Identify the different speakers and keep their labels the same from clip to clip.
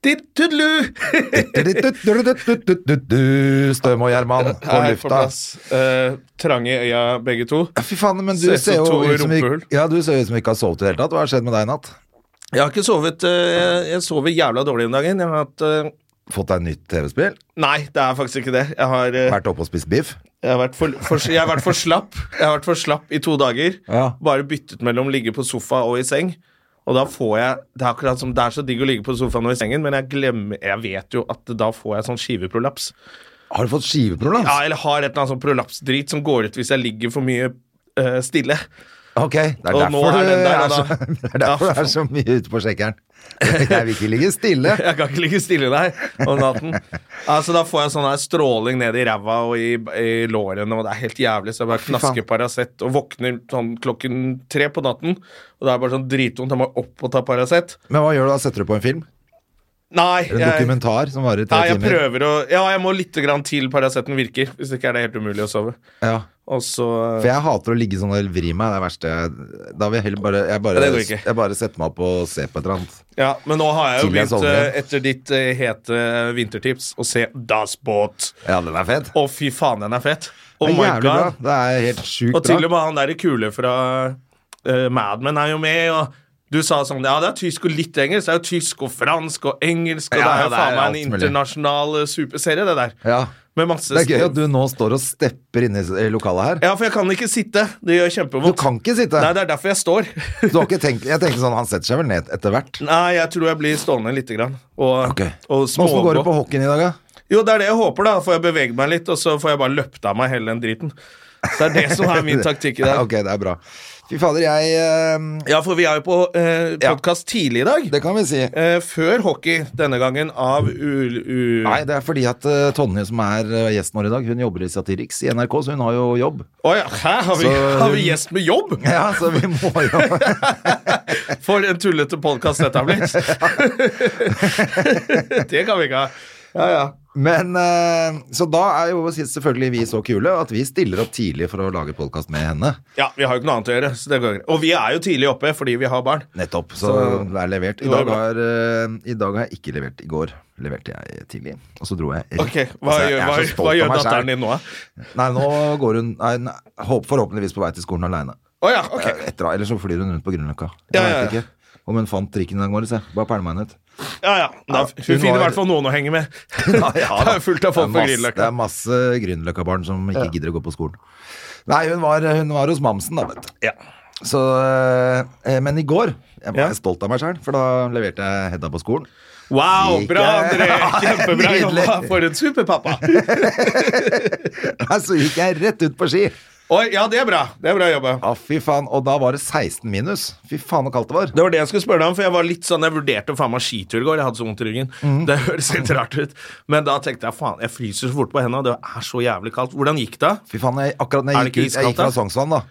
Speaker 1: Dittudelu!
Speaker 2: Støm og Gjerman på
Speaker 1: Her på
Speaker 2: lufta.
Speaker 1: plass. Eh, trange i øya, begge to.
Speaker 2: Ja, Fy faen, men du
Speaker 1: Ser ut
Speaker 2: ser
Speaker 1: som
Speaker 2: jo
Speaker 1: to
Speaker 2: ut som
Speaker 1: rumpehull.
Speaker 2: ikke, ja, du ser ut som ikke har sovet i det hele tatt. Hva har skjedd med deg i natt?
Speaker 1: Jeg har ikke sovet eh, Jeg sover jævla dårlig om dagen. Jeg har hatt eh,
Speaker 2: Fått deg nytt TV-spill?
Speaker 1: Nei, det er faktisk ikke det. Jeg har, eh,
Speaker 2: Vært oppe og spist biff?
Speaker 1: jeg har, vært, for, for, jeg har vært for slapp Jeg har vært for slapp i to dager.
Speaker 2: Ja.
Speaker 1: Bare byttet mellom ligge på sofa og i seng. Og da får jeg Det er akkurat som Det er så digg å ligge på sofaen og i sengen, men jeg glemmer Jeg vet jo at da får jeg sånn skiveprolaps.
Speaker 2: Har du fått skiveprolaps?
Speaker 1: Ja, eller har et eller annet sånn prolapsdrit som går ut hvis jeg ligger for mye eh, stille.
Speaker 2: Ok, det er
Speaker 1: Og nå er
Speaker 2: derfor du
Speaker 1: den der, da.
Speaker 2: er så, det er, derfor
Speaker 1: Ja,
Speaker 2: du er så mye ute på sjekkeren. Jeg vil ikke ligge stille.
Speaker 1: Jeg kan ikke ligge stille der om natten. Altså, da får jeg sånn her stråling ned i ræva og i, i lårene, og det er helt jævlig. Så jeg bare knasker Paracet og våkner sånn klokken tre på natten, og det er bare sånn dritvondt. Jeg må opp og ta Paracet.
Speaker 2: Men hva gjør du da? Setter du på en film?
Speaker 1: Nei,
Speaker 2: En
Speaker 1: jeg,
Speaker 2: dokumentar som varer
Speaker 1: nei,
Speaker 2: tre
Speaker 1: jeg
Speaker 2: timer?
Speaker 1: prøver å Ja, jeg må lite grann til Paraceten virker. Hvis ikke er det helt umulig å sove.
Speaker 2: Ja.
Speaker 1: Og så
Speaker 2: For jeg hater å ligge sånn og vri meg. Det er det verste. jeg- Da vil jeg heller bare jeg bare,
Speaker 1: Ja, det går ikke.
Speaker 2: jeg bare setter meg opp og ser på et eller annet.
Speaker 1: Ja, men nå har jeg jo
Speaker 2: Til jeg
Speaker 1: begynt,
Speaker 2: sovner igjen.
Speaker 1: eh, etter ditt eh, hete vintertips, å se Das Boot.
Speaker 2: Ja, den er fet.
Speaker 1: Å, fy faen, den er fett. Oh
Speaker 2: det
Speaker 1: my
Speaker 2: er
Speaker 1: god.
Speaker 2: jævlig bra. Det er helt sjukt
Speaker 1: Og til og
Speaker 2: bra.
Speaker 1: med han derre kule fra eh, Mad Men er jo med, og du sa sånn Ja, det er tysk og litt engelsk. Det er jo tysk og fransk og engelsk, og det er
Speaker 2: Ja, ja,
Speaker 1: jo
Speaker 2: det er
Speaker 1: faen meg en
Speaker 2: alt mulig.
Speaker 1: internasjonal eh, superserie, det der.
Speaker 2: Ja.
Speaker 1: Med masse
Speaker 2: Det er gøy at du nå står og stepper inne i i lokalet her.
Speaker 1: Ja, for jeg kan ikke sitte. Det gjør
Speaker 2: Du
Speaker 1: kjempevondt.
Speaker 2: kan
Speaker 1: Nei,
Speaker 2: ikke sitte.
Speaker 1: det er derfor jeg står.
Speaker 2: Du har ikke tenkt, jeg tenkte sånn, Han setter seg vel ned etter hvert.
Speaker 1: Nei, jeg tror jeg blir stående lite grann. Og,
Speaker 2: Ok.
Speaker 1: og
Speaker 2: Åssen går det på
Speaker 1: smågå.
Speaker 2: hockeyen i dag, da?
Speaker 1: Jo, det er det jeg håper, da. Får jeg beveget meg litt, og så får jeg bare løpt av meg hele den driten. Så det er det som er min taktikk i dag.
Speaker 2: Ok, det er bra. Fy fader, jeg eh,
Speaker 1: Ja, for vi er jo på eh,
Speaker 2: Ja.
Speaker 1: podkast tidlig i dag.
Speaker 2: Det kan vi si.
Speaker 1: Eh, før hockey, denne gangen av u... u
Speaker 2: Nei, det er fordi at eh, Tonje, som er eh, gjesten vår i dag, hun jobber i Satiriks i NRK, så hun har jo jobb.
Speaker 1: Å ja, hæ? Har vi,
Speaker 2: Så-
Speaker 1: har vi gjest med jobb?
Speaker 2: Ja, så vi må jo
Speaker 1: For en tullete podkast dette har blitt. det kan vi ikke ha. Ja, ja.
Speaker 2: Men eh, Så da er jo selvfølgelig vi så kule at vi stiller opp tidlig for å lage podkast med henne.
Speaker 1: Ja, Vi har jo ikke noe annet å gjøre. Så det går greit. Og vi er jo tidlig oppe fordi vi har barn.
Speaker 2: Nettopp. Så,
Speaker 1: Så-
Speaker 2: det er levert. I
Speaker 1: Det var
Speaker 2: dag,
Speaker 1: bra.
Speaker 2: har, eh, I dag har jeg ikke levert. I går leverte jeg tidlig, og så dro jeg rett.
Speaker 1: Ok, Hva,
Speaker 2: Altså, jeg
Speaker 1: gjør,
Speaker 2: er
Speaker 1: hva,
Speaker 2: så stolt
Speaker 1: hva
Speaker 2: av
Speaker 1: gjør
Speaker 2: meg selv.
Speaker 1: datteren din nå, da?
Speaker 2: Nei, nå går hun nei, nei, håp- forhåpentligvis på vei til skolen aleine.
Speaker 1: Å ja, ok.
Speaker 2: Etter, eller så flyr hun rundt på Grünerløkka.
Speaker 1: Ja, ja,
Speaker 2: Jeg vet
Speaker 1: ja.
Speaker 2: ikke om hun fant trikken den morges. jeg. Bare pælma henne ut.
Speaker 1: Ja, ja. Da,
Speaker 2: Ja,
Speaker 1: hun
Speaker 2: hun
Speaker 1: finner i
Speaker 2: var-
Speaker 1: hvert fall noen å henge med.
Speaker 2: Ja, ja,
Speaker 1: det er jo fullt av folk
Speaker 2: Det
Speaker 1: på
Speaker 2: er masse- Det
Speaker 1: Grünerløkka.
Speaker 2: er masse Grünerløkka-barn som ikke gidder å gå på skolen. Nei, hun var, hun var hos mamsen, da, vet du.
Speaker 1: Ja.
Speaker 2: Så, eh, men i går jeg var
Speaker 1: Ja.
Speaker 2: jeg stolt av meg sjøl, for da leverte jeg Hedda på skolen.
Speaker 1: Wow,
Speaker 2: Gikk
Speaker 1: bra,
Speaker 2: jeg-
Speaker 1: André! Kjempebra
Speaker 2: Nydelig.
Speaker 1: jobba! For en superpappa!
Speaker 2: Nei, Så gikk jeg rett ut på ski!
Speaker 1: Oi, ja, det er bra. Det er bra jobba.
Speaker 2: Ja, fy faen. Og da var det 16 minus. Fy faen så kaldt det var.
Speaker 1: Det var det jeg skulle spørre deg om, for jeg var litt sånn, jeg vurderte å faen meg skitur i går. Jeg hadde så vondt i ryggen.
Speaker 2: Mhm.
Speaker 1: Det høres helt rart ut. Men da tenkte jeg faen, jeg fryser så fort på hendene, og det er så jævlig kaldt. Hvordan gikk det?
Speaker 2: Fy faen, jeg, akkurat
Speaker 1: Er
Speaker 2: når jeg
Speaker 1: det
Speaker 2: gikk,
Speaker 1: ikke
Speaker 2: ut, jeg
Speaker 1: iskaldt,
Speaker 2: gikk fra
Speaker 1: da?
Speaker 2: Sognsvann, da,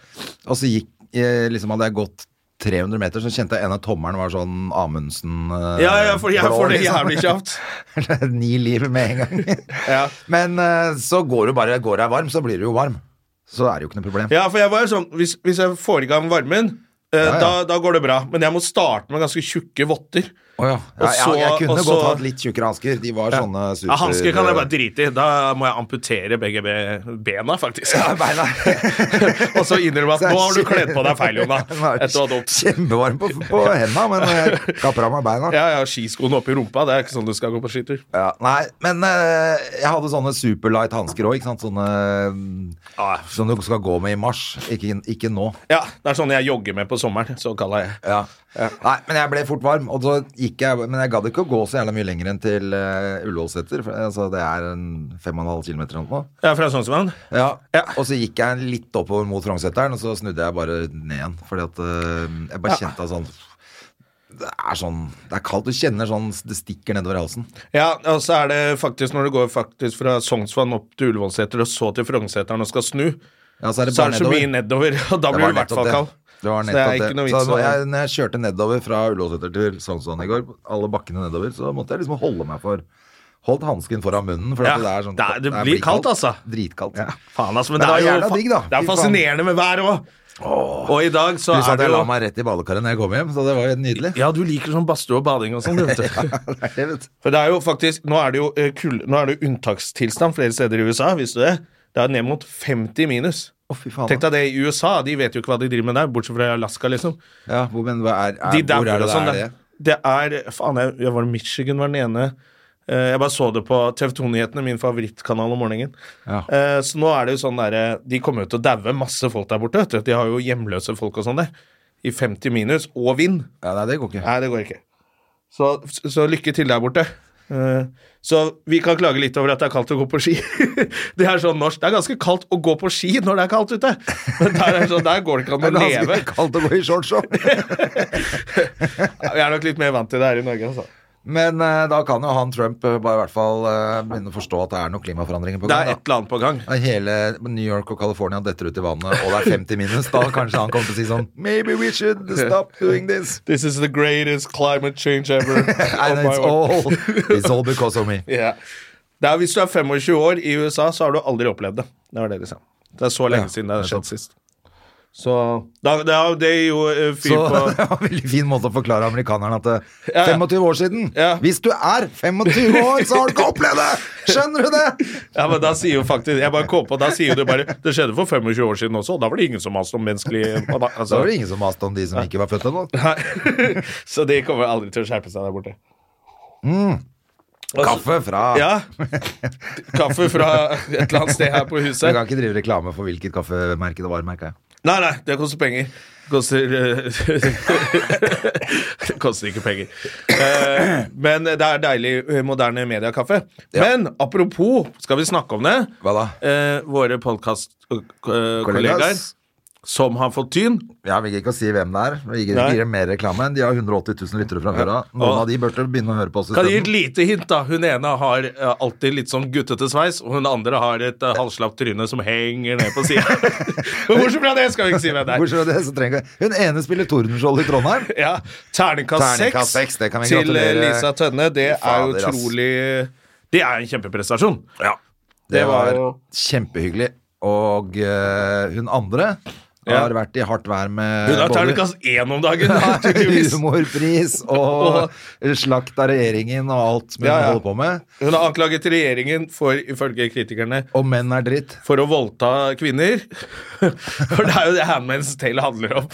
Speaker 2: og så gikk, eh, liksom hadde jeg gått 300 meter, så kjente jeg en av tommelen var sånn Amundsen eh,
Speaker 1: Ja, ja, for jeg
Speaker 2: blå,
Speaker 1: får det
Speaker 2: liksom.
Speaker 1: jævlig kjapt.
Speaker 2: Ni liv med en gang.
Speaker 1: Ja.
Speaker 2: Men eh, så går du bare Går jeg varm, så blir du jo varm. Så er det jo ikke noe problem.
Speaker 1: ja, for jeg var jo sånn, hvis, hvis jeg får i gang varmen, eh,
Speaker 2: Ja, ja.
Speaker 1: Da, da går det bra. Men jeg må starte med ganske tjukke votter.
Speaker 2: Å ja. Ja,
Speaker 1: Og så-
Speaker 2: jeg, jeg kunne
Speaker 1: og så-
Speaker 2: godt hatt litt tjukkere hansker. De var sånne super... eh,
Speaker 1: Ja, Hansker kan jeg bare drite i. Da må jeg amputere begge be- bena, faktisk.
Speaker 2: Ja, beina.
Speaker 1: og så innrømme at nå har du kledd på deg feil, Jonna. Etter å ha dopt.
Speaker 2: Kjempevarm på, på henda, men jeg kapper av meg beina.
Speaker 1: Ja, ja, skiskoene oppi rumpa. Det er ikke sånn du skal gå på skitur.
Speaker 2: Ja, nei, men eh, jeg hadde sånne superlight hansker òg, ikke sant? Sånne
Speaker 1: Ja.
Speaker 2: som du skal gå med i mars, ikke, ikke nå.
Speaker 1: Ja, det er sånn jeg jogger med på sommeren, så kaller jeg
Speaker 2: Ja. Nei, men jeg ble fort varm, og så gikk jeg Men jeg gadd ikke å gå så jævla mye lenger enn til uh, Ullevålseter, for altså, det er en 5,5 km eller noe.
Speaker 1: Jeg er fra Sognsvann.
Speaker 2: Ja.
Speaker 1: Ja.
Speaker 2: Og så gikk jeg litt oppover mot Frognerseteren, og så snudde jeg bare ned igjen. Fordi at eh, jeg bare kjente at sånn det er sånn Det er kaldt. Du kjenner sånn Det stikker nedover halsen.
Speaker 1: Ja, og så er det faktisk når du går faktisk fra Sognsvann opp til Ullevålseter og så til Frognerseteren og skal snu,
Speaker 2: Ja, så er det
Speaker 1: så
Speaker 2: bare
Speaker 1: er det så
Speaker 2: nedover.
Speaker 1: mye nedover, og da
Speaker 2: Det
Speaker 1: blir
Speaker 2: var
Speaker 1: du i hvert
Speaker 2: nettopp
Speaker 1: fall
Speaker 2: det.
Speaker 1: kald.
Speaker 2: Det var
Speaker 1: Så det er
Speaker 2: nettopp
Speaker 1: ikke noe
Speaker 2: det.
Speaker 1: vits
Speaker 2: Så
Speaker 1: å-
Speaker 2: jeg, når jeg kjørte nedover fra Ullåseter til Sognsvann i går, alle bakkene nedover, så måtte jeg liksom holde meg for Holdt hansken foran munnen. For
Speaker 1: Ja,
Speaker 2: at det, er sånn,
Speaker 1: det er- det blir kaldt, altså.
Speaker 2: Dritkaldt.
Speaker 1: Faen, altså, men, det,
Speaker 2: Men det
Speaker 1: er
Speaker 2: var
Speaker 1: jo
Speaker 2: jævla digg, da.
Speaker 1: Det er
Speaker 2: Fy faen.
Speaker 1: fascinerende med vær òg. Og i dag så
Speaker 2: Pluss
Speaker 1: er
Speaker 2: at
Speaker 1: det
Speaker 2: jeg
Speaker 1: jo
Speaker 2: la meg rett i badekaret når jeg kom hjem, så det var jo helt nydelig.
Speaker 1: Ja, du liker sånn badstue og bading og sånn, du, vet du.
Speaker 2: Nei, jeg vet.
Speaker 1: For det er jo faktisk Nå er det jo eh, kull- nå er det jo unntakstilstand flere steder i USA, visste du det? Det er ned mot 50 minus.
Speaker 2: Å, fy faen.
Speaker 1: Tenk deg det i USA, de vet jo ikke hva de driver med der, bortsett fra i Alaska, liksom.
Speaker 2: Ja, hvor, men hva er, er,
Speaker 1: De
Speaker 2: hvor er
Speaker 1: dauer
Speaker 2: det
Speaker 1: og sånn.
Speaker 2: det er det?
Speaker 1: Det er Faen, jeg, jeg var i Michigan, var den ene. Eh, Jeg bare så det på TV 2-nyhetene, min favorittkanal om morgenen.
Speaker 2: Ja.
Speaker 1: Eh, Så nå er det jo sånn derre De kommer jo til å daue masse folk der borte, vet du. De har jo hjemløse folk og sånn der. I 50 minus, og vind.
Speaker 2: Ja, nei, det går ikke.
Speaker 1: Nei, det går ikke. Så, så lykke til der borte. Eh, Så vi kan klage litt over at det er kaldt å gå på ski. Det er sånn norsk. Det er ganske kaldt å gå på ski når det er kaldt ute. Men der, er det sånn, der går det ikke
Speaker 2: Det er
Speaker 1: an å
Speaker 2: ganske
Speaker 1: leve.
Speaker 2: kaldt å gå i shorts òg.
Speaker 1: Vi er nok litt mer vant til det her i Norge. Altså.
Speaker 2: Men eh, da kan jo han Trump eh, bare i hvert fall eh, begynne å forstå at det er noen klimaforandringer på
Speaker 1: Det
Speaker 2: gang.
Speaker 1: er
Speaker 2: da.
Speaker 1: et eller annet på gang.
Speaker 2: Når Hele New York og California detter ut i vannet, og det er 50 minus. Da kanskje han kommer til å si sånn Maybe we should stop doing this.
Speaker 1: This is the greatest climate change ever. of
Speaker 2: And
Speaker 1: Oh my
Speaker 2: it's
Speaker 1: work.
Speaker 2: all, it's all because of me.
Speaker 1: Ja. Det er, hvis du er 25 år i USA, så har du aldri opplevd det. Det var det de sa. Det er så lenge
Speaker 2: Ja,
Speaker 1: siden det har
Speaker 2: nettopp.
Speaker 1: skjedd sist. Så da, det er jo- det er jo eh, fyr
Speaker 2: Så
Speaker 1: på
Speaker 2: det var en veldig fin måte å forklare amerikanerne at eh,
Speaker 1: Ja, ja.
Speaker 2: 25 år siden
Speaker 1: Ja.
Speaker 2: Hvis du er 25 år, så har du ikke opplevd det! Skjønner du det?
Speaker 1: Ja, men da sier jo faktisk Jeg bare kom på, da sier jo du bare Det skjedde for 25 år siden også, og da var det ingen som maste om menneskelig
Speaker 2: Så
Speaker 1: altså,
Speaker 2: var det ingen som maste om de som ikke var født ennå.
Speaker 1: Nei. Så de kommer aldri til å skjerpe seg der borte. Altså,
Speaker 2: Kaffe fra
Speaker 1: Ja. Kaffe fra et eller annet sted her på
Speaker 2: Du
Speaker 1: huset.
Speaker 2: kan ikke drive reklame for hvilket kaffemerke det var, merker jeg.
Speaker 1: Nei, nei, det koster penger. Det koster eh, Det koster ikke penger. Eh, men det er deilig eh, moderne mediekaffe. Men apropos, skal vi snakke om det?
Speaker 2: Hva da?
Speaker 1: Eh, våre podkastkollegaer som har fått tyn.
Speaker 2: Ja, Vi gidder ikke å si hvem det er. Vi gir,
Speaker 1: Nei.
Speaker 2: gir dem mer reklame. De har 180 000 lyttere fra før av. Noen
Speaker 1: Og-
Speaker 2: av de burde begynne å høre på oss
Speaker 1: Kan gi et
Speaker 2: isteden.
Speaker 1: lite hint, da. Hun ene har eh, alltid litt sånn guttete sveis, og hun andre har et uh, halvslapt tryne som henger ned på sida. Bortsett fra det skal vi ikke si hvem det er.
Speaker 2: Bortsett fra det, så trenger vi Hun ene spiller Tordenskjold i Trondheim.
Speaker 1: Ja, Terningkast 6
Speaker 2: Terningkast seks, det kan vi
Speaker 1: til eh,
Speaker 2: gratulere.
Speaker 1: Lisa Tønne. Det er
Speaker 2: Fader, ass.
Speaker 1: utrolig eh, Det er en kjempeprestasjon.
Speaker 2: Det
Speaker 1: Det var
Speaker 2: var
Speaker 1: jo-
Speaker 2: kjempehyggelig. Og eh, hun andre
Speaker 1: Ja.
Speaker 2: har vært i hardt vær med
Speaker 1: Hun har terningkast én om dagen, da, tydeligvis.
Speaker 2: humorpris og slakt av regjeringen og alt som hun
Speaker 1: Ja, ja.
Speaker 2: holder på med.
Speaker 1: Hun har anklaget regjeringen for, ifølge kritikerne,
Speaker 2: Og menn er dritt.
Speaker 1: for å voldta kvinner. For det er jo det Handman's Tale handler om.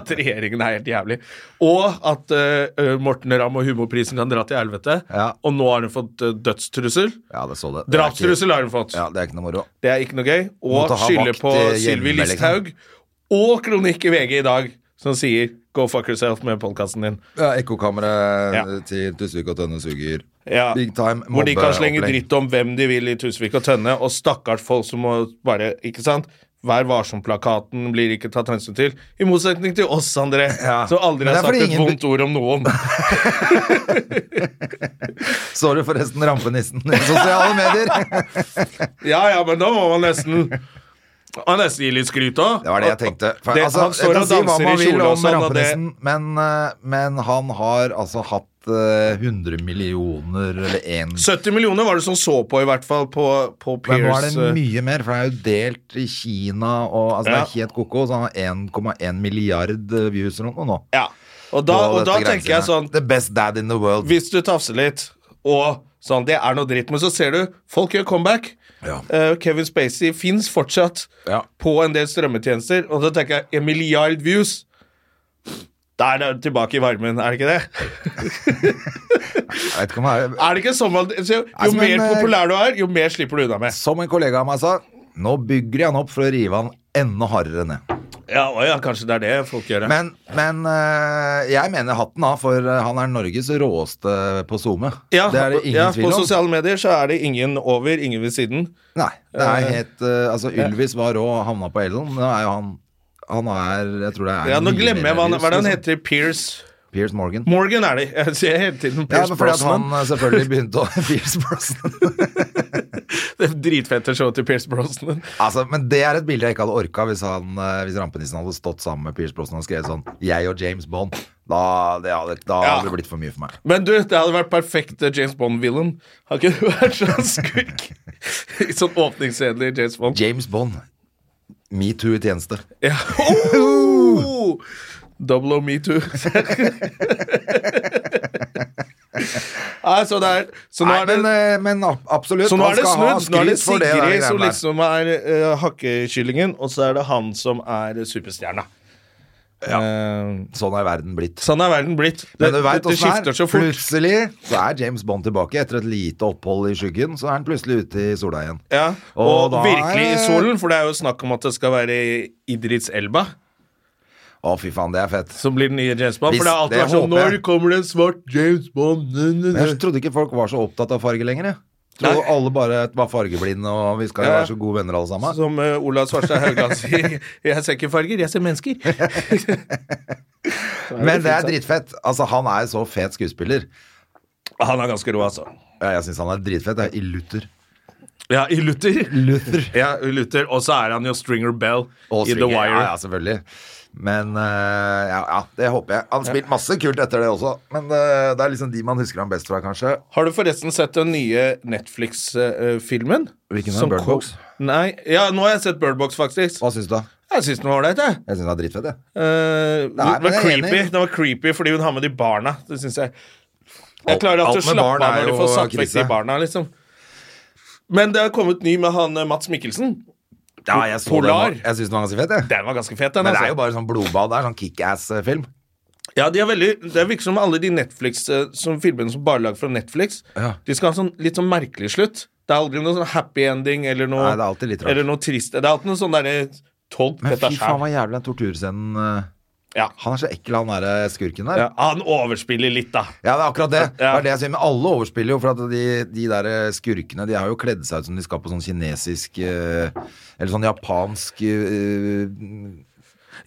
Speaker 1: At regjeringen er helt jævlig. Og at eh, Morten Ramm og humorprisen kan dra til helvete.
Speaker 2: Ja.
Speaker 1: Og nå har hun fått eh, dødstrussel.
Speaker 2: Ja, det så det. Det er ikke-
Speaker 1: Drapstrussel har hun fått.
Speaker 2: Ja, det er ikke noe moro.
Speaker 1: Det er ikke noe gøy. Og
Speaker 2: Måtte ha
Speaker 1: skylder
Speaker 2: vakt,
Speaker 1: på
Speaker 2: eh,
Speaker 1: Sylvi
Speaker 2: hjemme, liksom.
Speaker 1: Listhaug. Og kronikk i VG i dag som sier 'go fuck yourself' med podkasten din.
Speaker 2: Ja, Ekkokammeret
Speaker 1: Ja.
Speaker 2: til Tusvik og Tønne suger.
Speaker 1: Ja,
Speaker 2: Big time
Speaker 1: Hvor de kan slenge
Speaker 2: mobbeopplegg.
Speaker 1: dritt om hvem de vil i Tusvik og Tønne, og stakkars folk som må bare Ikke sant? Vær varsom-plakaten blir ikke tatt hensyn til. I motsetning til oss, André,
Speaker 2: Ja.
Speaker 1: som aldri
Speaker 2: Men
Speaker 1: har
Speaker 2: det er
Speaker 1: sagt
Speaker 2: fordi
Speaker 1: et
Speaker 2: ingen-
Speaker 1: vondt ord om noen.
Speaker 2: Så du forresten rampenissen i sosiale medier?
Speaker 1: Ja ja, men da må man nesten Man nesten gi litt skryt òg.
Speaker 2: Det var det jeg tenkte. For,
Speaker 1: det,
Speaker 2: altså,
Speaker 1: han står
Speaker 2: jeg kan
Speaker 1: og
Speaker 2: si hva
Speaker 1: danser
Speaker 2: man
Speaker 1: i
Speaker 2: vil
Speaker 1: kjole og
Speaker 2: om
Speaker 1: sånn, og det
Speaker 2: rampenissen, men, eh, men han har altså hatt eh, 100 millioner eller 1
Speaker 1: 70 millioner var det som så på, i hvert fall, på, på
Speaker 2: Men nå er
Speaker 1: Pierce. eh.
Speaker 2: det mye mer, for det er jo delt i Kina og altså, Det
Speaker 1: Ja.
Speaker 2: er helt koko. Så han har 1,1 milliard eh, views eller noe nå.
Speaker 1: Ja. Og da,
Speaker 2: på
Speaker 1: og da
Speaker 2: dette
Speaker 1: tenker jeg sånn
Speaker 2: greiene. The best dad in the world.
Speaker 1: Hvis du tafser litt, og sånn Det er noe dritt. Men så ser du, folk gjør comeback.
Speaker 2: Ja.
Speaker 1: Eh, Kevin Spacey fins fortsatt
Speaker 2: Ja.
Speaker 1: på en del strømmetjenester. Og så tenker jeg en milliard views. Da er det tilbake i varmen, er det ikke det?
Speaker 2: Jeg vet ikke om jeg
Speaker 1: Er det ikke sånn man, så, Jo
Speaker 2: Altså, men,
Speaker 1: mer
Speaker 2: eh,
Speaker 1: populær du er, jo mer slipper du unna med.
Speaker 2: Som en kollega av meg sa, nå bygger de han opp for å rive han enda hardere ned.
Speaker 1: Ja, å ja, kanskje det er det folk gjør. ja.
Speaker 2: Men, men eh, jeg mener hatten av, for eh, han er Norges råeste på SoMe.
Speaker 1: ja,
Speaker 2: det er det ingen
Speaker 1: ja,
Speaker 2: tvil
Speaker 1: På
Speaker 2: om.
Speaker 1: sosiale medier så er det ingen over, ingen ved siden.
Speaker 2: Nei, det er helt eh, Altså, Ylvis var rå og havna på Ellen. Nå er jo han Han er Jeg tror det er
Speaker 1: Ja, Nå
Speaker 2: mye
Speaker 1: glemmer
Speaker 2: mer
Speaker 1: jeg hva han,
Speaker 2: virus,
Speaker 1: hva er det han
Speaker 2: liksom.
Speaker 1: heter. Pierce
Speaker 2: Piers Morgan.
Speaker 1: Morgan er det. Jeg ser hele tiden
Speaker 2: Ja,
Speaker 1: Pierce
Speaker 2: men fordi at han
Speaker 1: Brosnan.
Speaker 2: eh, selvfølgelig begynte å Pierce Brosnan.
Speaker 1: Det dritfete showet til Pierce Brosnan.
Speaker 2: Altså, men det er et bilde jeg ikke hadde orka hvis, han, eh, hvis rampenissen hadde stått sammen med Pierce Brosnan og skrevet sånn 'Jeg og James Bond'. Da, det hadde, da
Speaker 1: Ja.
Speaker 2: hadde det blitt for mye for meg.
Speaker 1: Men du, det hadde vært perfekt eh, James Bond-villain. Har ikke du vært sånn skurk? Litt sånn åpningssedelig James Bond.
Speaker 2: James Bond. Metoo i tjeneste.
Speaker 1: Ja. Oh! Double O Me Too. Nei, så det er Så nå
Speaker 2: Nei,
Speaker 1: er det
Speaker 2: men, eh, men ab- absolutt.
Speaker 1: så nå
Speaker 2: han
Speaker 1: er det
Speaker 2: skal ha
Speaker 1: snudd. Nå er det
Speaker 2: skryt for det der
Speaker 1: Sigrid som
Speaker 2: greiene der.
Speaker 1: liksom er eh, hakkekyllingen, og så er det han som er eh, superstjerna. Eh,
Speaker 2: Sånn er verden blitt.
Speaker 1: sånn er verden blitt. Det,
Speaker 2: Men du vet
Speaker 1: det, det
Speaker 2: hvordan
Speaker 1: skifter
Speaker 2: det
Speaker 1: så
Speaker 2: er.
Speaker 1: fort.
Speaker 2: Plutselig så er James Bond tilbake etter et lite opphold i skyggen. Så er han plutselig ute i sola igjen.
Speaker 1: Ja, og
Speaker 2: Og da
Speaker 1: virkelig i
Speaker 2: er-
Speaker 1: solen, for det er jo snakk om at det skal være Idrits Elba
Speaker 2: Å, fy faen, det er fett.
Speaker 1: som blir den nye James Bond.
Speaker 2: Hvis-
Speaker 1: for det har alltid
Speaker 2: det
Speaker 1: vært sånn
Speaker 2: håper
Speaker 1: Når
Speaker 2: jeg.
Speaker 1: kommer det en svart James Bond? Nø, nø,
Speaker 2: Men jeg
Speaker 1: nø.
Speaker 2: trodde ikke folk var så opptatt av farge lenger. Jeg trodde
Speaker 1: Nei.
Speaker 2: alle bare var fargeblinde, og vi skal jo
Speaker 1: Ja.
Speaker 2: være så gode venner alle sammen.
Speaker 1: Som eh, Olav Svarstad Haugland sier, jeg ser ikke farger, jeg ser mennesker.
Speaker 2: Men det er dritfett. Altså, han er så fet skuespiller.
Speaker 1: Han er ganske rå, altså.
Speaker 2: Ja, Jeg syns han er dritfett. Jeg, I Luther.
Speaker 1: Ja, i Luther.
Speaker 2: Luther.
Speaker 1: Ja, i Luther. Og så er han jo Stringer Bell
Speaker 2: Og
Speaker 1: i The
Speaker 2: Stringer.
Speaker 1: Wire.
Speaker 2: Ja, altså. ja, selvfølgelig. Men eh, ja, ja, det håper jeg. Han har spilt masse kult etter det også, men eh, det er liksom de man husker ham best fra, kanskje.
Speaker 1: Har du forresten sett den nye Netflix-filmen?
Speaker 2: Hvilken da?
Speaker 1: Som
Speaker 2: Bird
Speaker 1: ko-
Speaker 2: Box?
Speaker 1: Nei, ja, nå har jeg sett Bird Box, faktisk.
Speaker 2: Hva syns du, da?
Speaker 1: Jeg syns den var ålreit, jeg.
Speaker 2: Jeg syns han er dritfett, jeg.
Speaker 1: Eh, den,
Speaker 2: men
Speaker 1: var
Speaker 2: jeg er
Speaker 1: creepy.
Speaker 2: enig.
Speaker 1: den var creepy fordi hun har med de barna. Det syns jeg. Jeg klarer
Speaker 2: alt
Speaker 1: alltid å
Speaker 2: med
Speaker 1: slappe av
Speaker 2: barn er
Speaker 1: når du
Speaker 2: jo
Speaker 1: får satt vekk
Speaker 2: krise.
Speaker 1: de barna, liksom. Men det har kommet ny med han eh, Mats Mikkelsen.
Speaker 2: Ja, jeg så
Speaker 1: Polar.
Speaker 2: Den, og jeg syns den var ganske fett, jeg.
Speaker 1: Den var ganske fet, den.
Speaker 2: Men det
Speaker 1: altså.
Speaker 2: er jo bare sånn blodbad. Det er sånn kickass-film.
Speaker 1: Ja, de er veldig, Det virker som alle de Netflix eh, som filmene som bare er laget fra Netflix,
Speaker 2: Ja.
Speaker 1: de skal ha sånn litt sånn merkelig slutt. Det er aldri noe sånn happy ending eller noe,
Speaker 2: Nei, det er alltid litt rart.
Speaker 1: eller noe trist. Det er alltid noe sånn derre tolk
Speaker 2: Men
Speaker 1: dette er
Speaker 2: fy faen,
Speaker 1: skjær.
Speaker 2: hva jævlig den torturscenen eh,
Speaker 1: Ja.
Speaker 2: Han er så ekkel, han derre skurken der.
Speaker 1: Ja,
Speaker 2: Ja.
Speaker 1: han overspiller litt, da.
Speaker 2: det er akkurat det. Det
Speaker 1: Ja.
Speaker 2: er det jeg sier. Men alle overspiller jo, for at de, de der eh, skurkene De har jo kledd seg ut som de skal på sånn kinesisk eh, Eller sånn japansk eh,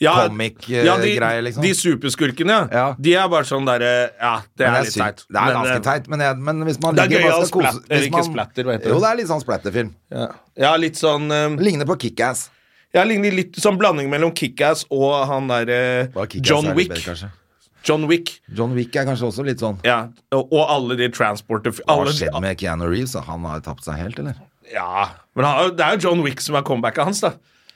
Speaker 1: Ja,
Speaker 2: Comic-greie, liksom.
Speaker 1: De superskurkene, ja.
Speaker 2: Ja.
Speaker 1: De er bare sånn derre Ja, det
Speaker 2: Men
Speaker 1: er
Speaker 2: jeg
Speaker 1: litt
Speaker 2: syns-
Speaker 1: teit.
Speaker 2: Det er
Speaker 1: Men,
Speaker 2: ganske
Speaker 1: eh,
Speaker 2: teit, men, jeg, men hvis man
Speaker 1: Det er
Speaker 2: ligger
Speaker 1: gøy
Speaker 2: bare
Speaker 1: å
Speaker 2: skal
Speaker 1: splatter- eller
Speaker 2: hvis
Speaker 1: ikke splatter, hva heter det?
Speaker 2: Jo, det er litt sånn splatterfilm.
Speaker 1: Ja. ja, litt sånn eh,
Speaker 2: Ligner på Kickass.
Speaker 1: Jeg ligner litt sånn blanding mellom Kickass og han derre John Wick. John Wick.
Speaker 2: John Wick er kanskje også litt sånn.
Speaker 1: Ja, og, og alle de transporter...
Speaker 2: Hva
Speaker 1: alle-
Speaker 2: har skjedd med Keanu Reeves? da? Han har tapt seg helt, eller?
Speaker 1: Ja, men han, har jo- det er jo John Wick som er comebacket hans, da.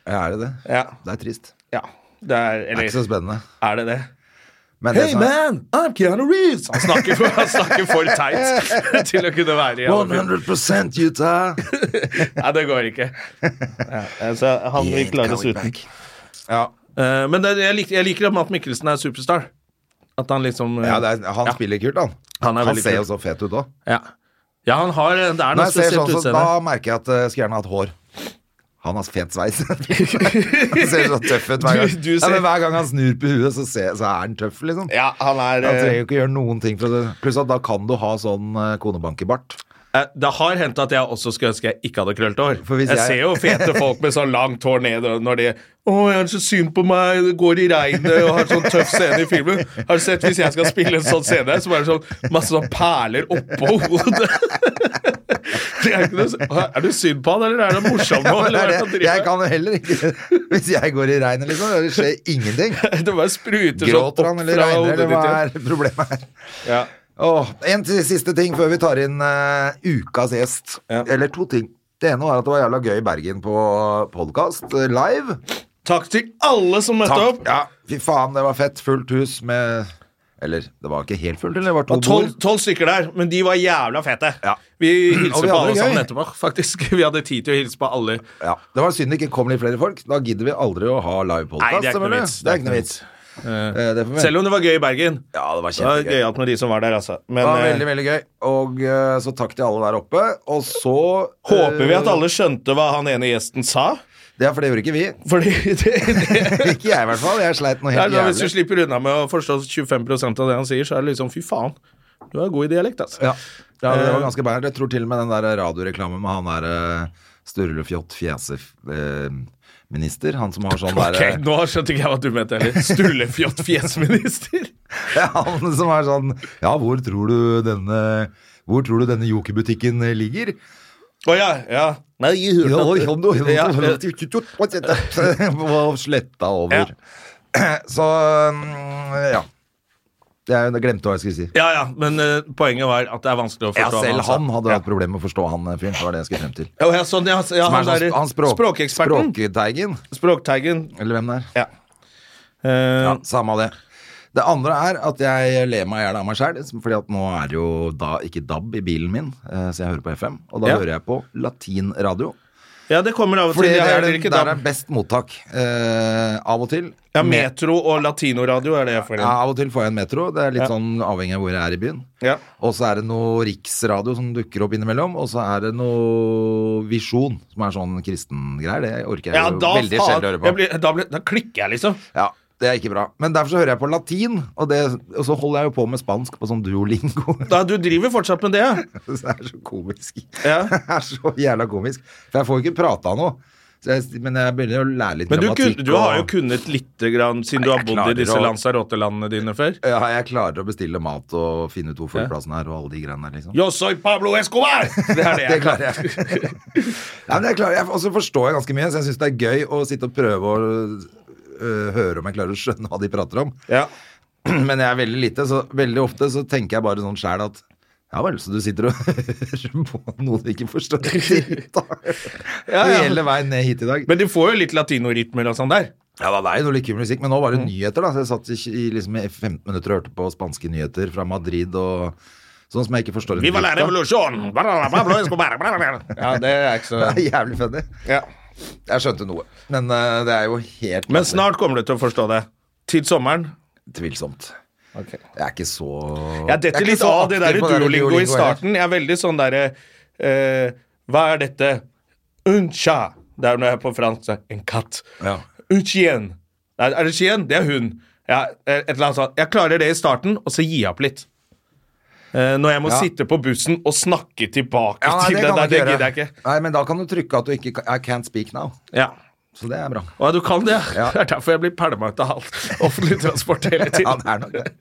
Speaker 2: Ja, er det det?
Speaker 1: Ja.
Speaker 2: Det er trist.
Speaker 1: ja. Det er,
Speaker 2: Det er ikke så
Speaker 1: eller,
Speaker 2: spennende.
Speaker 1: er det det?
Speaker 2: Men det
Speaker 1: Hey
Speaker 2: som er-
Speaker 1: man, I'm Keanu Reeves! Han snakker for, han snakker for teit til å kunne være i alle filmer.
Speaker 2: 100 Utah!
Speaker 1: Nei, det går ikke. Ja, altså, han vil klare oss uten.
Speaker 2: Ja,
Speaker 1: Eh, men det, jeg, liker, jeg liker at Matt Mikkelsen er superstar. At han liksom eh,
Speaker 2: ja det er, han
Speaker 1: Ja.
Speaker 2: spiller kult, han.
Speaker 1: Han er veldig
Speaker 2: ser jo
Speaker 1: kul.
Speaker 2: så fet ut òg.
Speaker 1: ja. ja, han har Det er
Speaker 2: Når
Speaker 1: noe
Speaker 2: jeg ser
Speaker 1: spesielt
Speaker 2: sånn, så,
Speaker 1: utseende.
Speaker 2: da merker jeg at eh, jeg skulle gjerne hatt hår. Han har fet sveis. han ser så tøff ut hver gang.
Speaker 1: Du- du
Speaker 2: Ja,
Speaker 1: ser-
Speaker 2: men hver gang han snur på huet, så, ser, så er han tøff, liksom.
Speaker 1: Ja, han er
Speaker 2: Han trenger
Speaker 1: eh,
Speaker 2: jo ikke gjøre noen ting for det. Pluss at da kan du ha sånn eh, konebankebart.
Speaker 1: eh, Det har hendt at jeg også skulle ønske jeg ikke hadde krøllete hår.
Speaker 2: For hvis
Speaker 1: jeg,
Speaker 2: jeg-
Speaker 1: ser jo fete folk med sånn langt hår ned og når de 'Å, jeg har så synd på meg, det går i regnet' og har sånn tøff scene i filmen. Har du sett hvis jeg skal spille en sånn scene, så er det sånn masse sånn perler oppå hodet. Det er, ikke noe, s- er det synd på han, eller er det morsomt nå?
Speaker 2: Men
Speaker 1: eller hva er
Speaker 2: det er
Speaker 1: det han driver
Speaker 2: det.
Speaker 1: med?
Speaker 2: Jeg kan jo heller ikke Hvis jeg går i regnet, liksom, det skjer ingenting.
Speaker 1: Det bare spruter sånn opp
Speaker 2: Gråter han eller
Speaker 1: fra
Speaker 2: regner,
Speaker 1: hodet
Speaker 2: eller hva
Speaker 1: ditt.
Speaker 2: er problemet her?
Speaker 1: Ja.
Speaker 2: Åh, en til siste ting før vi tar inn eh, ukas gjest.
Speaker 1: Ja.
Speaker 2: Eller to ting. Det ene var at det var jævla gøy i Bergen på podkast live.
Speaker 1: Takk til alle som møtte opp.
Speaker 2: Ja, fy faen, det var fett. Fullt hus med Eller det var ikke helt fullt, eller det var
Speaker 1: Det
Speaker 2: to
Speaker 1: var tolv,
Speaker 2: bord.
Speaker 1: tolv stykker der, men de var jævla fete.
Speaker 2: Ja.
Speaker 1: Vi
Speaker 2: Og
Speaker 1: hilste på
Speaker 2: vi hadde
Speaker 1: alle
Speaker 2: det
Speaker 1: sammen
Speaker 2: gøy.
Speaker 1: etterpå, faktisk. Vi hadde tid til å hilse på alle.
Speaker 2: Ja. Det var synd det ikke kom litt flere folk. Da gidder vi aldri å ha live
Speaker 1: Nei,
Speaker 2: podcast
Speaker 1: det er ikke noe vits.
Speaker 2: Det er ikke noe vits. Eh, det får vi-
Speaker 1: Selv om det var gøy i Bergen.
Speaker 2: Ja, det var
Speaker 1: Det var
Speaker 2: kjempegøy.
Speaker 1: gøyalt med de som var der, altså. Men
Speaker 2: Det var
Speaker 1: eh,
Speaker 2: veldig, veldig gøy. Og eh, så takk til alle der oppe. Og så eh,
Speaker 1: håper vi at alle skjønte hva han ene gjesten sa.
Speaker 2: Ja, for det gjorde ikke vi.
Speaker 1: Fordi det, det,
Speaker 2: Ikke jeg, i hvert fall. Jeg sleit noe
Speaker 1: det er
Speaker 2: helt
Speaker 1: da, Hvis du
Speaker 2: jævlig.
Speaker 1: slipper unna med å forstå 25 av det han sier, så er det liksom fy faen. Du har god i dialekt, altså.
Speaker 2: Ja. ja, det var ganske bært. Jeg tror til og med den der radioreklamen med han der eh, Sturlefjott fjeseminister. Han som har sånn
Speaker 1: Ok,
Speaker 2: derre
Speaker 1: nå skjønte ikke jeg hva du mente heller. Stullefjott fjesminister.
Speaker 2: Ja, han som er sånn Ja, hvor tror du denne hvor tror du denne jokerbutikken ligger?
Speaker 1: Å ja, ja. Nei, gi
Speaker 2: Ja, oi, hold nå, hold nå,
Speaker 1: Ja,
Speaker 2: hold
Speaker 1: ja.
Speaker 2: nå. Og sletta over. Så mm, ja. Jeg glemte hva jeg skulle si.
Speaker 1: Ja, ja, men eh, poenget var at det er vanskelig å
Speaker 2: Ja,
Speaker 1: forstå.
Speaker 2: selv
Speaker 1: hva
Speaker 2: han
Speaker 1: sa.
Speaker 2: hadde hatt problemer med å forstå han eh, fyren. Det var det jeg skulle frem til.
Speaker 1: Ja, ja, sånn, ja, ja,
Speaker 2: Som
Speaker 1: han,
Speaker 2: er sånn-
Speaker 1: der,
Speaker 2: han språk,
Speaker 1: språkeksperten.
Speaker 2: Språkteigen,
Speaker 1: Språkteigen.
Speaker 2: eller hvem det er.
Speaker 1: Ja. Eh,
Speaker 2: Ja, samme av det. Det andre er at jeg ler meg i hjel av meg sjæl, fordi at nå er det jo da ikke DAB i bilen min, eh, så jeg hører på FM. Og da
Speaker 1: Ja.
Speaker 2: hører jeg på latinradio.
Speaker 1: ja, det kommer av og
Speaker 2: Fordi
Speaker 1: til.
Speaker 2: det
Speaker 1: Jeg
Speaker 2: er
Speaker 1: hører
Speaker 2: den,
Speaker 1: ikke
Speaker 2: der
Speaker 1: DAB.
Speaker 2: er best mottak. eh, av og til.
Speaker 1: Ja,
Speaker 2: Me-
Speaker 1: Metro og latinoradio er det jeg får
Speaker 2: ja,
Speaker 1: inn.
Speaker 2: av og til får jeg en metro. Det er litt
Speaker 1: Ja.
Speaker 2: sånn avhengig av hvor jeg er i byen.
Speaker 1: Ja.
Speaker 2: Og så er det noe riksradio som dukker opp innimellom, og så er det noe visjon, som er sånn kristengreier. Det orker jeg
Speaker 1: Ja,
Speaker 2: jo
Speaker 1: da,
Speaker 2: veldig
Speaker 1: faen,
Speaker 2: sjelden å høre på.
Speaker 1: jeg blir, da, blir, da klikker jeg, liksom.
Speaker 2: Ja, det er ikke bra. Men derfor så hører jeg på latin, og, det, og så holder jeg jo på med spansk på sånn duolingo.
Speaker 1: Da, du driver fortsatt med det, ja?
Speaker 2: Så det er så komisk.
Speaker 1: Ja.
Speaker 2: Det er så jævla komisk. For jeg får ikke prata noe. Så jeg, men jeg begynner å lære litt
Speaker 1: Men du, kun,
Speaker 2: grammatikk.
Speaker 1: du har jo
Speaker 2: og-
Speaker 1: kunnet lite grann, siden du har
Speaker 2: jeg
Speaker 1: bodd i
Speaker 2: klarer
Speaker 1: disse
Speaker 2: å-
Speaker 1: Lanzarote-landene dine før.
Speaker 2: ja, jeg klarer å bestille mat og finne ut hvor flyplassen er og alle de greiene der, liksom.
Speaker 1: Yo soy Pablo Escobar! Det er det
Speaker 2: det
Speaker 1: jeg klarer.
Speaker 2: klarer jeg. ja, men jeg klarer jeg. Og så forstår jeg ganske mye, så jeg syns det er gøy å sitte og prøve å øh, høre om jeg klarer å skjønne hva de prater om.
Speaker 1: Ja.
Speaker 2: Men jeg er veldig lite, så veldig ofte så tenker jeg bare sånn sjæl at ja vel, så du sitter og hører på noe du ikke forstår dritt av
Speaker 1: ja.
Speaker 2: hele veien ned hit i dag.
Speaker 1: Men de får jo litt latinorytmer og sånn der.
Speaker 2: Ja da, det er jo noe litt kul musikk, men nå var
Speaker 1: Mm.
Speaker 2: det nyheter, da. Så jeg satt i, i liksom i 15 minutter og hørte på spanske nyheter fra Madrid og sånn som jeg ikke forstår en
Speaker 1: Viva la
Speaker 2: dritt av.
Speaker 1: revolusjon! Bla, bla, bla, Escobar! Bla, bla, bla. Ja, det er ikke så
Speaker 2: Det er jævlig funny.
Speaker 1: ja.
Speaker 2: Jeg skjønte noe, men eh, det er jo helt
Speaker 1: Men snart kommer du til å forstå det. Til sommeren.
Speaker 2: tvilsomt. Jeg er ikke så
Speaker 1: Jeg detter
Speaker 2: er ikke
Speaker 1: litt
Speaker 2: så
Speaker 1: av det der
Speaker 2: aktiv på det der
Speaker 1: duolingo i
Speaker 2: Duolingo heller.
Speaker 1: starten. Jeg er veldig sånn derre eh, Hva er dette? Uncha. Det er når jeg er på fransk. så er det En katt.
Speaker 2: Ja.
Speaker 1: Un chien. Nei, er det chien? Det er hun. Ja, et eller annet sånt. Jeg klarer det i starten, og så gir jeg opp litt. Eh, når jeg må
Speaker 2: Ja.
Speaker 1: sitte på bussen og snakke tilbake
Speaker 2: Ja, nei,
Speaker 1: til
Speaker 2: det
Speaker 1: deg.
Speaker 2: kan
Speaker 1: Det,
Speaker 2: du
Speaker 1: det
Speaker 2: ikke
Speaker 1: gidder
Speaker 2: gjøre.
Speaker 1: jeg ikke.
Speaker 2: Nei, men da kan du trykke at du ikke kan- I can't speak now.
Speaker 1: Ja.
Speaker 2: Så det er bra.
Speaker 1: Å, du kan det?
Speaker 2: Ja.
Speaker 1: Det er derfor jeg blir pælma ut av alt offentlig transport hele
Speaker 2: Ja,
Speaker 1: tiden.
Speaker 2: det er nok det.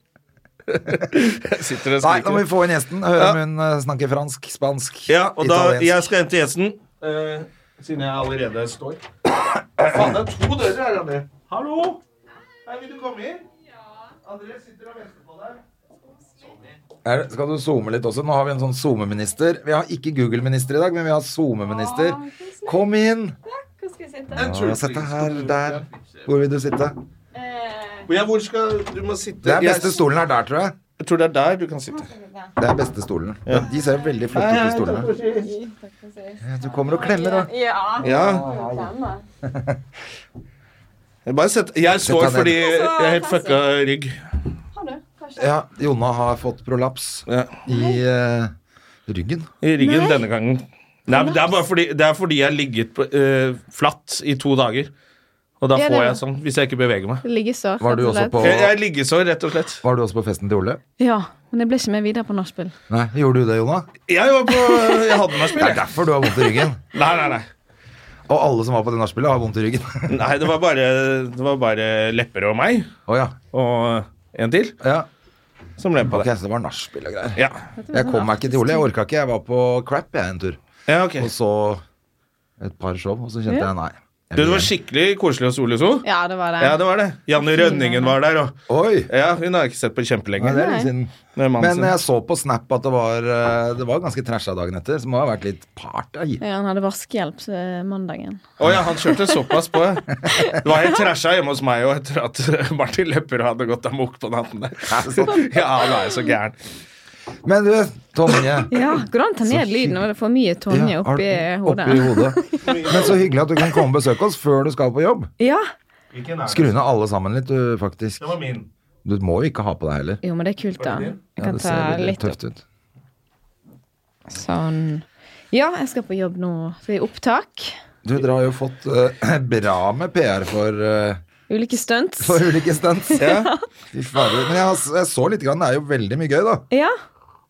Speaker 1: Jeg sitter og
Speaker 2: Nei, nå må
Speaker 1: skriker.
Speaker 2: vi få inn gjesten. Høre
Speaker 1: Ja.
Speaker 2: om hun eh, snakker fransk, spansk,
Speaker 1: Ja, og da,
Speaker 2: italiensk.
Speaker 1: jeg skal hente gjesten. eh, siden jeg allerede står. Faen, det er to dører her, André. Hallo! Hei, vil du komme inn? André sitter og venter på deg.
Speaker 2: Er, det- skal du zoome litt også? Nå har vi en sånn SoMe-minister. Vi har ikke Google-minister i dag, men vi har SoMe-minister. Kom inn!
Speaker 3: Hvor skal jeg sitte?
Speaker 2: Ja, Sett deg her, der. Hvor vil du sitte?
Speaker 3: Eh,
Speaker 1: Ja, hvor skal du må sitte?
Speaker 2: Det er beste
Speaker 1: jeg,
Speaker 2: stolen er der, tror jeg.
Speaker 1: jeg tror det er der du kan sitte.
Speaker 2: Det er beste stolen. De ser jo veldig flotte ut, de stolene. Du kommer og klemmer, da.
Speaker 3: ja.
Speaker 1: Ja,
Speaker 3: stemmer.
Speaker 1: jeg bare sett, jeg står
Speaker 2: deg ned.
Speaker 1: fordi jeg er helt fucka rygg.
Speaker 3: Har du? Kanskje.
Speaker 2: Ja, Jonna har fått prolaps
Speaker 1: Ja,
Speaker 2: i eh, ryggen.
Speaker 1: I ryggen denne gangen. Nei, men det er bare fordi, det er fordi jeg har ligget på, eh, flatt i to dager. Og da
Speaker 4: Ja, det
Speaker 1: får
Speaker 4: er
Speaker 1: jeg
Speaker 4: det.
Speaker 1: sånn, hvis jeg ikke beveger meg.
Speaker 4: Liggesår,
Speaker 2: Var du
Speaker 4: rett og
Speaker 2: også
Speaker 4: slett.
Speaker 2: på,
Speaker 1: Jeg, jeg ligger så, rett og slett.
Speaker 2: var du også på festen til Ole?
Speaker 4: Ja, men jeg ble ikke med videre på nachspiel.
Speaker 2: Nei, gjorde du det, Jonna?
Speaker 1: Jeg var på Jeg hadde meg
Speaker 2: Det er
Speaker 1: spill, jeg.
Speaker 2: derfor du har vondt i ryggen.
Speaker 1: Nei, nei, nei.
Speaker 2: Og alle som var på det nachspielet, har vondt i ryggen.
Speaker 1: Nei, det var bare, det var bare lepper og meg
Speaker 2: Å ja.
Speaker 1: og en til
Speaker 2: ja.
Speaker 1: som ble på
Speaker 2: Ok,
Speaker 1: det.
Speaker 2: så det var nachspiel og greier.
Speaker 1: Ja.
Speaker 2: Jeg kom meg ikke til Ole. Jeg orka ikke. Jeg var på crap jeg en tur.
Speaker 1: ja, ok.
Speaker 2: Og så et par show, og så kjente jeg nei. Jeg
Speaker 1: Du, det
Speaker 2: vil
Speaker 1: var skikkelig koselig hos Ole So.
Speaker 4: Ja, det var det.
Speaker 1: Ja, det var det. Janne Rønningen var der, og
Speaker 2: hjem. Oi!
Speaker 1: ja, hun har jeg ikke sett på
Speaker 2: Nei,
Speaker 1: kjempelenge.
Speaker 2: det er litt siden.
Speaker 1: Med mannen
Speaker 2: Men
Speaker 1: sin.
Speaker 2: jeg så på Snap at det var, eh, det var ganske trasha dagen etter, så det må ha vært litt party.
Speaker 4: Ja, han hadde vaskehjelp eh, mandagen.
Speaker 1: Å ja, han kjørte såpass på. Det var helt trasha hjemme hos meg og etter at eh, Martin Lepperød hadde gått amok på natten der. Ja, han er jo så gæren.
Speaker 2: Men du, Tonje.
Speaker 4: Ja, Går det an å ta ned lyden når det er for mye Tonje
Speaker 2: Ja, har-
Speaker 4: oppi hodet?
Speaker 2: oppi hodet. Men så hyggelig at du kan komme og besøke oss før du skal på jobb.
Speaker 4: Ja.
Speaker 2: Skru ned alle sammen litt, du, faktisk.
Speaker 1: Det var min.
Speaker 2: Du må jo ikke ha på deg heller.
Speaker 4: Jo, men det er kult, da. Jeg
Speaker 2: Ja,
Speaker 4: kan
Speaker 2: det
Speaker 4: ta
Speaker 2: ser veldig
Speaker 4: litt opp.
Speaker 2: tøft ut.
Speaker 4: Sånn. Ja, jeg skal på jobb nå. Så det er opptak.
Speaker 2: Du, dere har jo fått eh, bra med PR for, eh,
Speaker 4: Ulike stunts.
Speaker 2: for ulike stunts. Fy fader. Men jeg, har, jeg så litt, grann. det er jo veldig mye gøy, da.
Speaker 4: Ja.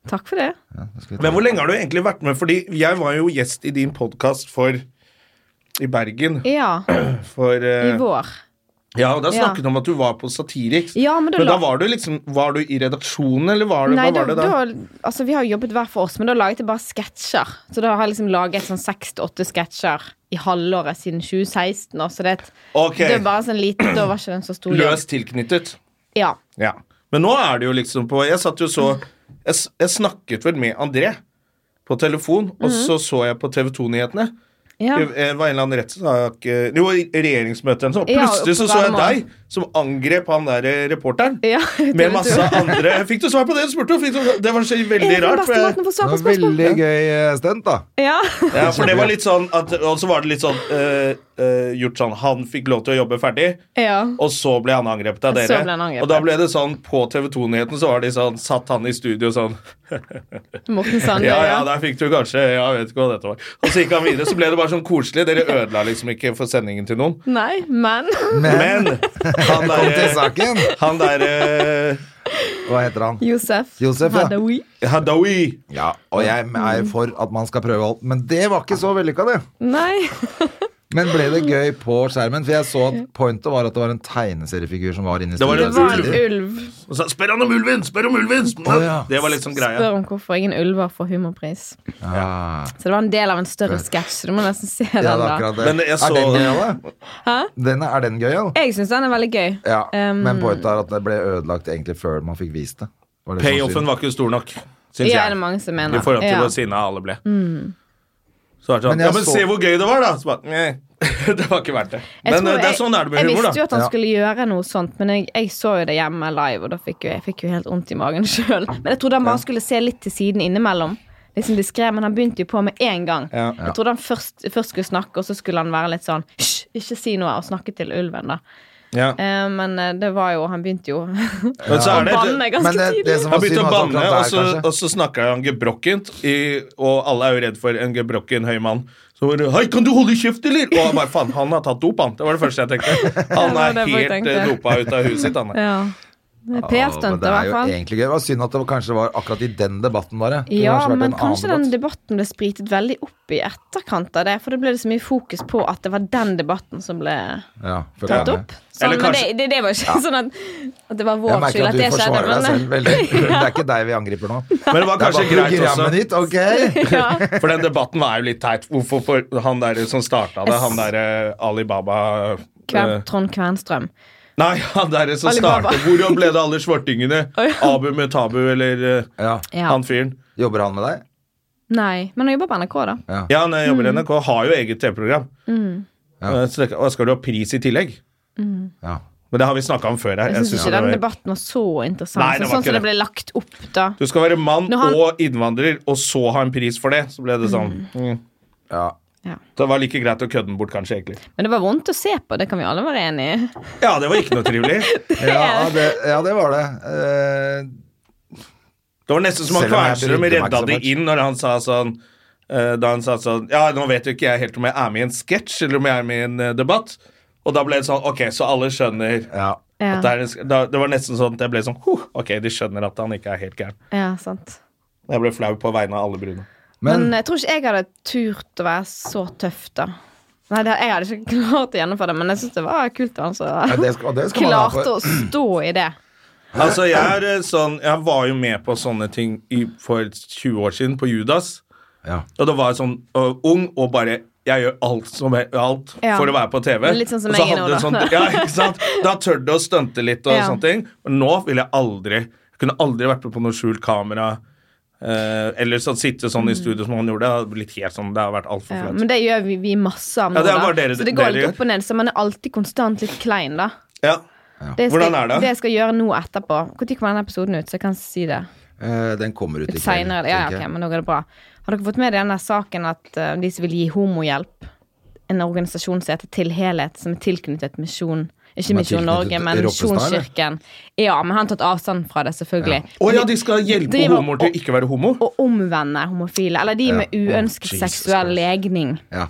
Speaker 4: Takk for det.
Speaker 2: Ja, skal vi ta-
Speaker 1: Men hvor lenge har du egentlig vært med? Fordi jeg var jo gjest i din podkast for i Bergen
Speaker 4: Ja,
Speaker 1: for eh,
Speaker 4: i vår.
Speaker 1: Ja, og da
Speaker 4: Ja.
Speaker 1: snakket du om at du var på Satiriks.
Speaker 4: Ja, men da
Speaker 1: men da
Speaker 4: la-
Speaker 1: var du liksom Var du i redaksjonen, eller var du,
Speaker 4: Nei,
Speaker 1: hva var
Speaker 4: da,
Speaker 1: det da?
Speaker 4: da, altså, vi har jo jobbet hver for oss, men da laget jeg bare sketsjer. Så da har jeg liksom laget sånn seks til åtte sketsjer i halvåret siden 2016. Også, det, er et-
Speaker 1: Ok.
Speaker 4: det er bare sånn liten, da var ikke den så stor. jobb.
Speaker 1: Løst tilknyttet.
Speaker 4: Ja.
Speaker 1: Ja. Men nå er det jo liksom på Jeg satt jo så Jeg, s- jeg snakket vel med André på telefon, og så så jeg på TV 2-nyhetene.
Speaker 4: Mhm. ja.
Speaker 1: Det var en eller annen rettssak eh, Jo, i regjeringsmøter eller noe sånt.
Speaker 4: Ja,
Speaker 1: Plutselig så,
Speaker 4: oppe
Speaker 1: så jeg
Speaker 4: på
Speaker 1: deg som angrep han der eh, reporteren.
Speaker 4: Ja,
Speaker 1: Med masse andre Fikk du svar på det du spurte om? Fikk du- Det var så veldig rart. for
Speaker 4: For
Speaker 1: jeg-
Speaker 2: Det var veldig gøy eh, stunt, da.
Speaker 4: Ja.
Speaker 1: Ja, for det var litt sånn at, Og så var det litt sånn eh, eh, gjort sånn Han fikk lov til å jobbe ferdig,
Speaker 4: ja.
Speaker 1: og så ble han angrepet av
Speaker 4: Så
Speaker 1: dere.
Speaker 4: ble han angrepet.
Speaker 1: Og da ble det sånn på TV 2-nyheten så var de sånn Satt han i studio sånn
Speaker 4: Morten Sande.
Speaker 1: Ja, ja, der fikk du kanskje Ja, jeg vet ikke hva dette var. Og så gikk han videre. Så ble det bare sånn koselig. Dere ødela liksom ikke for sendingen til noen.
Speaker 4: Nei, men
Speaker 1: Men eh, han
Speaker 2: Kom til
Speaker 1: derre
Speaker 2: saken.
Speaker 1: han derre
Speaker 2: Hva heter han?
Speaker 4: Josef,
Speaker 2: Josef, ja.
Speaker 4: Hadaoui.
Speaker 1: Hadaoui.
Speaker 2: Ja, og jeg er for at man skal prøve alt. Men det var ikke så vellykka, det.
Speaker 4: Nei.
Speaker 2: Men ble det gøy på skjermen? For jeg så at pointet var at det var en tegneseriefigur som var inne i
Speaker 1: Det var
Speaker 4: Det
Speaker 2: studio
Speaker 4: var en
Speaker 2: samtidig.
Speaker 4: ulv.
Speaker 1: Og så Spør han om ulven! Spør om ulven!
Speaker 2: Å, ja.
Speaker 1: Det var liksom greia.
Speaker 4: Spør om hvorfor ingen ulver får humorpris.
Speaker 2: Ja.
Speaker 4: Så det var en del av en større sketsj. så Du må nesten se
Speaker 2: Ja,
Speaker 4: den,
Speaker 2: det er
Speaker 4: da.
Speaker 2: akkurat det.
Speaker 1: Men jeg så-
Speaker 2: Er den gøyal, da? Den er, er den gøyal?
Speaker 4: Jeg syns den er veldig gøy.
Speaker 2: Ja.
Speaker 4: Um,
Speaker 2: men pointet er at det ble ødelagt egentlig før man fikk vist det. Var det som
Speaker 1: Payoffen
Speaker 2: synd?
Speaker 1: var ikke stor nok, syns
Speaker 4: Ja,
Speaker 1: jeg.
Speaker 4: det er mange som mener.
Speaker 1: I forhold til
Speaker 4: ja. Mm.
Speaker 1: hvor sinna alle ble. Så var det sånn,
Speaker 2: Men jeg
Speaker 1: ja, men
Speaker 2: så-
Speaker 1: se hvor gøy det var, da! Så bare, nei, det var ikke verdt det.
Speaker 4: Jeg
Speaker 1: Men
Speaker 4: tror
Speaker 1: eh, det er
Speaker 4: jeg-
Speaker 1: sånn er det med humor,
Speaker 4: Jeg visste jo
Speaker 1: da.
Speaker 4: at han
Speaker 2: Ja.
Speaker 4: skulle gjøre noe sånt, men jeg, jeg så jo det hjemme live, og da fikk jo, jeg fikk jo helt vondt i magen sjøl. Men jeg trodde han bare skulle se litt til siden innimellom. Liksom diskret, Men han begynte jo på med en gang.
Speaker 1: Ja.
Speaker 4: Jeg trodde han først, først skulle snakke, og så skulle han være litt sånn Hysj, ikke si noe, og snakke til ulven, da.
Speaker 1: Ja.
Speaker 4: Eh, men eh, det var jo Han begynte jo å
Speaker 1: Men så er det
Speaker 4: banne ganske
Speaker 2: Men det,
Speaker 4: tidlig.
Speaker 2: det som
Speaker 1: han
Speaker 2: var synd,
Speaker 1: begynte å
Speaker 2: var at
Speaker 1: banne, og
Speaker 2: akkurat
Speaker 1: så,
Speaker 2: der, kanskje
Speaker 1: og så snakka han gebrokkent, i, og alle er jo redd for en gebrokken høy mann. Så var det 'Hei, kan du holde kjeft, eller?' Og han bare faen, han har tatt dop, han. Det var det første jeg tenkte. Han
Speaker 4: var
Speaker 1: er
Speaker 4: det jeg
Speaker 1: helt
Speaker 4: tenkte.
Speaker 1: eh, dopa ut av huet sitt, han.
Speaker 4: Ja.
Speaker 2: Å,
Speaker 4: Det er
Speaker 2: men
Speaker 4: PR-stunt, i
Speaker 2: det er
Speaker 4: hvert
Speaker 2: jo
Speaker 4: fall.
Speaker 2: egentlig gøy. Det var synd at det var- kanskje var akkurat i den debatten, bare. Det kunne
Speaker 4: Ja,
Speaker 2: kanskje vært
Speaker 4: men
Speaker 2: en annen
Speaker 4: kanskje den
Speaker 2: debatt.
Speaker 4: debatten ble spritet veldig opp i etterkant av det. For det ble det så mye fokus på at det var den debatten som ble
Speaker 2: ja, for
Speaker 4: tatt
Speaker 2: det er-
Speaker 4: opp. Sånn,
Speaker 1: Eller
Speaker 4: men det,
Speaker 1: kanskje-
Speaker 4: det, det var ikke sånn at, at det var
Speaker 2: Jeg
Speaker 4: vår
Speaker 2: merker at
Speaker 4: skyld at
Speaker 2: du
Speaker 4: det skjedde.
Speaker 2: forsvarer deg selv eh,
Speaker 4: Men,
Speaker 2: veldig. Det er ikke deg vi angriper nå. Det
Speaker 1: Men det var
Speaker 2: er
Speaker 1: kanskje
Speaker 2: bare
Speaker 1: greit også.
Speaker 2: programmet ditt, ok?
Speaker 4: ja,
Speaker 1: For den debatten var jo litt teit. Hvorfor for han der som starta det, han der eh, Alibaba
Speaker 4: Kvern,
Speaker 1: eh,
Speaker 4: Trond Kvernstrøm.
Speaker 1: Nei, han der som
Speaker 4: Alibaba.
Speaker 1: starta Hvordan ble det av alle svartingene? Abu med Tabu, eller eh,
Speaker 2: Ja.
Speaker 4: Ja.
Speaker 1: han fyren?
Speaker 2: Jobber han med deg?
Speaker 4: Nei, men han jobber på NRK, da.
Speaker 1: Ja, han eh,
Speaker 4: Mm.
Speaker 1: jobber i NRK, har jo eget TV-program.
Speaker 2: Ja.
Speaker 1: Eh, Så tenker jeg, «Å, skal du ha pris i tillegg?
Speaker 2: Ja.
Speaker 1: Men det har vi snakka om før her.
Speaker 4: Jeg
Speaker 1: Jeg
Speaker 4: syns
Speaker 1: synes det
Speaker 4: ikke den
Speaker 1: var-
Speaker 4: debatten var så interessant.
Speaker 1: Nei, det var
Speaker 4: så
Speaker 1: ikke
Speaker 4: sånn som
Speaker 1: det.
Speaker 4: det ble lagt opp, da.
Speaker 1: du skal være mann
Speaker 4: Når han-
Speaker 1: og innvandrer, og så ha en pris for det. Så ble det sånn. Mm.
Speaker 2: Ja.
Speaker 1: Det var like greit å kødde den bort, kanskje, egentlig.
Speaker 4: Men det var vondt å se på, det kan vi alle være enig i.
Speaker 1: Ja, det var ikke noe trivelig.
Speaker 2: Ja, det, ja, det var det. Eh,
Speaker 1: Det var nesten som han
Speaker 2: Selv om jeg
Speaker 1: Kvernstrøm
Speaker 2: brydde meg
Speaker 1: redda
Speaker 2: ikke så
Speaker 1: det
Speaker 2: much.
Speaker 1: inn når han sa sånn eh, Da han sa sånn Ja, nå vet jo ikke jeg helt om jeg er med i en sketsj, eller om jeg er med i en eh, debatt. Og da ble det sånn Ok, så alle skjønner
Speaker 2: ja.
Speaker 4: Ja,
Speaker 1: at det er en sk da, Det var nesten sånn at jeg ble sånn huh, Ok, de skjønner at han ikke er helt gæren.
Speaker 4: ja sant.
Speaker 1: Jeg ble flau på vegne av alle brune.
Speaker 2: Men,
Speaker 4: Men jeg tror ikke jeg hadde turt å være så tøff, da. Nei, det, Jeg hadde ikke klart å gjennomføre det, men jeg syns det var kult at han
Speaker 2: ja,
Speaker 4: så
Speaker 2: det skal, og det skal man ha
Speaker 4: klarte
Speaker 2: for.
Speaker 4: å stå i det.
Speaker 1: Altså, jeg er eh, sånn Jeg var jo med på sånne ting i, for 20 år siden, på Judas.
Speaker 2: Ja.
Speaker 1: Og det var sånn øh, ung og bare jeg gjør alt, som jeg, alt
Speaker 4: Ja.
Speaker 1: for å være på TV.
Speaker 4: Men litt sånn som
Speaker 1: Og så
Speaker 4: jeg er nå,
Speaker 1: hadde
Speaker 4: da.
Speaker 1: jeg sånn- ja, ikke sant? Da tør du å stunte litt og
Speaker 4: Ja.
Speaker 1: sånne ting. Men nå vil jeg aldri Jeg kunne aldri vært med på noe skjult kamera. eh, eller sånn, sitte sånn i studio som han gjorde. Det hadde blitt helt sånn, det har vært altfor
Speaker 4: Ja,
Speaker 1: flaut.
Speaker 4: men det gjør vi, vi masse av nå,
Speaker 1: Ja, det er
Speaker 4: da.
Speaker 1: bare dere-
Speaker 4: så det går
Speaker 1: dere
Speaker 4: litt
Speaker 1: gjør.
Speaker 4: opp og ned. Så man er alltid konstant litt klein, da.
Speaker 1: Ja.
Speaker 4: Det skal,
Speaker 1: Hvordan er det?
Speaker 4: Det jeg skal gjøre nå etterpå. Når kommer denne episoden ut? Så jeg kan si det
Speaker 2: Eh, den kommer ut i
Speaker 4: litt
Speaker 2: kveld.
Speaker 4: seinere. Ja, ja,
Speaker 2: tenker
Speaker 4: ok,
Speaker 2: jeg.
Speaker 4: men nå går det bra. Har dere fått med dere denne saken at eh, de som vil gi homohjelp, en organisasjon som heter Til Helhet, som er tilknyttet Misjon Ikke
Speaker 2: er
Speaker 4: Misjon Norge,
Speaker 2: tilknyttet
Speaker 4: men
Speaker 2: Ropstad, eller?
Speaker 4: Misjonskirken. Ja, men han har tatt avstand fra det, selvfølgelig.
Speaker 1: Å ja, de skal hjelpe
Speaker 4: Driver-
Speaker 1: homoer til å ikke være homo?
Speaker 4: Å omvende homofile. Eller de med
Speaker 2: Ja. Å,
Speaker 4: uønsket
Speaker 2: Jesus
Speaker 4: seksuell
Speaker 2: Christ.
Speaker 4: legning.
Speaker 2: Ja.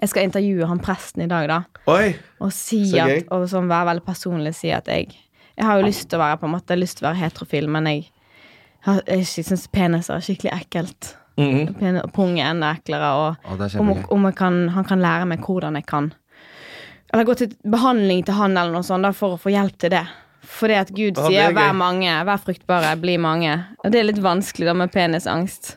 Speaker 4: Jeg skal intervjue han presten i dag, da.
Speaker 1: Oi.
Speaker 4: Og si
Speaker 1: Så gøy.
Speaker 4: at, og sånn være veldig personlig si at jeg Jeg har jo lyst til å være på en måte Jeg har lyst til å være heterofil, men jeg, har- jeg, sy- synes peniser er skikkelig ekkelt.
Speaker 1: Mhm.
Speaker 4: Pene- Pungeendeklere og
Speaker 2: Å, det er
Speaker 4: om,
Speaker 2: kjempegøy.
Speaker 4: om jeg kan, han kan lære meg hvordan jeg kan Eller gå til behandling til han eller noe sånt da, for å få hjelp til det. Fordi at Gud
Speaker 1: Ja, det er
Speaker 4: sier 'vær
Speaker 1: gøy.
Speaker 4: mange, vær fruktbare, bli mange'. Og det er litt vanskelig da med penisangst.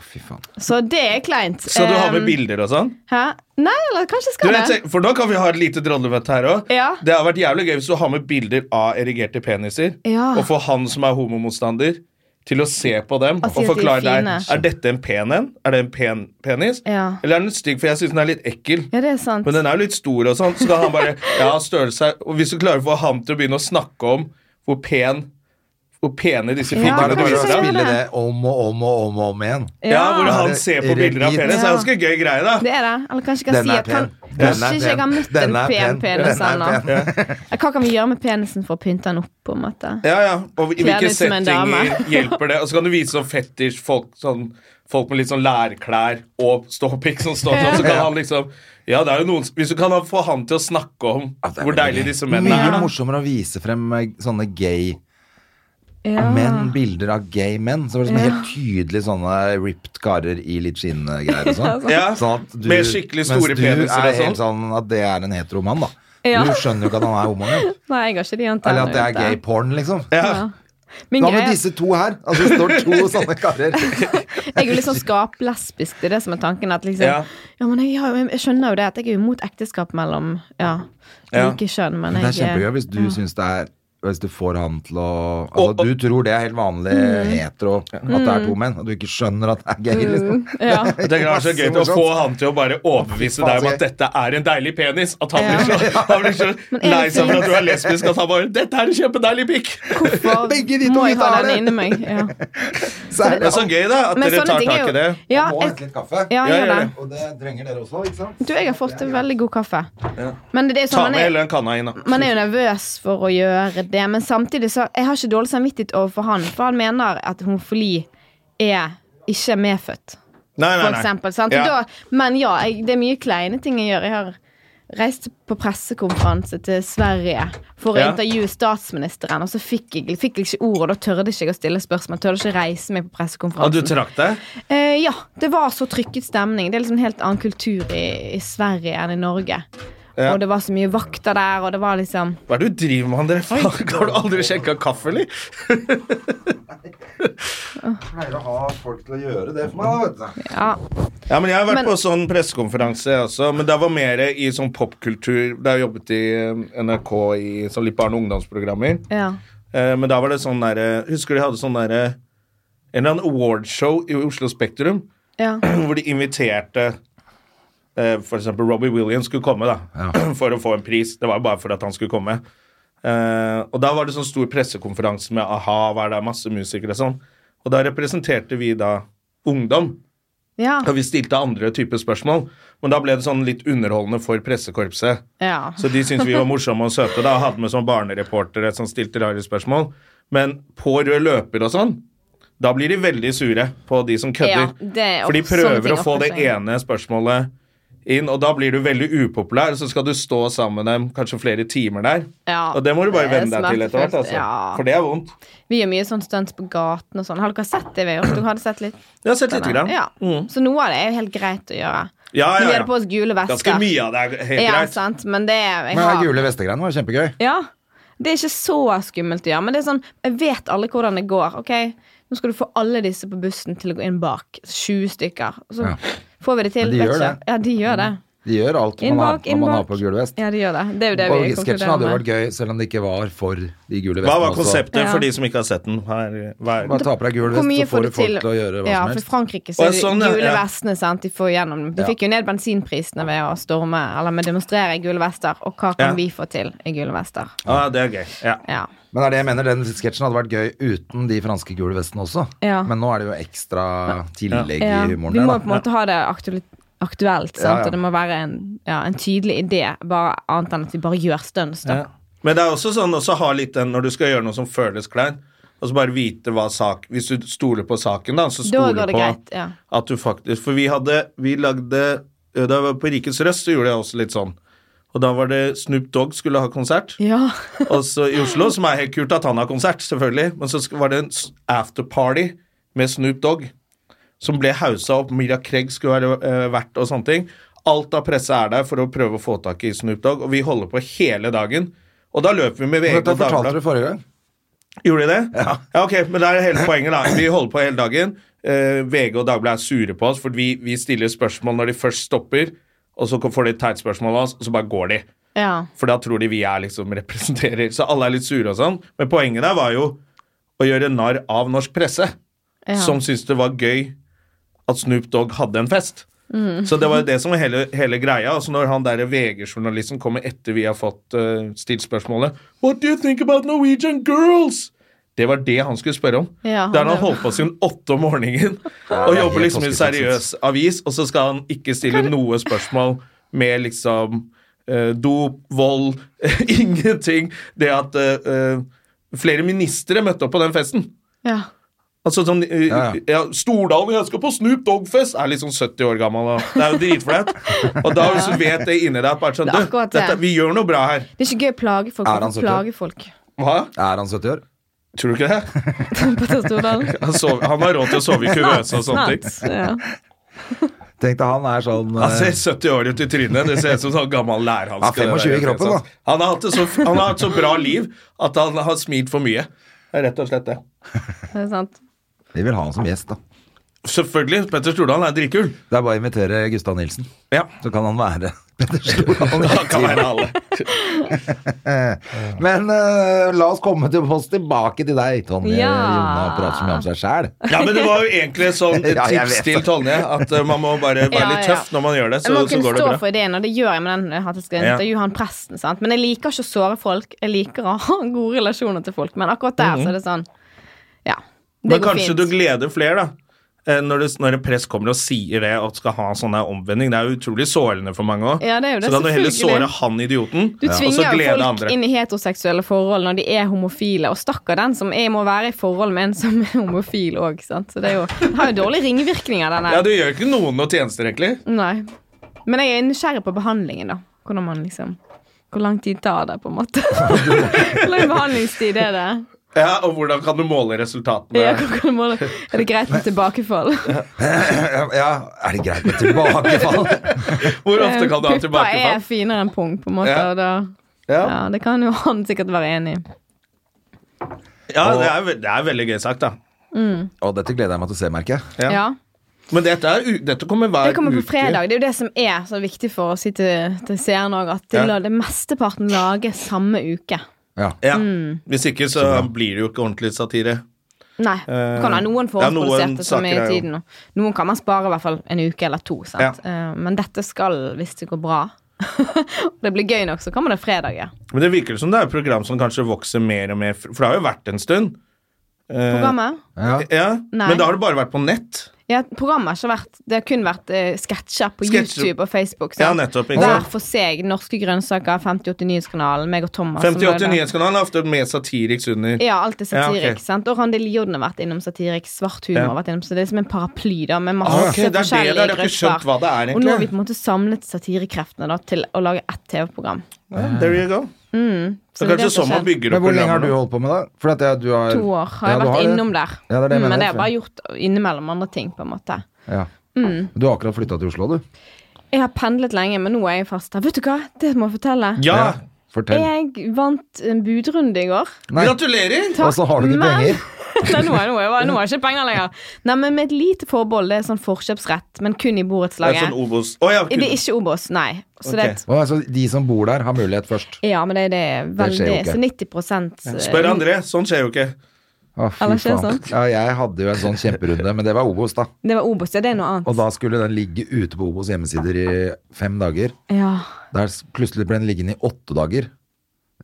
Speaker 2: Fy faen.
Speaker 4: Så det er kleint.
Speaker 1: Så du har med
Speaker 4: Um,
Speaker 1: bilder og sånn?
Speaker 4: Hæ? Nei, eller kanskje jeg
Speaker 1: Du
Speaker 4: skal
Speaker 1: vet,
Speaker 4: det.
Speaker 1: se- for nå kan vi ha et lite drollemøte her òg.
Speaker 4: Ja.
Speaker 1: Det har vært jævlig gøy hvis du har med bilder av erigerte peniser,
Speaker 4: Ja.
Speaker 1: og får han som er homomotstander, til å se på dem
Speaker 4: Og
Speaker 1: og,
Speaker 4: si at de er
Speaker 1: forklare deg
Speaker 4: fine.
Speaker 1: Er dette en pen en. Er det en pen penis?
Speaker 4: Ja.
Speaker 1: Eller er den stygg, for jeg syns den er litt ekkel.
Speaker 4: Ja, det er sant.
Speaker 1: Men den er jo litt stor og sånn, så kan han bare Ja, størrelse er- Og hvis du klarer å få han til å begynne å snakke om hvor pen Hvor pene disse
Speaker 4: Ja,
Speaker 1: fingrene
Speaker 2: Bare bare
Speaker 4: kanskje
Speaker 2: å
Speaker 4: så gjør
Speaker 2: spille
Speaker 4: det.
Speaker 2: det om og om og om og om igjen.
Speaker 1: Ja, hvor han ser på bilder av penis. Det er en ganske gøy greie, da.
Speaker 4: Det er det. Eller kanskje jeg kan
Speaker 2: Den
Speaker 4: si
Speaker 2: er
Speaker 4: at kan,
Speaker 2: pen.
Speaker 4: kanskje ikke jeg har møtt en pen penis
Speaker 2: Den er
Speaker 4: ennå.
Speaker 2: pen.
Speaker 4: Ja, Hva kan vi gjøre med penisen for å pynte den opp? på en måte?
Speaker 1: Ja, ja. Og i
Speaker 4: Kle deg
Speaker 1: hvilke
Speaker 4: som liksom en dame.
Speaker 1: settinger hjelper det? Og så kan du vise sånn fetisj, folk, sånn, folk med litt sånn lærklær og ståpikk som står sånn, så kan han liksom ja, det er jo noen, Hvis du kan få han til å snakke om
Speaker 2: Ja, det er
Speaker 1: hvor
Speaker 2: veldig
Speaker 1: deilige
Speaker 2: gøy.
Speaker 1: disse mennene
Speaker 2: Mye
Speaker 1: er. da.
Speaker 2: morsommere å vise frem eh, sånne gay
Speaker 4: Ja.
Speaker 2: menn, bilder av gay menn. Så var det sånn
Speaker 4: Ja.
Speaker 2: helt tydelig sånne ripped karer i litt skinnegreier og sånn.
Speaker 1: Ja,
Speaker 2: Sånn at du-
Speaker 1: Med skikkelig store
Speaker 2: mens du
Speaker 1: peniser
Speaker 2: er
Speaker 1: og
Speaker 2: helt
Speaker 1: sånn.
Speaker 2: sånn at det er en hetero mann, da.
Speaker 4: Ja.
Speaker 2: Du skjønner jo ikke at han er homo. jo.
Speaker 4: Nei, jeg har ikke de antennene.
Speaker 2: Eller at det er
Speaker 4: vet jeg.
Speaker 2: gay porn, liksom.
Speaker 1: Ja.
Speaker 4: Ja. Min
Speaker 2: Hva med
Speaker 4: greie er
Speaker 2: disse to her? Altså, det står to sånne karer.
Speaker 4: Jeg er jo litt sånn skaplesbisk. Det er det som er tanken. At liksom, ja.
Speaker 1: Ja.
Speaker 4: men jeg, har, jo- jeg skjønner jo det, at jeg er jo imot ekteskap mellom ja,
Speaker 1: Ja.
Speaker 4: like kjønn. Men
Speaker 2: Men det er
Speaker 4: jeg eh,
Speaker 2: kjempegøy hvis du syns det er hvis du får han til å altså,
Speaker 1: Og- og-
Speaker 2: Du tror det er helt vanlig
Speaker 4: Mm.
Speaker 2: hetero, at det er to menn, og du ikke skjønner at det er gay. Liksom.
Speaker 4: ja.
Speaker 1: Jeg tenker Det er så
Speaker 2: Masse
Speaker 1: gøy å
Speaker 2: morsomt.
Speaker 1: få han til å bare overbevise
Speaker 2: Å, fy faen,
Speaker 1: deg om
Speaker 2: så
Speaker 1: at
Speaker 2: gøy.
Speaker 1: dette er en deilig penis. At han
Speaker 4: Ja.
Speaker 1: blir så, han blir så
Speaker 4: Men er det
Speaker 1: lei seg for
Speaker 4: fint?
Speaker 1: at du er lesbisk at han bare 'Dette er en kjempedeilig pikk'.
Speaker 4: Hvorfor
Speaker 2: Begge de to
Speaker 4: må jeg ha
Speaker 2: gutta har
Speaker 4: den
Speaker 2: det.
Speaker 4: inni meg? Ja.
Speaker 2: Så er
Speaker 1: Det
Speaker 2: det,
Speaker 1: er så gøy, da, at
Speaker 4: Men
Speaker 1: dere
Speaker 4: sånne
Speaker 1: tar
Speaker 4: ting er
Speaker 1: tak
Speaker 4: jo-
Speaker 1: i det.
Speaker 4: Ja,
Speaker 2: må
Speaker 4: jeg,
Speaker 2: hente litt kaffe.
Speaker 4: ja,
Speaker 1: Ja,
Speaker 4: jeg gjør
Speaker 1: gjør
Speaker 4: det.
Speaker 2: Og det trenger dere også, ikke sant?
Speaker 4: Du, jeg har fått en veldig god kaffe. Men det er
Speaker 1: Ta
Speaker 4: sånn, man
Speaker 1: med
Speaker 4: er,
Speaker 1: hele den kanna inn, da.
Speaker 4: man er jo nervøs for å gjøre det, men samtidig så Jeg har ikke dårlig samvittighet overfor han, for han mener at homofili er ikke medfødt.
Speaker 1: Nei, nei,
Speaker 4: for
Speaker 1: nei.
Speaker 4: eksempel. Sant?
Speaker 1: Ja.
Speaker 4: Da, men ja, jeg, det er mye kleine ting jeg gjør. Jeg har reist på pressekonferanse til Sverige for å
Speaker 1: Ja.
Speaker 4: intervjue statsministeren, og så fikk jeg, fikk jeg ikke ord, og da tørde ikke jeg å stille spørsmål. Tørde ikke reise meg på
Speaker 1: Ja, du
Speaker 4: pressekonferansen.
Speaker 1: trakk deg?
Speaker 4: Eh, ja, det var så trykket stemning. Det er liksom en helt annen kultur i, i Sverige enn i Norge.
Speaker 1: Ja.
Speaker 4: Og det var så mye vakter der, og det var liksom
Speaker 1: Hva er det du driver med, André? Faen, Har du aldri sjekka kaffe, eller?
Speaker 2: Jeg pleier å ha folk til å gjøre det for meg, da, vet du.
Speaker 4: Ja.
Speaker 1: Ja, men Jeg har vært
Speaker 4: Men-
Speaker 1: på sånn pressekonferanse jeg også, men det var mer i sånn popkultur. Da jeg jobbet i eh, NRK i sånn litt barne- og ungdomsprogrammer.
Speaker 4: ja.
Speaker 1: Eh, men da var det sånn derre Husker de hadde sånn derre En eller annen awardshow i Oslo Spektrum
Speaker 4: ja.
Speaker 1: hvor de inviterte eh, for eksempel Robbie Williams skulle komme da, for å få en pris. Det var jo bare for at han skulle komme. Eh, og da var det sånn stor pressekonferanse med a-ha, hva er det, masse musikere og sånn. Og da representerte vi da ungdom.
Speaker 4: Ja.
Speaker 1: Og vi stilte andre typer spørsmål, men da ble det sånn litt underholdende for pressekorpset.
Speaker 4: ja.
Speaker 1: Så de syntes vi var morsomme og søte da, og hadde med sånn barnereportere som stilte rare spørsmål. Men på rød løper og sånn, da blir de veldig sure på de som
Speaker 4: Ja,
Speaker 1: kødder.
Speaker 4: det er
Speaker 1: for de
Speaker 4: opp- sånne ting
Speaker 1: prøver å få
Speaker 4: oppfører
Speaker 1: det
Speaker 4: seg.
Speaker 1: ene spørsmålet inn, og da blir du veldig upopulær, så skal du stå sammen med dem kanskje flere timer der.
Speaker 4: Ja,
Speaker 1: og det må du bare
Speaker 4: det er
Speaker 1: venne deg til etter hvert,
Speaker 4: smertefullt,
Speaker 1: altså.
Speaker 4: ja.
Speaker 1: For det er vondt.
Speaker 4: Vi gjør mye sånn stunts på gaten og sånn. Har dere sett det? vi har gjort? Dere hadde sett litt?
Speaker 1: Jeg har sett lite grann.
Speaker 4: Ja.
Speaker 1: Mm.
Speaker 4: Så noe av det er jo helt greit å gjøre.
Speaker 1: Ja,
Speaker 4: Men
Speaker 1: ja,
Speaker 4: Vi hadde på
Speaker 1: ja.
Speaker 4: oss gule vester.
Speaker 1: Ganske mye av det er helt
Speaker 4: ja,
Speaker 1: greit.
Speaker 4: sant, men det er jeg
Speaker 2: Men den
Speaker 4: har-
Speaker 2: gule vestegreiene var kjempegøy.
Speaker 4: Ja. Det er ikke så skummelt å gjøre, men det er sånn, jeg vet alle hvordan det går. ok? Nå skal du få alle disse på bussen til å gå inn bak. 20 stykker. Og så
Speaker 2: Ja.
Speaker 4: får vi det til.
Speaker 2: Men de
Speaker 4: vet
Speaker 2: gjør
Speaker 4: ikke.
Speaker 2: det.
Speaker 4: Ja, de gjør det.
Speaker 2: De gjør alt man har,
Speaker 4: Innbak,
Speaker 2: når man har
Speaker 4: innbak.
Speaker 2: på gul vest.
Speaker 4: Ja, de gjør det. Det er jo det
Speaker 2: Og
Speaker 4: vi
Speaker 2: sketsjen hadde jo
Speaker 4: konkluderer
Speaker 2: vært
Speaker 4: med.
Speaker 2: gøy, selv om det ikke var for de gule vestene.
Speaker 1: Hva var
Speaker 2: også.
Speaker 1: konseptet
Speaker 4: Ja.
Speaker 1: for de som ikke har sett den? Her, hva er-
Speaker 2: Bare ta på deg gul
Speaker 4: Hvor
Speaker 2: vest,
Speaker 4: mye
Speaker 2: så får du folk til å gjøre hva
Speaker 4: ja,
Speaker 2: som
Speaker 4: for i
Speaker 2: helst.
Speaker 4: Frankrike så
Speaker 1: Å,
Speaker 4: er det
Speaker 1: sånn, ja,
Speaker 4: gule
Speaker 1: ja.
Speaker 4: vestene sant, de får gjennom. De
Speaker 2: Ja.
Speaker 4: fikk jo ned bensinprisene ved å storme, eller med demonstrere i gule vester. Og hva kan
Speaker 1: Ja.
Speaker 4: vi få til i gule vester?
Speaker 1: Ja, det er gøy. Ja.
Speaker 4: Ja.
Speaker 2: Men det er det jeg mener, den sketsjen hadde vært gøy uten de franske gule vestene også.
Speaker 4: Ja.
Speaker 2: Men nå er det jo ekstra tillegg
Speaker 4: Ja,
Speaker 2: i
Speaker 4: Vi må
Speaker 2: humoren
Speaker 4: på
Speaker 2: der,
Speaker 4: en
Speaker 2: da.
Speaker 4: måte ha det aktuelt, aktuelt sant?
Speaker 2: Ja, ja.
Speaker 4: og det må være en, ja, en tydelig idé, bare annet enn at vi bare gjør stunts. Da.
Speaker 1: Men det er også sånn også ha litt den når du skal gjøre noe som føles klein, og så bare vite hva sak Hvis du stoler på saken, da, så
Speaker 4: da
Speaker 1: stoler
Speaker 4: går
Speaker 1: du
Speaker 4: det
Speaker 1: på
Speaker 4: greit. Ja.
Speaker 1: at du faktisk For vi hadde Vi lagde Da jeg var på Rikets Røst, så gjorde jeg også litt sånn. Og da var det Snoop Dogg skulle ha konsert
Speaker 4: Ja.
Speaker 1: og så i Oslo, som er helt kult at han har konsert, selvfølgelig. Men så sk- var det en s- afterparty med Snoop Dogg. som ble haussa opp. Mira Craig skulle være eh, vert og sånne ting. Alt av presse er der for å prøve å få tak i Snoop Dogg, og vi holder på hele dagen. Og da løper vi med VG og
Speaker 2: Dette fortalte
Speaker 1: Dagbladet.
Speaker 2: du forrige gang.
Speaker 1: Gjorde de det? Ja. ok, men det er hele poenget, da. Vi holder på hele dagen. Eh, VG og Dagbladet er sure på oss, for vi, vi stiller spørsmål når de først stopper, og så får de et teit spørsmål av oss, og så bare går de.
Speaker 4: Ja.
Speaker 1: For da tror de vi er liksom representerer. Så alle er litt sure og sånn. Men poenget der var jo å gjøre narr av norsk presse,
Speaker 4: Ja.
Speaker 1: som syntes det var gøy at Snoop Dogg hadde en fest. Så det var jo det som var hele, hele greia. Altså når han der VG-journalisten kommer etter vi har fått eh, stilt spørsmålet What do you think about Norwegian girls? Det var det han skulle spørre om.
Speaker 4: Ja,
Speaker 1: det har
Speaker 4: han-
Speaker 1: han holdt på siden åtte om morgenen og
Speaker 2: det er helt
Speaker 1: jobber liksom i en
Speaker 2: toskete,
Speaker 1: seriøs avis, og så skal han ikke stille noe spørsmål med liksom eh, dop, vold, ingenting. Det at eh, eh, flere ministre møtte opp på den festen.
Speaker 4: ja.
Speaker 1: Altså sånn, eh, ja,
Speaker 2: Ja, ja.
Speaker 1: Stordalen, jeg skal på Snoop Dogg-fest! Er liksom 70 år gammel, og det er jo dritflaut. Og da hvis du vet det inni deg, at bare sånn,
Speaker 4: Det er
Speaker 1: du,
Speaker 4: akkurat det.
Speaker 1: dette, vi gjør noe bra her.
Speaker 4: Det er ikke gøy å plage folk.
Speaker 2: Er han
Speaker 4: Hvorfor
Speaker 2: så tøff?
Speaker 4: plage folk?
Speaker 1: Hva?
Speaker 2: Er han 70 år?
Speaker 1: Tror du ikke det?
Speaker 4: På Tor Stordalen.
Speaker 1: Han, sov, han har råd til å sove i
Speaker 4: sånn
Speaker 1: kuvøse og sånne ting.
Speaker 4: Snart, Ja.
Speaker 2: Tenk deg, han er sånn
Speaker 1: Han ser
Speaker 2: eh,
Speaker 1: 70 år ut i trynet. Det ser ut som sånn gammel lærhanske.
Speaker 2: Han er
Speaker 1: Det
Speaker 2: 25 i
Speaker 1: der,
Speaker 2: kroppen, da.
Speaker 1: Han har, hatt det så, han har hatt så bra liv at han har smilt for mye. Det er Rett og slett det.
Speaker 4: Det er sant.
Speaker 2: eh, Vi vil ha han som gjest, da.
Speaker 1: Selvfølgelig. Petter Stordalen er dritkul.
Speaker 2: Det er bare å invitere Gustav Nilsen.
Speaker 1: Ja.
Speaker 2: Så kan han være Petter Stordalen.
Speaker 1: Han kan være alle.
Speaker 2: Men eh, la oss komme til oss tilbake til deg, Tonje
Speaker 4: Ja.
Speaker 2: Jonna. Prater så mye om seg sjæl.
Speaker 1: Ja, men det var jo egentlig et sånn
Speaker 2: Ja, jeg
Speaker 1: tips
Speaker 2: vet
Speaker 1: til
Speaker 2: det.
Speaker 1: Tonje, at eh, man må bare være
Speaker 4: Ja,
Speaker 1: litt
Speaker 4: ja.
Speaker 1: tøff når man gjør det,
Speaker 4: jeg
Speaker 1: så,
Speaker 4: må
Speaker 1: så
Speaker 4: kunne
Speaker 1: går det
Speaker 4: stå
Speaker 1: bra.
Speaker 4: for ideen, og det gjør jeg med den eh, at jeg skal
Speaker 1: Ja.
Speaker 4: intervjue han presten. sant? Men jeg liker ikke å såre folk. Jeg liker å ha gode relasjoner til folk, men akkurat der så er det sånn Ja. Det
Speaker 1: Mhm. Men
Speaker 4: går
Speaker 1: kanskje
Speaker 4: fint.
Speaker 1: du gleder flere, da. Eh, Når, du, når en press kommer og sier det og skal ha sånn her omvending. Det er jo utrolig sårende for mange òg.
Speaker 4: Ja, det er jo det,
Speaker 1: så kan du heller såre
Speaker 4: selvfølgelig.
Speaker 1: han idioten,
Speaker 4: Du
Speaker 1: og så
Speaker 4: tvinger jo
Speaker 1: glede
Speaker 4: folk
Speaker 1: andre.
Speaker 4: inn i heteroseksuelle forhold når de er homofile, og stakkar den som er, må være i forhold med en som er homofil òg, sant. Så det er jo, det har jo dårlige ringvirkninger, den
Speaker 1: Ja,
Speaker 4: her.
Speaker 1: du gjør ikke noen noe tjenester, egentlig.
Speaker 4: Nei. Men jeg er nysgjerrig på behandlingen, da. Hvordan man liksom Hvor lang tid tar det, på en måte? Hvor lang behandlingstid er det?
Speaker 1: Ja, Og hvordan kan du måle resultatene?
Speaker 4: Ja, hvordan må det? Er det greit med tilbakefall?
Speaker 2: Ja, er det greit med tilbakefall?
Speaker 1: Hvor ofte kan du ha
Speaker 4: Puppa er
Speaker 1: tilbakefall?
Speaker 4: finere enn pung, på en måte.
Speaker 1: Ja.
Speaker 4: og Da,
Speaker 1: Ja.
Speaker 4: ja, det kan jo han sikkert være enig i.
Speaker 1: ja, det er, ve- det er veldig gøy sagt, da.
Speaker 2: Og dette gleder jeg meg til å se, merker jeg.
Speaker 1: Ja.
Speaker 4: Ja.
Speaker 1: Men dette, er, u- dette kommer hver
Speaker 4: Det kommer på
Speaker 1: uke.
Speaker 4: fredag. Det er jo det som er så viktig for å si til, til seerne òg, at det,
Speaker 1: Ja.
Speaker 4: det mesteparten lages samme uke.
Speaker 2: Ja.
Speaker 1: Ja.
Speaker 4: Mm.
Speaker 1: Hvis ikke, så blir det jo ikke ordentlig satire.
Speaker 4: Nei. Du kan ha noen
Speaker 1: Eh, ja, noen
Speaker 4: forhåndsproduserte som
Speaker 1: saker
Speaker 4: er i
Speaker 1: er jo-
Speaker 4: tiden. nå. Noen kan man spare i hvert fall en uke eller to. Sant? Eh, Men dette skal, hvis det går bra og det blir gøy nok, så kommer det fredag, ja.
Speaker 1: Men det virker som det er et program som kanskje vokser mer og mer, fr- for det har jo vært en stund. Eh,
Speaker 4: Programmet?
Speaker 2: Ja.
Speaker 1: ja,
Speaker 4: Nei.
Speaker 1: Men da har det bare vært på nett.
Speaker 4: Ja, programmet har ikke vært Det har kun vært eh, sketsjer på
Speaker 1: Sketsjer.
Speaker 4: YouTube og Facebook.
Speaker 1: Ja,
Speaker 4: sant?
Speaker 1: nettopp. ikke
Speaker 4: Hver
Speaker 1: sant?
Speaker 4: for seg. Norske grønnsaker, 5080 Nyhetskanalen, meg og Thomas. som
Speaker 1: 5080
Speaker 4: er der.
Speaker 1: Nyhetskanalen har ofte med Satiriks under.
Speaker 4: Ja, alt er satirik.
Speaker 1: Ja, ok.
Speaker 4: sant? Og Randi Lioden har vært innom satirik. Svart humor
Speaker 1: Ja.
Speaker 4: har vært innom Så det er som en paraply da med masse
Speaker 1: Ah, ok, det er det,
Speaker 4: forskjellige
Speaker 1: da har jeg ikke skjønt hva det er,
Speaker 4: Og nå har vi
Speaker 1: egentlig.
Speaker 4: på en måte samlet satirekreftene da til å lage ett TV-program.
Speaker 1: Ja, there you go.
Speaker 4: Så
Speaker 1: Det er
Speaker 4: det er
Speaker 1: kanskje
Speaker 4: det som
Speaker 1: sånn man
Speaker 4: skjer.
Speaker 1: bygger
Speaker 2: Men
Speaker 1: opp
Speaker 2: hvor lenge har du
Speaker 1: programmet. nå.
Speaker 2: holdt på med det? For at jeg, du har
Speaker 4: To år har jeg
Speaker 2: Ja, du
Speaker 4: vært
Speaker 2: det.
Speaker 4: innom der.
Speaker 2: Ja, det er det jeg
Speaker 4: Mm,
Speaker 2: mener,
Speaker 4: men det har jeg
Speaker 2: for-
Speaker 4: bare gjort innimellom andre ting, på en måte.
Speaker 2: Ja.
Speaker 4: Mm.
Speaker 2: Du har akkurat flytta til Oslo, du.
Speaker 4: Jeg har pendlet lenge, men nå er jeg fast her. Vet du hva? Det må jeg fortelle.
Speaker 1: Ja,
Speaker 2: Fortell.
Speaker 4: Jeg vant en budrunde i går.
Speaker 2: Nei.
Speaker 1: Gratulerer!
Speaker 2: Og så har du ikke
Speaker 4: men-
Speaker 2: penger.
Speaker 4: Nei, nå har jeg, nå har jeg, nå har jeg ikke penger lenger. Nei, men Med et lite forbehold. Det er sånn forkjøpsrett, men kun i
Speaker 1: Det er
Speaker 4: borettslaget.
Speaker 1: sånn Obos. Å, ja,
Speaker 4: Det er ikke Obos, nei. Så det, er
Speaker 1: Ok.
Speaker 4: et-
Speaker 2: Å, altså, de som bor der, har mulighet først.
Speaker 4: ja, men det, det er veldig
Speaker 2: skjer jo
Speaker 4: Så
Speaker 2: ikke.
Speaker 4: 90 eh,
Speaker 1: Spør André. Sånn skjer jo ikke.
Speaker 2: Å, fy
Speaker 4: Eller skjer
Speaker 2: faen.
Speaker 4: sånn.
Speaker 2: Ja, jeg hadde jo en sånn kjemperunde, men det var Obos, da.
Speaker 4: Det var Obos, ja. Det er noe annet.
Speaker 2: Og da skulle den ligge ute på Obos hjemmesider i fem dager.
Speaker 4: Ja.
Speaker 2: Der s- plutselig ble den liggende i åtte dager.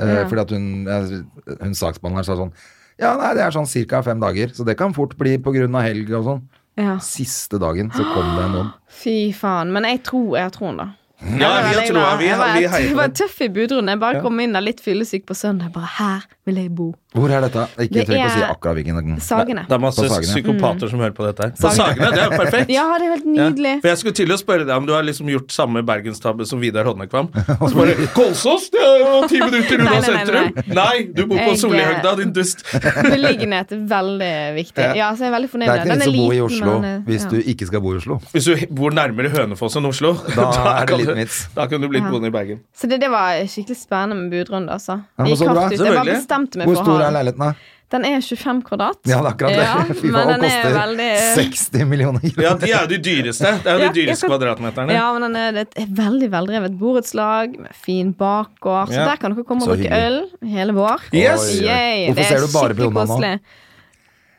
Speaker 2: Eh,
Speaker 4: Ja.
Speaker 2: Fordi at hun, eh, hun saksbehandleren sa sånn Ja, nei, det er sånn ca. fem dager, så det kan fort bli pga. helg og sånn.
Speaker 4: ja.
Speaker 2: Siste dagen så kom det noen.
Speaker 4: Fy faen. Men jeg tror jeg har troen, da.
Speaker 1: Ja, vi har troa. Vi,
Speaker 4: jeg var,
Speaker 1: vi heier
Speaker 4: jeg
Speaker 1: på
Speaker 4: var
Speaker 1: det.
Speaker 4: tøff i budrunden. Jeg bare kom inn der litt fyllesyk på søndag. Bare her, vil jeg bo.
Speaker 2: Hvor er dette? Ikke
Speaker 4: Det
Speaker 2: trenger ikke å si
Speaker 4: er-
Speaker 2: akkurat hvilken.
Speaker 4: Sagene.
Speaker 1: Det er masse
Speaker 2: På Sagene.
Speaker 1: psykopater som hører på dette her. På Sagene, det er jo perfekt!
Speaker 4: Mm. Ja, det er helt
Speaker 1: Ja.
Speaker 4: nydelig.
Speaker 1: For jeg skulle til å spørre deg om du har liksom gjort samme bergenstabbe som Vidar Hodnekvam. Og så bare Kolsås! Det er jo ti minutter unna
Speaker 4: Nei, nei, eh, nei,
Speaker 1: sentrum! Nei, du bor på
Speaker 4: Jeg-
Speaker 1: Solihøgda, din dust!
Speaker 4: Beliggenhet er veldig viktig.
Speaker 2: Ja.
Speaker 4: Ja, så jeg er veldig fornøyd
Speaker 2: Det er ikke vits
Speaker 4: med den. Den
Speaker 2: å bo i
Speaker 4: liten,
Speaker 2: Oslo
Speaker 4: men den er-
Speaker 2: hvis
Speaker 4: ja.
Speaker 2: du ikke skal bo i Oslo.
Speaker 1: Hvis du bor nærmere Hønefoss enn Oslo,
Speaker 2: Da er det
Speaker 1: kan
Speaker 2: litt
Speaker 1: du-
Speaker 2: vits.
Speaker 1: Da kan du bli
Speaker 4: Ja.
Speaker 1: boende i Bergen.
Speaker 4: Så det, det var skikkelig spennende med budrunde, altså.
Speaker 2: men
Speaker 4: Jeg gikk
Speaker 2: så bra.
Speaker 4: hardt ut. Jeg bare
Speaker 1: Selvfølgelig.
Speaker 4: bestemte meg
Speaker 2: Hvor
Speaker 4: for å
Speaker 2: stor
Speaker 4: ha
Speaker 2: er
Speaker 4: den.
Speaker 2: leiligheten, da?
Speaker 4: Den er 25 kvadrat.
Speaker 2: Ja, det er akkurat det.
Speaker 4: Ja,
Speaker 2: Fy
Speaker 4: men
Speaker 2: faen,
Speaker 4: den
Speaker 2: den
Speaker 4: er
Speaker 2: koster
Speaker 4: veldig
Speaker 2: 60 millioner kroner.
Speaker 1: Ja, de er jo de dyreste. Det er jo de
Speaker 4: Ja, jeg
Speaker 1: dyreste
Speaker 4: kan-
Speaker 1: kvadratmeterne.
Speaker 4: Ja, men den er, det er et veldig veldrevet borettslag med fin bakgård. Så
Speaker 1: Ja.
Speaker 4: der kan dere komme
Speaker 2: Så
Speaker 4: og drikke øl hele vår.
Speaker 1: Yes!
Speaker 2: Oi, oi.
Speaker 4: Yay,
Speaker 2: Hvorfor
Speaker 4: det er
Speaker 2: ser du bare på
Speaker 4: skikkelig
Speaker 2: Jonna nå?
Speaker 4: koselig.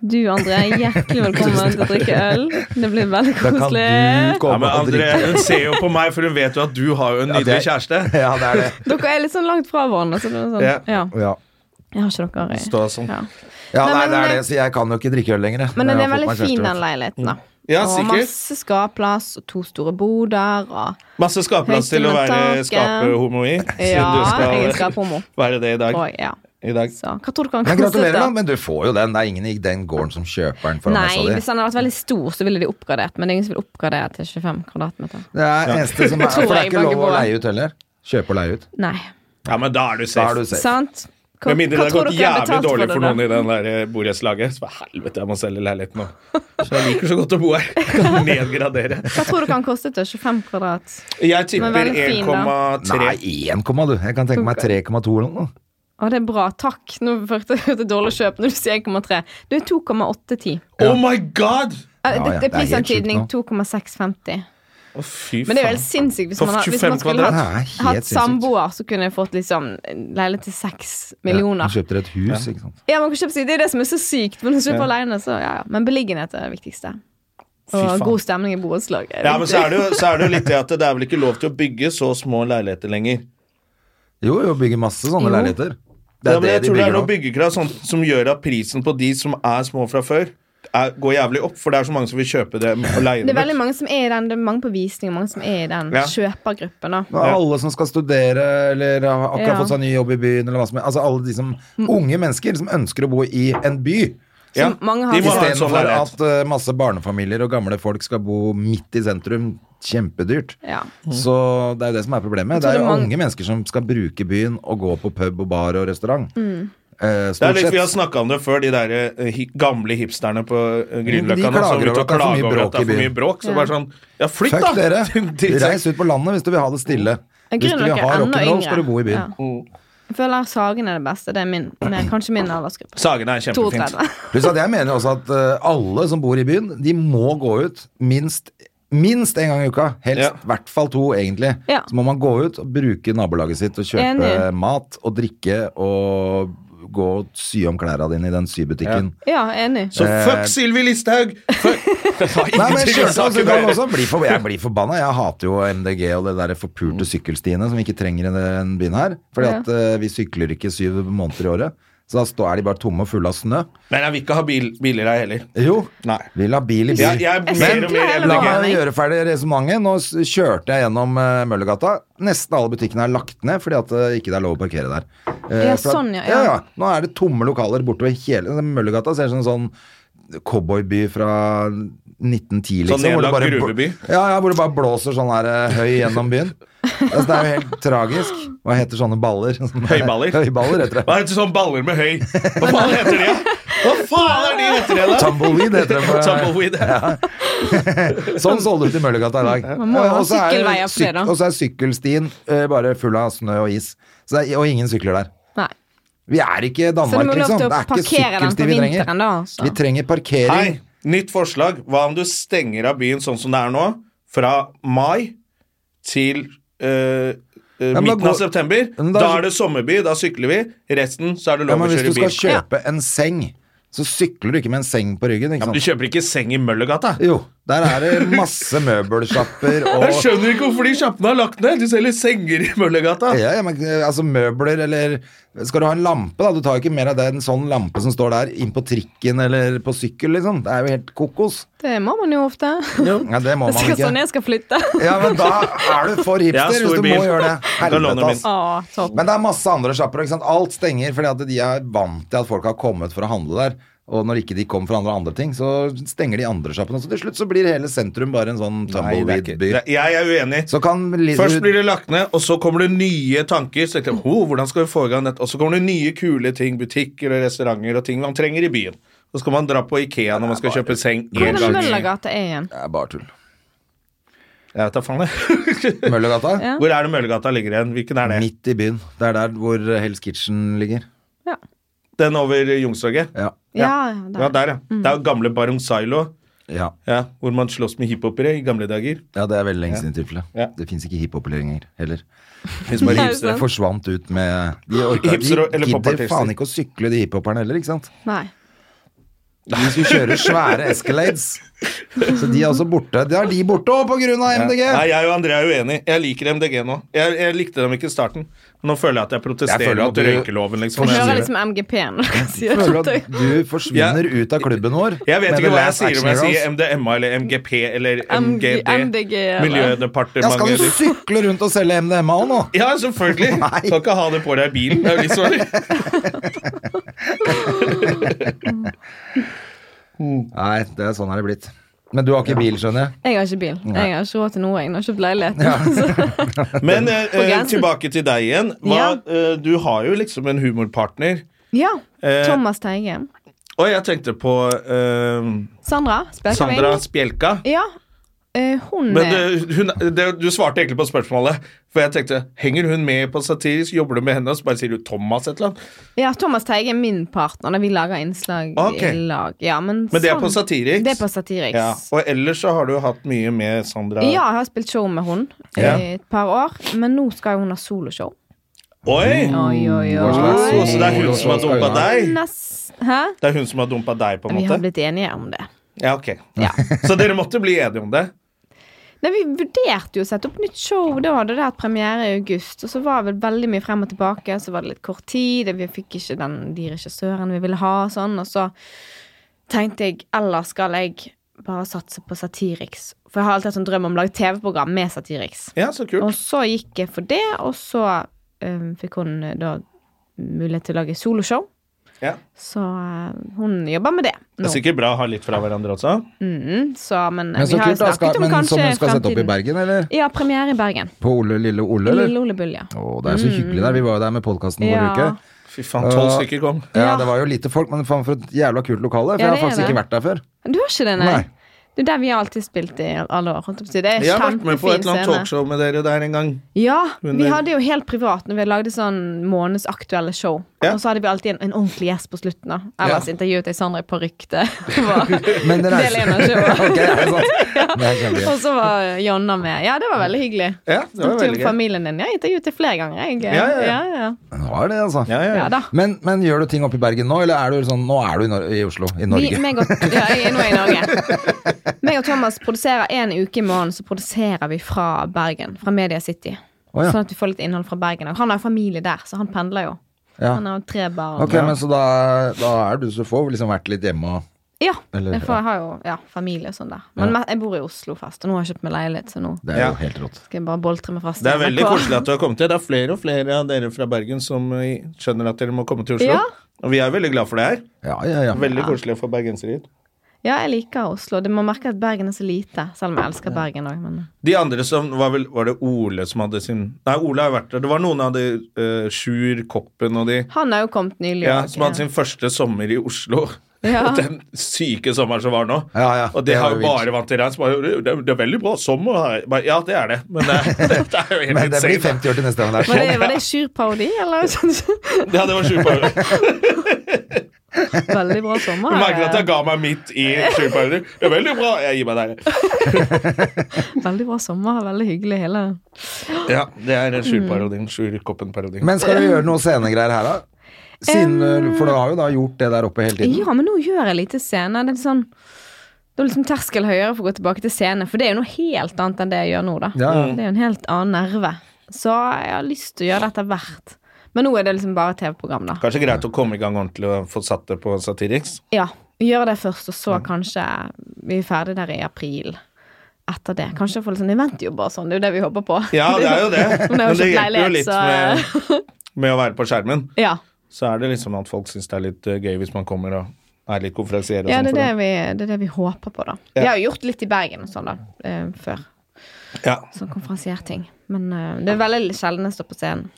Speaker 4: Du, André, hjertelig velkommen til å drikke øl. Det blir veldig
Speaker 2: Da kan
Speaker 4: koselig.
Speaker 2: du
Speaker 1: Ja,
Speaker 2: komme
Speaker 1: men
Speaker 2: og
Speaker 1: André,
Speaker 2: drikke.
Speaker 1: Hun ser jo på meg, for hun vet jo at du har jo en
Speaker 2: Ja, det
Speaker 1: nydelig
Speaker 2: er-
Speaker 1: kjæreste.
Speaker 2: Ja, det er det.
Speaker 4: Dere er litt sånn langt fra hverandre. Så det er sånn,
Speaker 1: Ja.
Speaker 4: ja.
Speaker 2: Ja,
Speaker 4: Jeg har ikke dere i
Speaker 1: Stå sånn.
Speaker 4: ja.
Speaker 2: ja
Speaker 4: Nei,
Speaker 2: nei,
Speaker 4: men-
Speaker 2: det er det, så jeg kan jo ikke drikke øl lenger. jeg.
Speaker 4: Men den
Speaker 2: Jeg
Speaker 4: er
Speaker 2: har fått
Speaker 4: veldig
Speaker 2: meg kjæreste, Mm.
Speaker 4: fin,
Speaker 2: vet
Speaker 4: den
Speaker 2: du.
Speaker 4: leiligheten. da
Speaker 1: Ja,
Speaker 4: Og
Speaker 1: sikkert.
Speaker 4: masse skapplass og to store boder. Og...
Speaker 1: Masse skapplass til å være
Speaker 4: Høyt under taket.
Speaker 1: skaperhomo i.
Speaker 4: Ja,
Speaker 1: siden
Speaker 4: jeg
Speaker 1: du
Speaker 4: skal
Speaker 1: skal
Speaker 4: på homo.
Speaker 1: være det i dag.
Speaker 4: Og, ja.
Speaker 1: I dag.
Speaker 4: Så, hva tror du kan
Speaker 2: Men
Speaker 4: koste
Speaker 2: gratulerer, da.
Speaker 4: dette?
Speaker 2: Men du får jo den. Det er ingen i den gården som kjøper den. foran
Speaker 4: Nei,
Speaker 2: messa di.
Speaker 4: hvis den hadde vært veldig stor, så ville de oppgradert. Men det er ingen som vil oppgradere til 25 kvadratmeter.
Speaker 2: Det er eneste som er
Speaker 4: Tror jeg
Speaker 2: For det er ikke lov
Speaker 4: banker
Speaker 2: å
Speaker 4: på.
Speaker 2: leie ut heller. Kjøpe og leie ut.
Speaker 4: Nei.
Speaker 1: Ja, men da er du
Speaker 2: Da er
Speaker 1: safe.
Speaker 2: du safe.
Speaker 4: Sant? Hva,
Speaker 1: Med mindre det har gått jævlig
Speaker 4: betalt
Speaker 1: dårlig for
Speaker 4: da?
Speaker 1: noen i den der eh, borettslaget. Så bare, helvete, jeg må selge leiligheten nå. Så jeg liker så godt å bo her. Jeg Kan nedgradere.
Speaker 4: Hva tror du kan koste til 25 kvadrat?
Speaker 1: Jeg
Speaker 4: Men
Speaker 1: tipper
Speaker 4: veldig fin, da.
Speaker 1: 1,3.
Speaker 2: Nei, 1, du. Jeg kan tenke meg 3,2 eller noe.
Speaker 4: Å, det er bra. Takk. Nå hørte jeg et dårlig kjøp når du sier 1,3. Du er 2,810.
Speaker 1: Oh my god!
Speaker 4: Eh,
Speaker 2: Ja,
Speaker 4: det,
Speaker 2: ja,
Speaker 4: det
Speaker 2: det
Speaker 4: er
Speaker 2: er helt
Speaker 4: prisantydning
Speaker 2: sjukt
Speaker 4: 2,650.
Speaker 1: Å, fy
Speaker 4: Men det er jo
Speaker 1: faen.
Speaker 4: helt sinnssykt hvis
Speaker 1: For
Speaker 4: man, har, hvis
Speaker 1: 25
Speaker 4: man skulle
Speaker 2: Det
Speaker 4: hatt
Speaker 2: er helt
Speaker 4: hatt
Speaker 2: sinnssykt.
Speaker 4: samboer, så kunne jeg fått liksom en leilighet til seks
Speaker 2: Ja,
Speaker 4: millioner.
Speaker 2: du kjøpte et hus, ikke sant.
Speaker 4: Ja, man kan kjøpe seg, Det er det som er så sykt. Men, når du kjøper alene, så, ja, ja. men beliggenhet er det viktigste.
Speaker 1: Fy
Speaker 4: Og
Speaker 1: faen.
Speaker 4: god stemning i borettslaget. er
Speaker 1: Ja, men
Speaker 4: viktig.
Speaker 1: så er, det jo, så er det jo litt det at det er vel ikke lov til å bygge så små leiligheter lenger.
Speaker 2: Jo, jo, bygger masse sånne
Speaker 4: Jo.
Speaker 2: leiligheter. Det
Speaker 1: Ja, men
Speaker 2: er det
Speaker 1: jeg
Speaker 2: de
Speaker 1: tror det er
Speaker 2: bygger
Speaker 1: noe
Speaker 2: nå.
Speaker 1: byggekrav sånn, som gjør at prisen på de som er små fra før, er, går jævlig opp. For det er så mange som vil kjøpe dem og leie
Speaker 4: Det er
Speaker 1: dem
Speaker 4: veldig
Speaker 1: ut.
Speaker 4: mange som er i den, det er mange på visning og mange som er i den
Speaker 1: Ja.
Speaker 4: kjøpergruppen. da.
Speaker 2: Nå er Alle som skal studere eller har akkurat
Speaker 4: Ja. Mm.
Speaker 2: fått seg ny jobb i byen, eller hva som helst. Altså alle de som unge mennesker som ønsker å bo i en by.
Speaker 1: Ja,
Speaker 4: som mange har-
Speaker 1: de må ha en sånn
Speaker 2: Istedenfor
Speaker 1: leilighet.
Speaker 2: at eh, masse barnefamilier og gamle folk skal bo midt i sentrum. Kjempedyrt.
Speaker 4: Ja.
Speaker 2: Så det er jo det som er problemet.
Speaker 4: Mm. tror
Speaker 2: Det er jo
Speaker 4: det er mange-
Speaker 2: unge mennesker som skal bruke byen og gå på pub og bar og restaurant.
Speaker 4: Mm.
Speaker 1: Det
Speaker 2: Eh,
Speaker 1: er
Speaker 2: stort
Speaker 1: litt,
Speaker 2: sett.
Speaker 1: vi har snakka om det før, de der eh, hi, gamle hipsterne på eh,
Speaker 2: De
Speaker 1: Grünerløkka nå,
Speaker 2: klager
Speaker 1: som er ute
Speaker 2: over at
Speaker 1: og
Speaker 2: det er for mye
Speaker 1: klager over at det er
Speaker 2: bråk i
Speaker 1: for mye
Speaker 2: byen.
Speaker 1: bråk. Så
Speaker 4: Ja.
Speaker 1: bare sånn Ja, flytt,
Speaker 2: Fuck
Speaker 1: da!
Speaker 2: dere!
Speaker 1: Dritt seg.
Speaker 2: Reis ut på landet hvis du vil ha det stille. Hvis du vil
Speaker 4: Grünerløkka
Speaker 2: ha
Speaker 4: er enda
Speaker 2: rock'n'roll, skal
Speaker 4: yngre.
Speaker 2: du bo i byen.
Speaker 4: Ja. Jeg føler Sagen er det beste. Det er min, men kanskje min aldersgruppe.
Speaker 1: Sagene er kjempefint.
Speaker 4: 32.
Speaker 2: Pluss at jeg mener også at eh, alle som bor i byen, de må gå ut minst Minst en gang i uka. Helst i
Speaker 1: Ja.
Speaker 2: hvert fall to, egentlig.
Speaker 4: Ja.
Speaker 2: Så må man gå ut og bruke nabolaget sitt og kjøpe
Speaker 4: Enig.
Speaker 2: mat og drikke og gå og sy om klærne dine i den sybutikken.
Speaker 4: Ja, enig.
Speaker 1: Så
Speaker 2: Eh.
Speaker 1: fuck Sylvi Listhaug! Fuck. Det har
Speaker 2: Nei, men
Speaker 1: ingenting med
Speaker 2: skjønner, altså,
Speaker 1: saken
Speaker 2: du
Speaker 1: å
Speaker 2: kan
Speaker 1: gjøre.
Speaker 2: også bli for, Jeg blir forbanna. Jeg hater jo MDG og det der
Speaker 1: Mm.
Speaker 2: forpulte sykkelstiene som vi ikke trenger i den byen her. Fordi
Speaker 4: Ja.
Speaker 2: at eh, vi sykler ikke syv måneder i året. Så da står- er de bare tomme og fulle av snø.
Speaker 1: Men jeg vil ikke ha bil, biler, jeg heller.
Speaker 2: Jo,
Speaker 1: Nei.
Speaker 2: vi la bil i bil.
Speaker 1: Jeg, jeg
Speaker 4: Jeg
Speaker 1: mer og
Speaker 4: sykler
Speaker 1: mer
Speaker 4: heller
Speaker 2: La
Speaker 4: ikke.
Speaker 1: MDG.
Speaker 2: meg gjøre ferdig resonnementet. Nå s- kjørte jeg gjennom eh, Møllergata. Nesten alle butikkene er lagt ned fordi at det ikke er lov å parkere der. Eh,
Speaker 4: Ja,
Speaker 2: for at-
Speaker 4: sånn, ja,
Speaker 2: ja.
Speaker 4: ja.
Speaker 2: ja. Nå er det tomme lokaler bortover hele Møllergata. Ser ut som en sånn cowboyby fra 1910, liksom.
Speaker 1: Sånn
Speaker 2: hvor det
Speaker 1: nedlagt
Speaker 2: bl-
Speaker 1: gruveby?
Speaker 2: Ja, ja, hvor det bare blåser sånn her eh, høy gjennom byen. Altså, det er jo helt tragisk. Hva heter sånne baller?
Speaker 1: Høyballer.
Speaker 2: Høyballer heter det.
Speaker 1: Hva heter sånn baller med høy? Hva faen heter de? da? Hva faen er de heter de, da?
Speaker 2: Tumbleweed heter det. på-
Speaker 1: Tumbleweed.
Speaker 2: Sånn så det ut i Møllergata i dag.
Speaker 4: Man må jo ha
Speaker 2: Eh, og så er-
Speaker 4: sykkelveier for det, da.
Speaker 2: Og så er sykkelstien eh, bare full av snø og is. Så det er, og ingen sykler der.
Speaker 4: Nei.
Speaker 2: Vi er ikke
Speaker 4: Så det
Speaker 2: Danmark,
Speaker 4: må lov
Speaker 2: liksom.
Speaker 4: til
Speaker 2: Det
Speaker 4: å
Speaker 2: er ikke
Speaker 4: parkere den
Speaker 2: sykkelsti
Speaker 4: på
Speaker 2: vi trenger.
Speaker 4: vinteren, da. altså.
Speaker 2: Vi trenger parkering.
Speaker 1: Hei, nytt forslag. Hva om du stenger av byen sånn som det er nå, fra mai til eh, eh,
Speaker 2: men da
Speaker 1: midten av
Speaker 2: går-
Speaker 1: september?
Speaker 2: Men da-
Speaker 1: Da er det sommerby, da sykler vi. Resten så er det
Speaker 2: Ja,
Speaker 1: lov
Speaker 2: men
Speaker 1: å
Speaker 2: hvis du
Speaker 1: kjøre
Speaker 2: skal
Speaker 1: bil.
Speaker 2: kjøpe en seng, så sykler du ikke med en seng på ryggen,
Speaker 1: Ja,
Speaker 2: ikke
Speaker 1: men du
Speaker 2: sant?
Speaker 1: kjøper ikke seng i Møllergata.
Speaker 2: Jo. Der er det masse møbelsjapper
Speaker 1: Jeg
Speaker 2: og
Speaker 1: skjønner ikke hvorfor de sjappene har lagt ned. De selger senger i Møllergata.
Speaker 2: ja, ja, men, eh, altså møbler eller Skal du ha en lampe, da? Du tar jo ikke mer av det en sånn lampe som står der, inn på trikken eller på sykkel, liksom. Det er jo helt kokos.
Speaker 4: Det må man jo ofte.
Speaker 2: Ja, det må man
Speaker 4: Det er
Speaker 2: ikke.
Speaker 4: sånn jeg skal flytte.
Speaker 2: Ja, men da er du for
Speaker 1: Jeg har
Speaker 2: hipster
Speaker 1: stor
Speaker 2: hvis du
Speaker 1: bil.
Speaker 2: må gjøre det.
Speaker 1: Da låner du min.
Speaker 2: Helvete, ass.
Speaker 4: Å, topp.
Speaker 2: Men det er masse andre sjapper. ikke sant? Alt stenger fordi at de er vant til at folk har kommet for å handle der. Og når ikke de kom for å handle andre ting, så stenger de andre sjappene. Så til slutt så blir hele sentrum bare en sånn
Speaker 1: Nei, det er ikke-
Speaker 2: tumbleweed-by.
Speaker 1: det- Jeg er uenig.
Speaker 2: Så kan li-
Speaker 1: Først blir det lagt ned, og så kommer det nye tanker. Så tenkte jeg, oh, hvordan skal vi få i gang dette? Og så kommer det nye kule ting, butikker og restauranter og ting man trenger i byen. Så skal man dra på Ikea når man skal kjøpe seng.
Speaker 4: Hvor
Speaker 1: en
Speaker 4: er det
Speaker 1: gang.
Speaker 4: Møllergata er igjen?
Speaker 2: Det er bare tull.
Speaker 1: Jeg vet da faen jeg.
Speaker 2: Møllergata?
Speaker 4: Ja.
Speaker 1: Hvor er det Møllergata ligger igjen? Hvilken er det?
Speaker 2: Midt i byen. Det er der hvor Hell's Kitchen ligger.
Speaker 4: Ja,
Speaker 1: Den over Youngstorget?
Speaker 2: Ja.
Speaker 4: ja,
Speaker 1: Ja,
Speaker 4: der. Mm.
Speaker 1: der, ja. Det er jo gamle Baron Silo,
Speaker 2: Ja,
Speaker 1: ja, hvor man slåss med hiphopere i gamle dager.
Speaker 2: ja det er veldig lenge siden i tilfelle.
Speaker 1: Ja.
Speaker 2: Det fins ikke hiphop lenger heller.
Speaker 1: Hvis man
Speaker 4: Nei,
Speaker 1: river seg-
Speaker 4: sant.
Speaker 2: Forsvant ut med De, orker, de
Speaker 1: Hipster og- eller
Speaker 2: gidder
Speaker 1: popartister.
Speaker 2: faen ikke å sykle, de hiphoperne heller, ikke sant?
Speaker 4: Nei.
Speaker 2: De skulle kjøre svære Escalades. Så de er også borte. Det er de borte òg, på grunn av MDG!
Speaker 1: Nei, jeg og André er uenig. Jeg liker MDG nå. Jeg, jeg likte dem ikke i starten. Men nå føler jeg at jeg protesterer
Speaker 2: Jeg føler at
Speaker 1: mot
Speaker 2: du-
Speaker 1: røykeloven, liksom.
Speaker 4: Jeg hører
Speaker 1: Jeg,
Speaker 4: liksom MGP når dere
Speaker 2: Jeg
Speaker 4: sier
Speaker 2: føler
Speaker 4: det.
Speaker 2: at du forsvinner ut av klubben vår.
Speaker 1: vet
Speaker 2: med The
Speaker 1: ikke hva jeg
Speaker 2: Last
Speaker 1: sier om jeg
Speaker 2: Action
Speaker 1: sier
Speaker 2: Heroes.
Speaker 1: MDMA eller MGP eller
Speaker 4: MG-
Speaker 1: MGD.
Speaker 4: MDG, eller-
Speaker 2: Ja, skal du
Speaker 1: Miljødepartementet.
Speaker 2: sykle rundt og selge MDMA nå?
Speaker 1: Ja, selvfølgelig.
Speaker 2: Nei.
Speaker 1: Kan ikke ha det på deg i bilen. Det er jo litt sånn.
Speaker 2: Nei, det er sånn er det blitt. Men du har ikke bil, skjønner jeg.
Speaker 4: Jeg har ikke bil. Jeg har ikke råd til noe. Jeg har kjøpt leilighet.
Speaker 1: Men eh, eh,
Speaker 4: grensen.
Speaker 1: tilbake til deg igjen. Hva,
Speaker 4: Ja.
Speaker 1: eh, du har jo liksom en humorpartner.
Speaker 4: Ja.
Speaker 1: Eh.
Speaker 4: Thomas Teige.
Speaker 1: Og jeg tenkte på eh,
Speaker 4: Sandra Spjelkavik.
Speaker 1: Sandra Spjelka.
Speaker 4: Ja. Eh, hun
Speaker 1: Men
Speaker 4: er-
Speaker 1: det, hun, det, du svarte egentlig på spørsmålet. For jeg tenkte, Henger hun med på satirisk? Jobber du med henne? Og så bare sier du Thomas et eller annet.
Speaker 4: Ja, Thomas Teige er min partner. da Vi lager innslag
Speaker 1: Ok.
Speaker 4: i lag. Ja, men
Speaker 1: Men det er
Speaker 4: sånn-
Speaker 1: på satiriks.
Speaker 4: Det er på Satiriks.
Speaker 1: Ja.
Speaker 4: Ja.
Speaker 1: Og ellers så har du hatt mye med Sandra.
Speaker 4: jeg har spilt show med hun
Speaker 1: Ja.
Speaker 4: i et par år, men nå skal hun ha soloshow.
Speaker 1: Oi!
Speaker 4: Oi, oi,
Speaker 2: Hva
Speaker 4: oi.
Speaker 2: slags-
Speaker 1: Så det er hun som har dumpa deg?
Speaker 4: Ness- Hæ?
Speaker 1: Det er hun som har dumpa deg, på en
Speaker 4: Vi har
Speaker 1: måte?
Speaker 4: blitt enige om det.
Speaker 1: Ja, ok.
Speaker 4: Ja.
Speaker 1: Så dere måtte bli enige om det?
Speaker 4: Nei, Vi vurderte jo å sette opp nytt show. Da hadde det hatt premiere i august. Og så var det vel veldig mye frem og tilbake. Så var det litt kort tid. og Vi fikk ikke den, de regissørene vi ville ha. Og sånn, og så tenkte jeg eller skal jeg bare satse på Satiriks. For jeg har alltid hatt en drøm om å lage TV-program med Satiriks.
Speaker 1: Ja, så
Speaker 4: Og
Speaker 1: kult.
Speaker 4: så gikk jeg for det, og så eh, fikk hun eh, da mulighet til å lage soloshow.
Speaker 1: Ja.
Speaker 4: Så eh, hun jobber med det
Speaker 1: Det
Speaker 4: nå.
Speaker 1: er sikkert bra å ha litt fra hverandre også.
Speaker 4: Mm, så, men, eh,
Speaker 2: Men
Speaker 4: vi
Speaker 2: så
Speaker 4: har jo
Speaker 2: kult, da.
Speaker 4: snakket
Speaker 2: Skal,
Speaker 4: om
Speaker 2: men
Speaker 4: kanskje
Speaker 2: som hun skal sette opp i
Speaker 4: fremtiden.
Speaker 2: Bergen, eller?
Speaker 4: Ja, premiere i Bergen.
Speaker 2: På Ole Lille Ole, eller?
Speaker 4: Lille Ole Bull, ja.
Speaker 2: Å, det er så hyggelig der. Vi var jo der med podkasten vår
Speaker 4: Ja.
Speaker 2: uke.
Speaker 1: Fy faen, tolv stykker kom.
Speaker 2: Ja,
Speaker 4: Ja.
Speaker 2: det var jo lite folk, men faen for et jævla kult lokale. For
Speaker 4: Ja,
Speaker 2: jeg har
Speaker 4: det er
Speaker 2: faktisk
Speaker 4: det.
Speaker 2: ikke vært der før.
Speaker 4: Du har ikke det, nei?
Speaker 2: Nei.
Speaker 4: Det er der vi har alltid spilt i alle år. holdt jeg på å si. Det er
Speaker 1: Jeg har vært
Speaker 4: kjempefin
Speaker 1: med på et eller annet
Speaker 4: scene.
Speaker 1: talkshow med dere der en gang.
Speaker 4: Ja,
Speaker 1: Men
Speaker 4: Vi
Speaker 1: det-
Speaker 4: hadde jo helt privat når vi lagde sånn månedsaktuelle show.
Speaker 1: Ja.
Speaker 4: Og så hadde vi alltid en, en ordentlig gjest på slutten. da Ellers
Speaker 1: Ja.
Speaker 4: intervjuet jeg Sandra i parykk. Det var
Speaker 2: Men det
Speaker 4: del én av showet.
Speaker 2: Ok, er det sant? Det er kjempegøy.
Speaker 4: Og så var Jonna med. Ja, det var veldig hyggelig.
Speaker 1: Ja, det var
Speaker 4: Snakket om
Speaker 1: veldig gøy.
Speaker 4: familien din. Ja, Jeg intervjuet deg flere ganger. Jeg.
Speaker 1: Ja, ja, ja.
Speaker 4: ja.
Speaker 2: Det var det, altså.
Speaker 1: Ja, ja,
Speaker 4: Ja
Speaker 1: ja.
Speaker 4: da.
Speaker 2: Men, men gjør du ting oppe i Bergen nå, eller er du sånn Nå er du i, Nor i Oslo. I
Speaker 4: Vi,
Speaker 2: Norge.
Speaker 4: meg og, ja, jeg er nå i Norge. Meg og Thomas produserer en uke i måneden så produserer vi fra Bergen. Fra Media City.
Speaker 2: Å, ja.
Speaker 4: Sånn at vi får litt innhold fra Bergen. Og han har jo familie der, så han pendler jo.
Speaker 2: Ja.
Speaker 4: Han har jo tre barn.
Speaker 2: Ok, men så da, da er du så få liksom vært litt hjemme og
Speaker 4: Ja,
Speaker 2: Eller-
Speaker 4: jeg, får, jeg har jo ja, familie og sånn der. Men me- jeg bor i Oslo fast, og nå har jeg kjøpt meg leilighet, så nå
Speaker 2: Det er
Speaker 1: Ja.
Speaker 2: jo helt rått.
Speaker 4: skal jeg bare boltre meg fast.
Speaker 1: Det er
Speaker 4: i
Speaker 1: veldig
Speaker 4: NRK.
Speaker 1: koselig at du har kommet til. Det er flere og flere av dere fra Bergen som eh, skjønner at dere må komme til Oslo.
Speaker 4: Ja.
Speaker 1: Og vi er veldig glad for det her.
Speaker 2: Ja, ja, ja.
Speaker 1: Veldig koselig å få bergensere hit.
Speaker 4: Ja, jeg liker Oslo. Du må merke at Bergen er så lite, selv om jeg elsker Bergen òg, men
Speaker 1: De andre som var vel Var det Ole som hadde sin Nei, Ole har vært der. Det var noen av de eh, Sjur, Koppen og de
Speaker 4: Han har jo kommet nylig.
Speaker 1: ja,
Speaker 4: og-
Speaker 1: som hadde sin første sommer i Oslo.
Speaker 4: Ja.
Speaker 1: Den syke sommeren som var nå.
Speaker 2: Ja, ja.
Speaker 1: Og det
Speaker 2: Det
Speaker 1: har
Speaker 2: var
Speaker 1: jo
Speaker 2: vilt.
Speaker 1: bare vant til regn. så bare, Det, det er veldig bra sommer her. Bare, Ja, det er det. Men det, det, er jo helt
Speaker 2: Men det blir
Speaker 1: insane.
Speaker 2: 50 år til neste gang det er
Speaker 4: Var
Speaker 2: sånn.
Speaker 4: det, var det Sjur-parodi, eller?
Speaker 1: Ja, det var Sjur på øret.
Speaker 4: Veldig bra sommer.
Speaker 1: Du merker at jeg ga meg midt i Sjur på øret. Det er veldig bra. Jeg gir meg der.
Speaker 4: Veldig bra sommer, veldig hyggelig hele
Speaker 1: Ja, det er Sjur-parodien. Sjur-koppen-parodien.
Speaker 2: Men skal du gjøre noe scenegreier her, da?
Speaker 4: Um,
Speaker 2: Siden, For du har jo da gjort det der oppe hele tiden.
Speaker 4: Ja, men nå gjør jeg lite scene. Det er sånn Det var liksom terskel høyere for å gå tilbake til scene, for det er jo noe helt annet enn det jeg gjør nå, da.
Speaker 2: Ja, ja.
Speaker 4: Det er jo en helt annen nerve. Så jeg har lyst til å gjøre dette hvert. Men nå er det liksom bare TV-program, da.
Speaker 1: Kanskje greit å komme i gang ordentlig og få satt det på Satiriks?
Speaker 4: Ja, gjøre det først, og så kanskje vi er ferdig der i april. Etter det. Kanskje få litt sånn eventjobber og sånn. Det er jo det vi håper på.
Speaker 1: Ja, det er jo det.
Speaker 4: Nå
Speaker 1: Men
Speaker 4: har
Speaker 1: det
Speaker 4: vi kjøpt
Speaker 1: hjelper jo
Speaker 4: leilighet,
Speaker 1: litt
Speaker 4: så-
Speaker 1: med, med å være på skjermen.
Speaker 4: Ja.
Speaker 1: Så er det liksom at folk syns det er litt eh, gøy hvis man kommer og er litt konferansier. og
Speaker 4: ja det,
Speaker 1: sånn
Speaker 4: er
Speaker 1: for
Speaker 4: det,
Speaker 1: dem.
Speaker 4: vi, det er det vi håper på, da. Vi har jo gjort litt i Bergen og sånn, da. Eh, før.
Speaker 1: Ja.
Speaker 4: Sånn konferansierting. Men eh, det er veldig sjelden jeg står på scenen.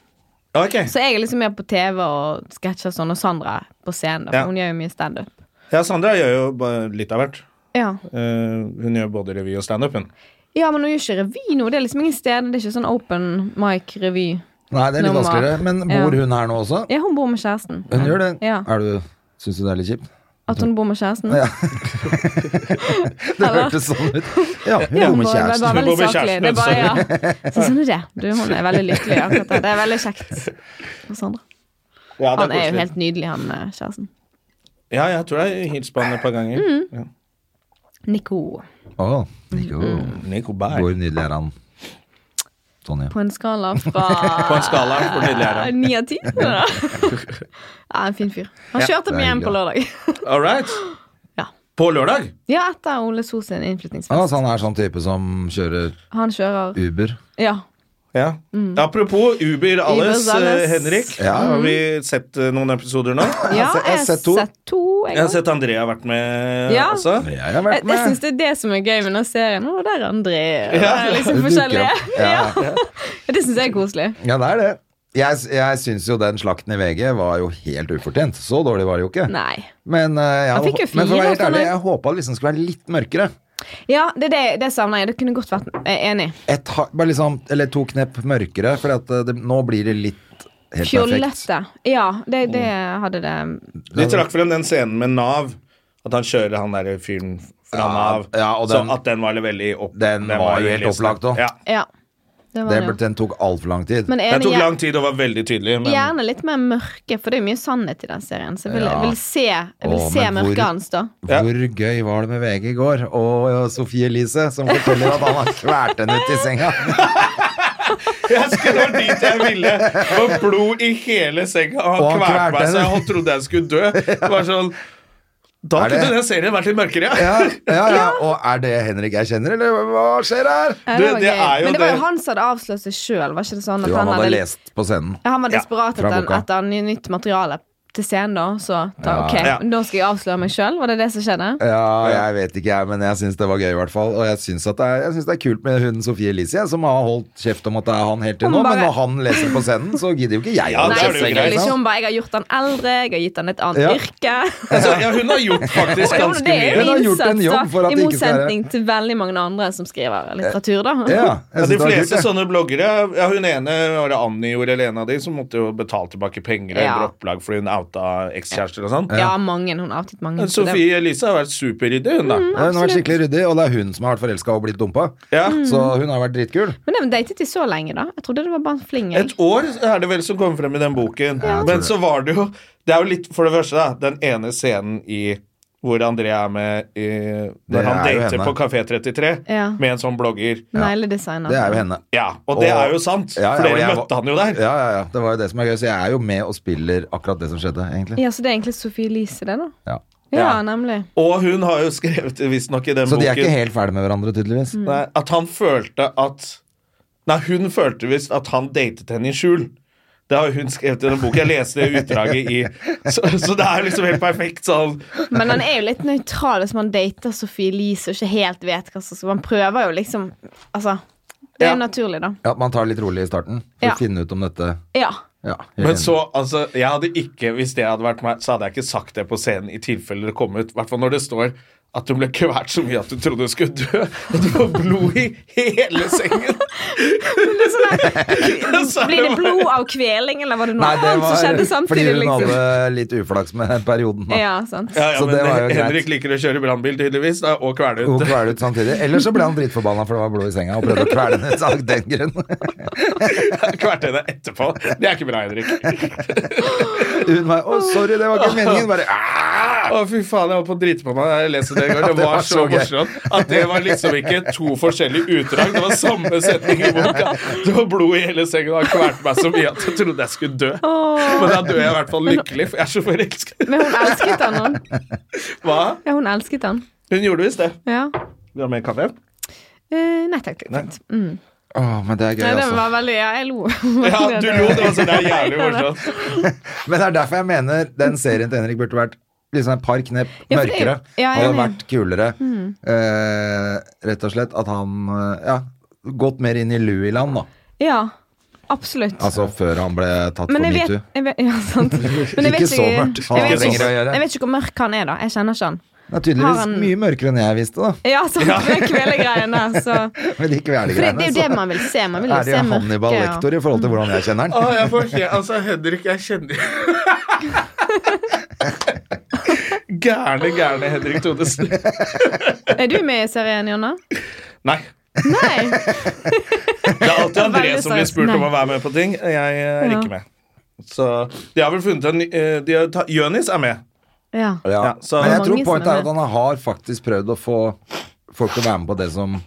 Speaker 1: Ok,
Speaker 4: Så jeg er liksom mer på TV og sketsjer og sånn, og Sandra er på scenen. Da.
Speaker 1: Ja.
Speaker 4: for Hun gjør jo mye standup.
Speaker 1: ja, Sandra gjør jo bare litt av hvert.
Speaker 4: Ja.
Speaker 1: Eh, hun gjør både revy og standup, hun.
Speaker 4: ja, men hun gjør ikke revy nå. Det er liksom ingen steder. Det er ikke sånn open mic-revy.
Speaker 2: Nei, det er litt
Speaker 4: Nummer.
Speaker 2: vanskeligere. Men bor
Speaker 4: Ja.
Speaker 2: hun her nå også?
Speaker 4: Ja, hun bor med kjæresten.
Speaker 2: Hun gjør det.
Speaker 4: Ja.
Speaker 2: Er du Syns du det er litt kjipt?
Speaker 4: At hun bor med kjæresten?
Speaker 2: Ja. Det hørtes sånn ut. Ja, hun bor med
Speaker 4: Det er
Speaker 2: kjæresten.
Speaker 4: bare
Speaker 1: Hun bor
Speaker 4: veldig
Speaker 1: med
Speaker 4: saklig.
Speaker 1: kjæresten, altså.
Speaker 4: Det er bare, ja. Så sånn er det. Du, hun er veldig lykkelig akkurat der. Det er veldig kjekt for Sandra.
Speaker 1: Ja, det
Speaker 4: Han er jo
Speaker 1: koselig.
Speaker 4: helt nydelig, han eh, kjæresten.
Speaker 1: Ja, jeg tror jeg hilste på henne et par ganger.
Speaker 4: Mm.
Speaker 1: Ja.
Speaker 4: Nico.
Speaker 2: Å, Mm. Nico.
Speaker 1: Nico Berg.
Speaker 2: Hvor nydelig er han? Sånn, ja.
Speaker 4: Mm. På en skala
Speaker 1: På
Speaker 4: fra
Speaker 1: en skala, hvor nydelig er han?
Speaker 4: ni av ti. Ja, en fin fyr. Han kjørte
Speaker 2: det er
Speaker 4: meg hjem
Speaker 2: hyggelig,
Speaker 4: på lørdag.
Speaker 1: All right.
Speaker 4: Ja.
Speaker 1: På lørdag?
Speaker 4: Ja, etter Ole So sin
Speaker 2: Ja,
Speaker 4: innflytningsfest.
Speaker 2: så han er sånn type som kjører
Speaker 4: Han kjører
Speaker 2: Uber.
Speaker 4: Ja.
Speaker 1: Ja. Mm. Apropos Uber Alles,
Speaker 4: Uber Alles.
Speaker 1: eh, Henrik.
Speaker 2: Ja.
Speaker 4: Mm.
Speaker 1: Har vi sett eh, noen episoder nå?
Speaker 4: ja jeg har sett to. jeg
Speaker 1: Jeg har
Speaker 4: også.
Speaker 1: sett André har vært med eh,
Speaker 4: Ja.
Speaker 1: også.
Speaker 2: Jeg har
Speaker 4: Jeg,
Speaker 2: vært
Speaker 4: jeg syns
Speaker 2: med.
Speaker 4: Eh, det er det som er gøy med den serien. Å, der er André. og
Speaker 1: Ja.
Speaker 4: der er
Speaker 2: Det
Speaker 4: liksom
Speaker 2: dukker
Speaker 4: forskjellige.
Speaker 2: opp.
Speaker 4: Ja.
Speaker 2: Ja.
Speaker 4: Det syns jeg er koselig.
Speaker 2: Ja, det er det. Jeg, jeg syns jo den slakten i VG var jo helt ufortjent. Så dårlig var det jo ikke.
Speaker 4: Nei.
Speaker 2: Men, eh, jeg,
Speaker 4: Han fikk jo
Speaker 2: men for å være
Speaker 4: fire,
Speaker 2: helt
Speaker 4: sånn
Speaker 2: ærlig,
Speaker 4: at-
Speaker 2: jeg håpa det liksom skulle være litt mørkere.
Speaker 4: Ja, det, det, det savner jeg. Det kunne godt vært jeg er enig.
Speaker 2: Et, ha- bare liksom, eller to knepp mørkere, for at eh, det, nå blir det litt helt perfekt. Oh.
Speaker 4: Fjollete. Ja, det, det hadde det
Speaker 1: De trakk frem den scenen med Nav. At han kjører han der fyren fra
Speaker 2: Ja,
Speaker 1: Nav.
Speaker 2: ja, og den-
Speaker 1: så at den var veldig opp...
Speaker 2: Den var jo helt
Speaker 1: veldig
Speaker 2: opplagt også.
Speaker 1: Ja.
Speaker 4: Ja. Det
Speaker 2: Det
Speaker 4: var
Speaker 2: ble,
Speaker 4: det. jo.
Speaker 2: den tok altfor lang tid.
Speaker 4: Men
Speaker 1: Den
Speaker 4: enig,
Speaker 1: tok
Speaker 4: gjer-
Speaker 1: lang tid og var veldig tydelig. Men
Speaker 4: gjerne litt mer mørke, for det er mye sannhet i den serien. Så jeg vil,
Speaker 2: Ja.
Speaker 4: vil se, jeg vil
Speaker 2: Å,
Speaker 4: se
Speaker 2: men hvor-
Speaker 4: mørket hans, da.
Speaker 1: Ja.
Speaker 2: Hvor gøy var det med VG i går? Og ja, Sofie Elise, som forteller at han har kvært henne ut i senga.
Speaker 1: Jeg skulle vært dit jeg ville. Det var blod i hele senga. Og
Speaker 2: Og
Speaker 1: han
Speaker 2: han
Speaker 1: kvalte meg
Speaker 2: kvalte
Speaker 1: så
Speaker 2: henne.
Speaker 1: jeg trodde jeg skulle dø. Det var sånn Da
Speaker 2: Er det-
Speaker 1: kunne den serien vært litt mørkere.
Speaker 2: Ja, ja, ja. Og er det Henrik jeg kjenner, eller hva skjer her?
Speaker 4: Ja,
Speaker 1: Du,
Speaker 4: det var
Speaker 1: det
Speaker 4: gøy.
Speaker 1: er jo
Speaker 4: Men det var jo
Speaker 1: det-
Speaker 4: han som hadde avslørt seg sjøl, var ikke det sånn? At
Speaker 2: Jo, han hadde
Speaker 4: hadde-
Speaker 2: lest på scenen.
Speaker 4: Ja, han var
Speaker 1: Ja,
Speaker 4: desperat
Speaker 2: fra
Speaker 4: etter,
Speaker 2: boka.
Speaker 4: etter ny- nytt materiale til scenen, da. Så da, ok,
Speaker 1: Ja.
Speaker 4: da skal jeg avsløre meg sjøl. Var det det som skjedde?
Speaker 2: Ja, jeg vet ikke jeg, men jeg syns det var gøy i hvert fall. Og jeg syns at det er, jeg synes det er kult med hun Sofie Elise, jeg, som har holdt kjeft om at det er han helt til
Speaker 4: Hun
Speaker 2: nå.
Speaker 4: bare-
Speaker 2: Men når han leser på scenen, så gidder jo ikke jeg.
Speaker 1: Ja,
Speaker 2: å
Speaker 1: det
Speaker 4: Nei,
Speaker 1: er det
Speaker 2: lese liksom.
Speaker 1: jo
Speaker 2: engang,
Speaker 1: greit.
Speaker 2: ikke
Speaker 4: selvfølgelig ikke.
Speaker 2: sant?
Speaker 4: Hun bare Jeg har gjort han eldre, jeg har gitt han et annet
Speaker 2: Ja.
Speaker 4: yrke.
Speaker 1: Altså, ja, hun har gjort faktisk
Speaker 4: Jo, men
Speaker 1: ganske
Speaker 4: det
Speaker 1: mye.
Speaker 4: er
Speaker 2: Hun
Speaker 4: jo
Speaker 2: har gjort en
Speaker 4: innsats, da.
Speaker 2: jobb for at
Speaker 4: I
Speaker 2: det ikke skal være-
Speaker 4: motsetning til veldig mange andre som skriver litteratur, da.
Speaker 2: Ja,
Speaker 1: Ja,
Speaker 2: jeg
Speaker 1: de
Speaker 2: synes det var
Speaker 1: fleste
Speaker 2: kult.
Speaker 1: sånne bloggere ja, Hun ene var det Annie gjorde, eller en av de, som måtte jo betale tilbake penger
Speaker 4: Ja.
Speaker 1: eller opplag fordi hun outa ekskjærester og sånn.
Speaker 4: Ja, mange. Hun har outet mange.
Speaker 1: Men
Speaker 4: så det-
Speaker 1: Sofie Elise har vært superryddig, hun, da.
Speaker 4: Mm.
Speaker 2: Ja, Hun har vært skikkelig ryddig, og det er hun som har vært forelska og blitt dumpa.
Speaker 1: Ja.
Speaker 2: Så hun har vært dritkul.
Speaker 4: Men de datet de så lenge, da? Jeg trodde det var bare en fling. jeg.
Speaker 1: Et år er det vel som kommer frem i den boken. Men så var det jo Det er jo litt, for det første, da, den ene scenen i hvor André er med i,
Speaker 2: Det
Speaker 1: når han
Speaker 2: er jo
Speaker 1: dater
Speaker 2: henne.
Speaker 1: på Kafé 33
Speaker 4: Ja.
Speaker 1: med en sånn blogger.
Speaker 4: Negledesigner.
Speaker 2: Det er jo henne.
Speaker 1: Ja, og det
Speaker 2: Og-
Speaker 1: er jo sant,
Speaker 2: Ja, ja,
Speaker 1: for
Speaker 2: og
Speaker 1: dere
Speaker 2: jeg
Speaker 1: møtte
Speaker 2: var-
Speaker 1: han jo der.
Speaker 2: Ja, ja, ja. Det var jo det som er gøy, så jeg er jo med og spiller akkurat det som skjedde, egentlig.
Speaker 4: Ja, Så det er egentlig Sofie Elise, det, da?
Speaker 2: Ja.
Speaker 4: Ja,
Speaker 1: Ja.
Speaker 4: nemlig.
Speaker 1: Og hun har jo skrevet visstnok i den
Speaker 2: Så de er
Speaker 1: boken
Speaker 2: ikke helt ferdige med hverandre, tydeligvis.
Speaker 4: Mm.
Speaker 1: nei, at han følte at Nei, hun følte visst at han datet henne i skjul. Det har jo hun skrevet i den boken. Jeg leste det utdraget i Så, så det er liksom helt perfekt sånn.
Speaker 4: Men han er jo litt nøytral hvis man dater Sofie Elise og ikke helt vet hva som skal Man prøver jo liksom Altså. Det er jo
Speaker 1: Ja.
Speaker 4: naturlig, da.
Speaker 2: Ja, Man tar litt rolig i starten for
Speaker 4: Ja.
Speaker 2: å finne ut om dette.
Speaker 4: Ja.
Speaker 2: Ja, helt
Speaker 1: Men
Speaker 2: enig.
Speaker 1: så, altså, jeg hadde ikke, hvis det hadde vært meg, så hadde jeg ikke sagt det på scenen i tilfelle det kom ut. I hvert fall når det står at hun ble kvært så mye at hun trodde hun skulle dø. Og det var blod i hele sengen.
Speaker 4: sånn Blir det blod av kveling, eller var det noe
Speaker 2: Nei, det
Speaker 4: annet som
Speaker 2: var
Speaker 4: skjedde
Speaker 2: fordi
Speaker 4: samtidig?
Speaker 2: hun
Speaker 4: Liksom?
Speaker 2: hadde litt uflaks med den perioden. Da.
Speaker 4: Ja, sant.
Speaker 1: Ja, ja,
Speaker 2: Så
Speaker 1: men
Speaker 2: det var jo greit.
Speaker 1: Henrik liker å kjøre brannbil, tydeligvis, da, og kvele
Speaker 2: Hun
Speaker 1: ut.
Speaker 2: kvelte ut samtidig. Ellers så ble han dritforbanna for det var blod i senga, og prøvde å kvele henne ut av den grunn.
Speaker 1: Kverte henne etterpå. Det er ikke bra, Henrik.
Speaker 2: Hun var 'Å, sorry, det var ikke meningen'. Bare, «Ah!»
Speaker 1: Å, fy faen, jeg holdt på å drite på meg da jeg leste det en gang.
Speaker 2: Ja,
Speaker 1: Det var så
Speaker 2: gøy.
Speaker 1: morsomt at det var liksom ikke to forskjellige utdrag. Det var samme setning i boka. Det var blod i hele sengen, og han kvalte meg så mye at jeg trodde jeg skulle dø. Men da dør jeg i hvert fall lykkelig, for jeg er så forelska.
Speaker 4: Men hun elsket han, hun.
Speaker 1: Hva?
Speaker 4: Ja, hun elsket han.
Speaker 1: Hun gjorde visst det.
Speaker 4: Ja.
Speaker 1: Vil du ha mer kaffe?
Speaker 4: Eh, nei takk, takk. takk. Mm.
Speaker 2: Åh, men det er gøy,
Speaker 4: Nei, det
Speaker 2: altså.
Speaker 4: var veldig Ja, jeg lo.
Speaker 1: Ja, du lo. Det var så det er jævlig morsomt.
Speaker 2: Men det er derfor jeg mener den serien til Henrik burde vært liksom et par knep
Speaker 4: Ja, for det-
Speaker 2: mørkere.
Speaker 4: ja, jeg Mm. er
Speaker 2: hadde
Speaker 4: enig.
Speaker 2: vært kulere. Eh, rett og slett at han eh, ja, gått mer inn i Louis-land, da.
Speaker 4: Ja, absolutt.
Speaker 2: Altså før han ble tatt for
Speaker 4: Men jeg vet,
Speaker 2: metoo.
Speaker 4: jeg vet Ja, sant. Men jeg vet
Speaker 2: Ikke så mørkt.
Speaker 4: jeg
Speaker 2: Han
Speaker 4: vet
Speaker 1: trenger
Speaker 2: å gjøre.
Speaker 4: jeg vet ikke hvor mørk han er, da. Jeg kjenner ikke han.
Speaker 2: Det er
Speaker 4: Har
Speaker 2: tydeligvis
Speaker 4: han-
Speaker 2: mye mørkere enn jeg visste, da.
Speaker 4: Ja, sant, med kvelegreiene. Så.
Speaker 2: Med de
Speaker 4: For det, det
Speaker 2: kvelegreiene.
Speaker 4: er jo det man vil se. Man vil
Speaker 2: så
Speaker 4: jo
Speaker 2: altså. er det
Speaker 4: se
Speaker 2: jo
Speaker 4: mørke.
Speaker 2: Hannibal
Speaker 4: og-
Speaker 2: Lektor i forhold til hvordan jeg kjenner
Speaker 1: Å,
Speaker 2: han.
Speaker 1: jeg får he Altså, Henrik, jeg kjenner Gærne, gærne Henrik Thodesen.
Speaker 4: Er du med i serien, Jonna?
Speaker 1: Nei.
Speaker 4: Nei.
Speaker 1: Det er alltid André
Speaker 4: Veldig
Speaker 1: som blir
Speaker 4: sant.
Speaker 1: spurt om
Speaker 4: Nei.
Speaker 1: å være med på ting. Jeg eh, er
Speaker 4: Ja.
Speaker 1: ikke med. Så de har vel funnet en ny eh, de har ta- Jonis er med.
Speaker 4: Ja.
Speaker 2: Ja.
Speaker 1: Ja, så-
Speaker 2: Men jeg tror
Speaker 4: Mange som er
Speaker 2: pointet er at
Speaker 4: med.
Speaker 2: han har faktisk prøvd å få folk til å være med på det som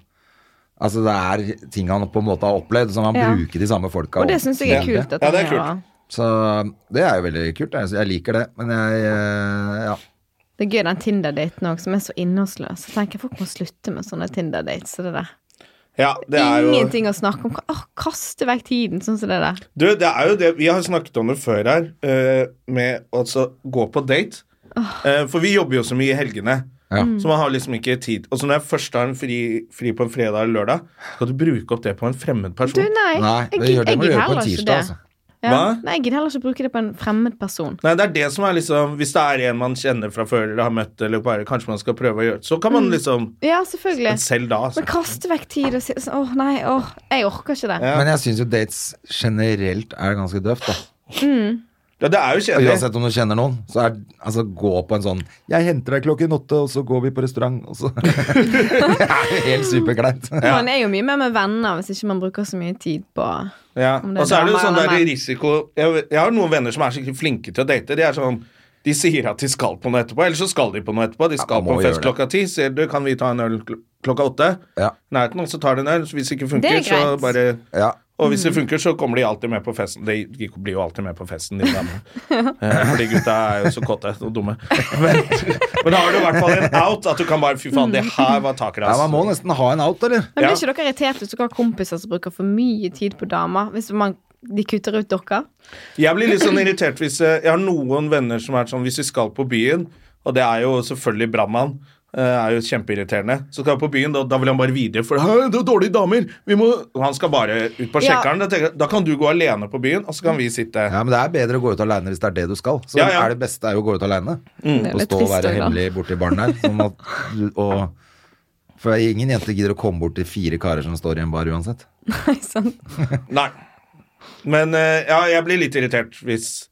Speaker 2: Altså det er ting han på en måte har opplevd, som han
Speaker 4: Ja.
Speaker 2: bruker de samme folka.
Speaker 4: Og det syns jeg er
Speaker 2: overfor.
Speaker 4: kult. At
Speaker 1: Ja, det er
Speaker 4: han gjør,
Speaker 1: kult.
Speaker 4: da.
Speaker 2: Så um, det er jo veldig kult. Jeg, jeg liker det, men jeg eh, ja.
Speaker 4: Det er gøy den Tinder-daten òg, som er så innholdsløs. Jeg tenker Folk må slutte med sånne Tinder-dates. så Det der.
Speaker 1: Ja, det er jo
Speaker 4: Ingenting å snakke om. Åh, kaste vekk tiden, sånn som det der.
Speaker 1: Du, det er jo det Vi har snakket om det før her, eh, med å altså, gå på date. Eh, for vi jobber jo så mye i helgene,
Speaker 2: Ja.
Speaker 4: Mm.
Speaker 1: så man har liksom ikke tid. Og så når jeg først har en fri, fri på en fredag eller lørdag, skal du bruke opp det på en fremmed
Speaker 4: Du,
Speaker 1: person.
Speaker 4: nei.
Speaker 2: Nei,
Speaker 4: jeg
Speaker 2: det,
Speaker 4: gid-
Speaker 2: gjør, det
Speaker 4: jeg
Speaker 2: må du gjøre
Speaker 4: gidder
Speaker 2: på
Speaker 4: heller
Speaker 2: en
Speaker 4: ikke
Speaker 2: tirsdag,
Speaker 4: det.
Speaker 2: altså.
Speaker 4: Ja.
Speaker 1: Hva?
Speaker 4: Nei, jeg gidder heller ikke bruke det på en fremmed person.
Speaker 1: Nei, det er det som er liksom Hvis det er en man kjenner fra før eller har møtt, eller bare kanskje man skal prøve å gjøre det, så kan man liksom
Speaker 4: Mm. Ja, selvfølgelig.
Speaker 1: Men selv da, altså.
Speaker 4: Men kaste vekk tid og si sånn Åh, nei, åh, jeg orker ikke det.
Speaker 1: Ja.
Speaker 2: Men jeg syns jo dates generelt er ganske døvt, da.
Speaker 1: Ja, det er jo
Speaker 2: Og
Speaker 1: kjedelig.
Speaker 2: Uansett om du kjenner noen, så er altså gå på en sånn 'Jeg henter deg klokken åtte, og så går vi på restaurant', og så Det er jo helt superkleint.
Speaker 4: Man er jo mye mer med venner hvis ikke man bruker så mye tid på
Speaker 1: Ja,
Speaker 4: Om det er
Speaker 1: og så er det jo
Speaker 4: damer
Speaker 1: sånn
Speaker 4: eller
Speaker 1: der
Speaker 4: menn.
Speaker 1: risiko jeg, jeg har noen venner som er skikkelig flinke til å date. De er sånn De sier at de skal på noe etterpå, eller så skal de på noe etterpå. De skal
Speaker 2: man
Speaker 1: på
Speaker 2: må
Speaker 1: en fest
Speaker 2: gjøre det.
Speaker 1: klokka ti. Sier du, kan vi ta en øl kl- klokka åtte?
Speaker 2: Ja.
Speaker 1: Nærheten, og så tar de en øl. Så hvis det ikke
Speaker 4: Det
Speaker 1: funker,
Speaker 4: er
Speaker 1: så
Speaker 4: greit. Mm.
Speaker 1: bare
Speaker 2: Ja.
Speaker 1: Og hvis det funker, så kommer de alltid med på festen. De de blir jo alltid med på festen, de damene. Eh, For de gutta er jo så kåte og dumme. Men, men da har du i hvert fall en out at du kan bare Fy faen, det her var taket,
Speaker 2: ja,
Speaker 1: altså.
Speaker 2: man må nesten ha en out, eller?
Speaker 4: Men
Speaker 1: Ja.
Speaker 4: blir ikke dere irritert hvis dere har kompiser som bruker for mye tid på damer? Hvis man, de kutter ut dere?
Speaker 1: Jeg blir litt sånn irritert hvis eh, Jeg har noen venner som er sånn Hvis vi skal på byen, og det er jo selvfølgelig brannmann eh, er jo kjempeirriterende. Så skal jeg på byen, da, da vil han bare videre. For «Hæ, det er dårlige damer vi må... Og Han skal bare ut på
Speaker 4: Ja.
Speaker 1: sjekkeren. Da, tenker, jeg, da kan du gå alene på byen, og så kan vi sitte
Speaker 2: Ja, men det er bedre å gå ut aleine hvis det er det du skal. Så
Speaker 1: Ja, ja.
Speaker 2: er det beste er jo å gå ut aleine.
Speaker 4: Det er
Speaker 2: Og
Speaker 4: litt
Speaker 2: stå og Mm.
Speaker 4: trist
Speaker 2: være
Speaker 4: òg, da.
Speaker 2: hemmelig borti baren der. Sånn at, du- og, for ingen jenter gidder å komme bort til fire karer som står i en bar uansett.
Speaker 4: Nei, sant.
Speaker 1: Nei. Men eh, ja, jeg blir litt irritert hvis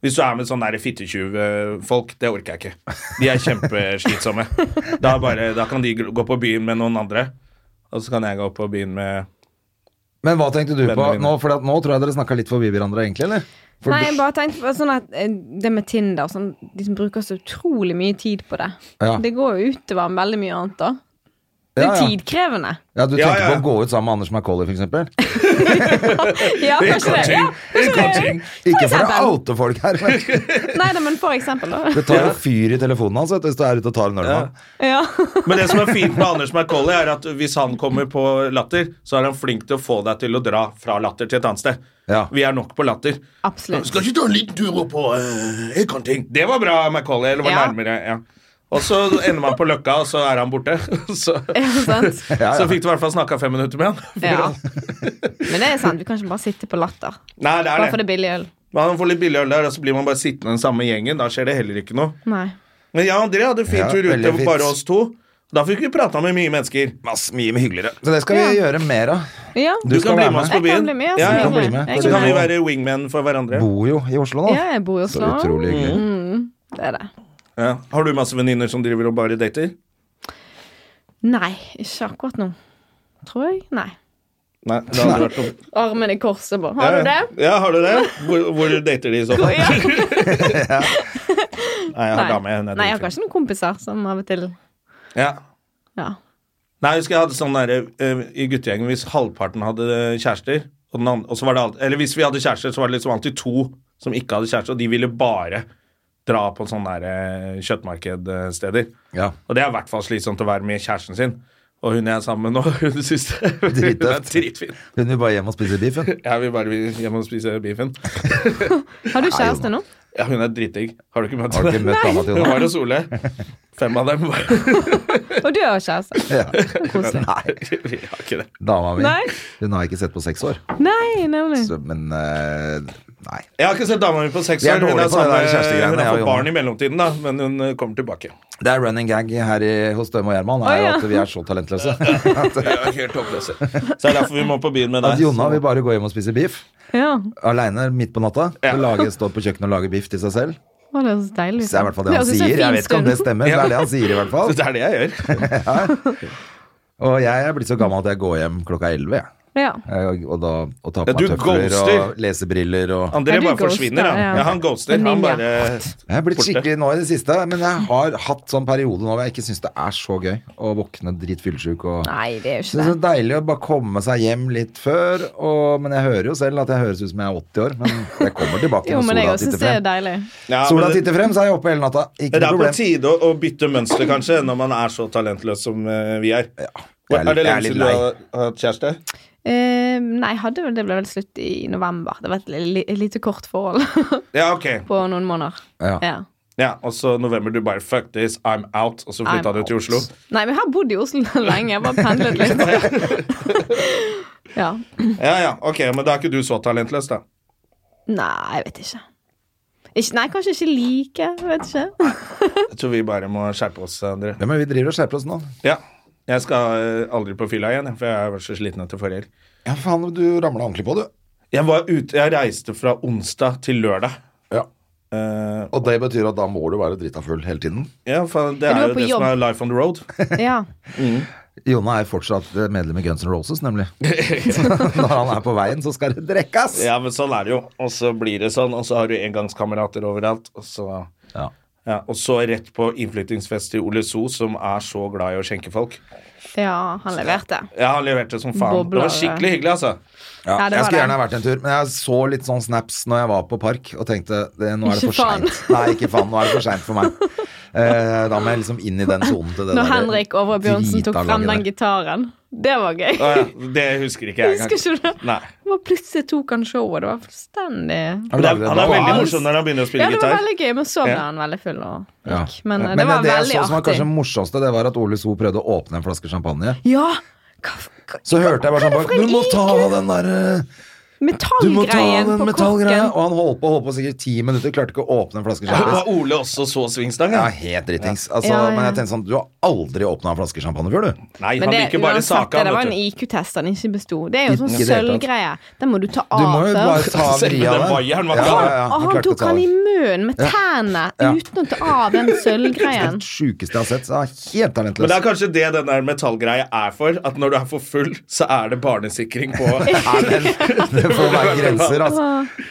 Speaker 1: hvis du er med sånn fittetjuvfolk, det orker jeg ikke. De er kjempeslitsomme. Da, bare, da kan de gå på byen med noen andre, og så kan jeg gå på byen med
Speaker 2: Men hva tenkte du på
Speaker 1: Vennene mine.
Speaker 2: nå? For at, nå tror jeg dere snakka litt forbi hverandre, egentlig, eller? For
Speaker 4: Nei,
Speaker 2: du-
Speaker 4: jeg bare tenkte på sånn at eh, det med Tinder og sånn, De som bruker så utrolig mye tid på det.
Speaker 2: Ja.
Speaker 4: Det går jo utover veldig mye annet, da. Det
Speaker 2: Ja,
Speaker 4: er
Speaker 2: ja.
Speaker 4: tidkrevende.
Speaker 2: ja, du
Speaker 1: Ja,
Speaker 2: tenkte
Speaker 1: ja, ja.
Speaker 2: på å gå ut sammen med Anders Macauley, for eksempel?
Speaker 4: Ja, kanskje det. Ja.
Speaker 1: Cutting.
Speaker 2: Ikke for å
Speaker 4: eksempel.
Speaker 2: oute folk her, men
Speaker 4: Nei da, men for eksempel, da.
Speaker 2: det tar jo fyr i telefonen hans vet du, hvis du er ute og tar en øl med han.
Speaker 4: Ja.
Speaker 1: Men det som er fint med Anders Macauley, er at hvis han kommer på latter, så er han flink til å få deg til å dra fra latter til et annet sted.
Speaker 2: Ja.
Speaker 1: Vi er nok på latter.
Speaker 4: Absolutt.
Speaker 1: Skal ikke ta en liten tur opp på eh, Ekanting? Det var bra, Macauley. Eller var
Speaker 4: Ja.
Speaker 1: nærmere, ja. Og så ender man på Løkka, og så er han borte. Så,
Speaker 4: Ja, sant.
Speaker 2: Ja,
Speaker 1: så
Speaker 2: ja.
Speaker 1: fikk du i hvert fall snakka fem minutter med han.
Speaker 4: Ja. Men det er sant. Du kan ikke bare sitte på latter.
Speaker 1: Nei, det
Speaker 4: Bare
Speaker 1: er
Speaker 4: for
Speaker 1: det.
Speaker 4: det er billig øl.
Speaker 1: Man får litt billig øl der, og så blir man bare sittende den samme gjengen. Da skjer det heller ikke noe.
Speaker 4: Nei.
Speaker 1: Men jeg og André hadde fin
Speaker 2: Ja,
Speaker 1: tur
Speaker 2: veldig
Speaker 1: utover
Speaker 2: fint.
Speaker 1: bare oss to. Da fikk vi prata med mye mennesker.
Speaker 2: Så det skal vi gjøre mer av.
Speaker 4: Ja.
Speaker 1: Du
Speaker 2: Du skal
Speaker 1: kan bli
Speaker 2: være
Speaker 1: med oss på
Speaker 4: Jeg kan
Speaker 1: byen.
Speaker 4: bli med. altså.
Speaker 1: Ja,
Speaker 2: Du
Speaker 1: ja.
Speaker 2: kan bli med.
Speaker 4: Jeg
Speaker 1: Så kan
Speaker 4: kan
Speaker 1: vi
Speaker 4: være-
Speaker 1: være wingmen for hverandre.
Speaker 2: Bor jo i Oslo nå.
Speaker 4: Ja, jeg bor i
Speaker 2: Så
Speaker 4: Oslo.
Speaker 2: utrolig hyggelig.
Speaker 4: Mm, det er det.
Speaker 1: Ja. Har du masse venninner som driver og bare dater?
Speaker 4: Nei, ikke akkurat nå. Tror jeg. Nei.
Speaker 1: Nei, det har aldri vært noe.
Speaker 4: Armen i korset på. Har
Speaker 1: ja.
Speaker 4: du det?
Speaker 1: Ja, har du det? Hvor, hvor dater de i så fall?
Speaker 4: Ja.
Speaker 1: Nei, jeg har dame. Hun er
Speaker 4: Nei, jeg har
Speaker 1: dritfin.
Speaker 4: kanskje noen kompiser som av og til
Speaker 1: Ja.
Speaker 4: Ja.
Speaker 1: Nei, jeg husker jeg hadde sånn derre eh, i guttegjengen hvis halvparten hadde kjærester, og, den andre, og så var det alltid Eller hvis vi hadde kjærester, så var det liksom alltid to som ikke hadde kjæreste, og de ville bare dra på sånne der, eh, kjøttmarkedsteder.
Speaker 2: Ja.
Speaker 1: Og det er i hvert fall slitsomt å være med kjæresten sin. Og hun jeg er sammen med nå, hun syns det hun er
Speaker 2: Drittøft.
Speaker 1: dritfin.
Speaker 2: Hun vil bare hjem og spise biff, hun.
Speaker 1: Jeg vil bare hjem og spise beefen.
Speaker 4: Har du kjæreste nå?
Speaker 1: Ja, hun er dritdigg. Har du ikke møtt
Speaker 2: Har du ikke
Speaker 1: henne?
Speaker 2: møtt dama til
Speaker 1: Hun
Speaker 2: henne?
Speaker 1: var hos Ole. Fem av dem var
Speaker 4: Og du har kjæreste?
Speaker 2: Ja.
Speaker 4: Koselig.
Speaker 2: Nei,
Speaker 1: Vi har ikke det.
Speaker 2: dama mi.
Speaker 4: Nei.
Speaker 2: Hun har jeg ikke sett på seks år.
Speaker 4: Nei, nemlig.
Speaker 2: Så, men eh, nei.
Speaker 1: Jeg har ikke sett dama mi på seks
Speaker 2: Vi er
Speaker 1: år. Hun er
Speaker 2: dårlige på det
Speaker 1: sammen-
Speaker 2: der kjærestegreiene,
Speaker 1: hun
Speaker 2: jeg
Speaker 1: har fått
Speaker 2: og Jonna.
Speaker 1: barn i mellomtiden, da, men hun eh, kommer tilbake.
Speaker 2: Det er running gag her i, hos Døme og Gjerman er
Speaker 4: Å, ja.
Speaker 2: at vi er så talentløse.
Speaker 1: helt håpløse. Så det er derfor vi må på byen med
Speaker 2: At
Speaker 1: deg.
Speaker 2: Jonna vil bare gå hjem og spise biff
Speaker 4: Ja.
Speaker 2: aleine midt på natta.
Speaker 1: Ja.
Speaker 2: Og lage, stå på kjøkkenet og lage biff til seg selv.
Speaker 4: Å, det høres deilig ut.
Speaker 2: Så det er i hvert fall det
Speaker 4: Det
Speaker 2: han
Speaker 4: høres ut som
Speaker 2: sier.
Speaker 4: en
Speaker 2: Jeg
Speaker 4: fin
Speaker 2: vet ikke om det
Speaker 4: stund.
Speaker 2: stemmer. men Det er det han sier i hvert
Speaker 1: Så
Speaker 2: fall.
Speaker 1: det er det jeg gjør.
Speaker 2: Og jeg er blitt så gammel at jeg går hjem klokka elleve, jeg.
Speaker 4: Ja.
Speaker 2: Jeg- Og, da, og tar
Speaker 1: Ja,
Speaker 2: på meg
Speaker 1: du
Speaker 2: tøfler
Speaker 1: ghoster.
Speaker 2: og lesebriller og
Speaker 1: André
Speaker 4: Ja, du
Speaker 1: bare
Speaker 4: ghoster,
Speaker 1: forsvinner, han.
Speaker 4: ja.
Speaker 1: Ja, han ghoster.
Speaker 4: Men
Speaker 1: Han
Speaker 4: Ninja.
Speaker 1: bare
Speaker 2: Jeg er blitt
Speaker 1: borte.
Speaker 2: skikkelig nå i det siste, men jeg har hatt sånn periode nå hvor jeg ikke syns det er så gøy å våkne dritfyllesyk. Og...
Speaker 4: Nei, det er jo
Speaker 2: Så Det er sånn så
Speaker 4: ikke
Speaker 2: deilig å bare komme seg hjem litt før, og... men jeg hører jo selv at jeg høres ut som jeg er 80 år. Men jeg kommer tilbake
Speaker 4: det. Jo,
Speaker 2: når
Speaker 4: men jeg
Speaker 2: sola
Speaker 4: også syns
Speaker 2: titter
Speaker 4: det er
Speaker 2: frem.
Speaker 4: deilig.
Speaker 1: Ja, men
Speaker 2: Sola
Speaker 1: det-
Speaker 2: titter frem, så er jeg oppe hele natta. Ikke
Speaker 1: Det
Speaker 2: noe
Speaker 1: er på
Speaker 2: problem.
Speaker 1: tide å, å bytte mønster, kanskje, når man er så talentløs som eh, vi er.
Speaker 2: jeg er litt-
Speaker 1: er det
Speaker 2: jeg er
Speaker 1: lenge
Speaker 2: litt
Speaker 1: siden du
Speaker 2: lei.
Speaker 1: har har hatt kjæreste?
Speaker 4: Eh, nei, hadde vel, det ble vel slutt i november. Det var et li- et lite kort forhold
Speaker 1: Ja, ok.
Speaker 4: på noen måneder.
Speaker 2: Ja.
Speaker 4: Ja.
Speaker 1: Ja, Og så november du bare 'fuck this, I'm out', og så flytta
Speaker 4: I'm
Speaker 1: du til
Speaker 4: out.
Speaker 1: Oslo.
Speaker 4: Nei, men jeg har bodd i Oslo lenge. Jeg bare pendlet litt. ja.
Speaker 1: Ja, ja, ok, Men da er ikke du så talentløs, da.
Speaker 4: Nei, jeg vet ikke. ikke nei, kanskje ikke like. Jeg vet ikke.
Speaker 1: Jeg tror vi bare må skjerpe oss, André.
Speaker 2: Ja, men vi driver og skjerper oss nå.
Speaker 1: Ja. Jeg skal eh, aldri på fylla igjen, jeg, for jeg var så sliten etter forrige helg.
Speaker 2: Ja, faen, du ramla ordentlig på, du.
Speaker 1: Jeg var ute, jeg reiste fra onsdag til lørdag.
Speaker 2: Ja.
Speaker 1: Eh,
Speaker 2: Og det betyr at da må du være drita full hele tiden.
Speaker 1: ja, faen, det er
Speaker 4: Men du var
Speaker 1: jo
Speaker 4: på
Speaker 1: det som
Speaker 4: jobb.
Speaker 1: er life on the road.
Speaker 4: Ja.
Speaker 2: Jonna er fortsatt medlem i Guns N' Roses, nemlig. Når han er på veien, så skal det drekkas.
Speaker 1: Ja, men sånn er det jo. Og så blir det sånn, og så har du engangskamerater overalt. Og så,
Speaker 2: Ja.
Speaker 1: ja, og så rett på innflyttingsfest til Ole So, som er så glad i å skjenke folk.
Speaker 4: ja, han leverte.
Speaker 1: Ja, han leverte som faen.
Speaker 4: Bobler,
Speaker 1: det var skikkelig hyggelig, altså.
Speaker 2: Ja,
Speaker 4: Ja, det
Speaker 2: jeg
Speaker 4: var
Speaker 2: skulle
Speaker 4: det.
Speaker 2: gjerne ha vært en tur, men jeg så litt sånn snaps når jeg var på park og tenkte det, nå er det
Speaker 4: Ikke
Speaker 2: for seint. Nei, ikke faen. Nå er det for seint for meg. Eh, da må jeg liksom inn i den sonen til det
Speaker 4: Når
Speaker 2: der
Speaker 4: Henrik Over Bjørnsen tok
Speaker 2: drita
Speaker 4: frem
Speaker 2: laget
Speaker 4: den
Speaker 2: der.
Speaker 4: gitaren. Det var gøy.
Speaker 1: Å ja, det husker ikke jeg
Speaker 4: Husker
Speaker 1: engang.
Speaker 4: ikke du det?
Speaker 1: Nei.
Speaker 4: Det var plutselig tok han showet. Det var fullstendig
Speaker 2: Han
Speaker 1: Men det
Speaker 2: lager
Speaker 1: er,
Speaker 2: det
Speaker 1: han er
Speaker 2: bra.
Speaker 1: veldig morsom når han begynner å
Speaker 4: Ja,
Speaker 1: spille
Speaker 4: det var
Speaker 1: gitar.
Speaker 4: veldig gøy, men så ble
Speaker 1: Ja.
Speaker 4: han veldig full og
Speaker 2: Ja.
Speaker 4: gikk. Men, eh,
Speaker 2: Men
Speaker 4: det var
Speaker 2: det jeg
Speaker 4: veldig
Speaker 2: så som var kanskje
Speaker 4: artig.
Speaker 2: det morsomste, det var at Ole So prøvde å åpne en flaske champagne.
Speaker 4: Ja! Hva, hva,
Speaker 2: Så hørte jeg bare sånn bak
Speaker 4: for en
Speaker 2: Du må ta den der eh, Du må ta
Speaker 4: metallgreien
Speaker 2: den
Speaker 4: på
Speaker 2: metallgreia!
Speaker 4: kokken.
Speaker 2: Og han holdt på holdt på sikkert ti minutter, klarte ikke å åpne en flaske
Speaker 1: Og
Speaker 2: champagne.
Speaker 1: var Ole også så svingstang?
Speaker 2: Ja,
Speaker 1: Ja.
Speaker 2: helt dritings. Altså,
Speaker 4: Ja, ja.
Speaker 2: Men jeg tenkte sånn Du har aldri åpna en flaske champagne før, du.
Speaker 1: Nei,
Speaker 4: Men
Speaker 1: han
Speaker 4: det,
Speaker 1: liker bare
Speaker 4: uansett,
Speaker 1: saka.
Speaker 4: det
Speaker 1: vet
Speaker 4: var en
Speaker 1: du.
Speaker 4: IQ-test han ikke besto. Det er jo sånn
Speaker 2: Ikke i det hele tatt.
Speaker 4: sølvgreie. Den må du ta av
Speaker 2: Du må jo bare
Speaker 4: først.
Speaker 2: ta
Speaker 1: Selv med
Speaker 2: vri av
Speaker 1: den
Speaker 2: den.
Speaker 1: vaieren var
Speaker 4: Og
Speaker 1: klar.
Speaker 4: han, og Ah, han
Speaker 2: klarte å
Speaker 4: tok
Speaker 2: ta
Speaker 4: han
Speaker 2: den.
Speaker 4: i munnen med tærne
Speaker 2: Ja.
Speaker 4: uten å ta av den sølvgreien.
Speaker 2: Det sjukeste jeg har sett. Så er jeg helt
Speaker 1: Men
Speaker 2: talentløs.
Speaker 1: det er kanskje det den der metallgreia er for. At når du er for full, så er det barnesikring på
Speaker 2: Det får være grenser, altså.
Speaker 4: Du, vet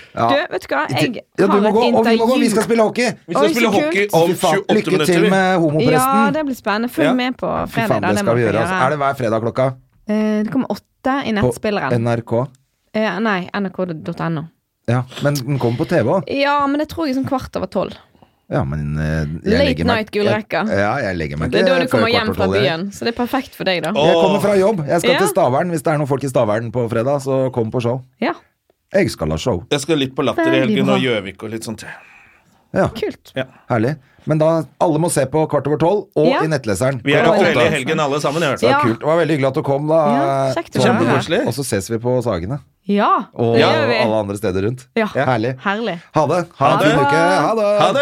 Speaker 4: du hva, jeg
Speaker 2: Ja, du
Speaker 4: har
Speaker 2: må
Speaker 4: et
Speaker 2: gå, og vi må gå, vi skal
Speaker 4: intervju.
Speaker 2: spille hockey!
Speaker 1: Vi skal
Speaker 4: Oi, så
Speaker 1: spille hockey
Speaker 4: kult.
Speaker 1: om
Speaker 2: Fy faen,
Speaker 1: 28
Speaker 2: lykke
Speaker 1: minutter.
Speaker 2: til
Speaker 1: vi.
Speaker 2: med
Speaker 4: Ja,
Speaker 2: homopresten.
Speaker 4: det blir spennende. Følg
Speaker 1: Ja.
Speaker 4: med på
Speaker 2: Fy faen,
Speaker 4: fredag. da,
Speaker 2: det
Speaker 4: det må
Speaker 2: skal vi
Speaker 4: dere
Speaker 2: gjøre. Altså. Er det hver fredag klokka?
Speaker 4: Eh, Det kommer åtte i
Speaker 2: På
Speaker 4: nettspilleren.
Speaker 2: NRK.
Speaker 4: Eh, Nei, nrk.no.
Speaker 2: Ja, men den kommer på TV òg.
Speaker 4: Ja, men det tror jeg er sånn kvart over tolv.
Speaker 2: Ja, men eh, jeg
Speaker 4: Late
Speaker 2: legger meg-
Speaker 4: night gullrekka.
Speaker 2: Jeg- Ja, jeg legger meg
Speaker 4: Det er da du
Speaker 2: før
Speaker 4: kommer
Speaker 2: kvart
Speaker 4: hjem
Speaker 2: over
Speaker 4: fra
Speaker 2: tolv, jeg.
Speaker 4: byen, så det er perfekt for deg, da.
Speaker 1: Å,
Speaker 2: Jeg kommer fra jobb. Jeg skal
Speaker 4: Ja.
Speaker 2: til Stavern. Hvis det er noen folk i Stavern på fredag, så kom på show.
Speaker 4: Ja,
Speaker 2: Jeg skal ha show.
Speaker 1: Jeg skal litt på Latter i
Speaker 4: Veldig
Speaker 1: helgen
Speaker 4: bra.
Speaker 1: og Gjøvik og litt sånt.
Speaker 2: Ja,
Speaker 4: kult.
Speaker 2: herlig. Men da, alle må se på Kvart over tolv, og
Speaker 4: Ja.
Speaker 2: i nettleseren.
Speaker 1: Vi er
Speaker 2: Klokka åtte.
Speaker 1: aktuelle i helgen alle sammen. i hvert fall.
Speaker 4: Ja.
Speaker 2: Kult. Ah, sånn Det var veldig hyggelig at du kom, da.
Speaker 4: Ja, kjekt å
Speaker 2: Tom.
Speaker 4: være her.
Speaker 1: Kjempekoselig.
Speaker 2: Og så ses vi på Sagene.
Speaker 4: Ja,
Speaker 2: Og
Speaker 4: det gjør vi.
Speaker 2: alle andre steder rundt.
Speaker 4: Ja.
Speaker 2: Herlig.
Speaker 4: Herlig.
Speaker 2: Ha det. Ha,
Speaker 1: Ha
Speaker 2: en fin
Speaker 1: det.
Speaker 2: uke. Ha det.
Speaker 1: Ha det!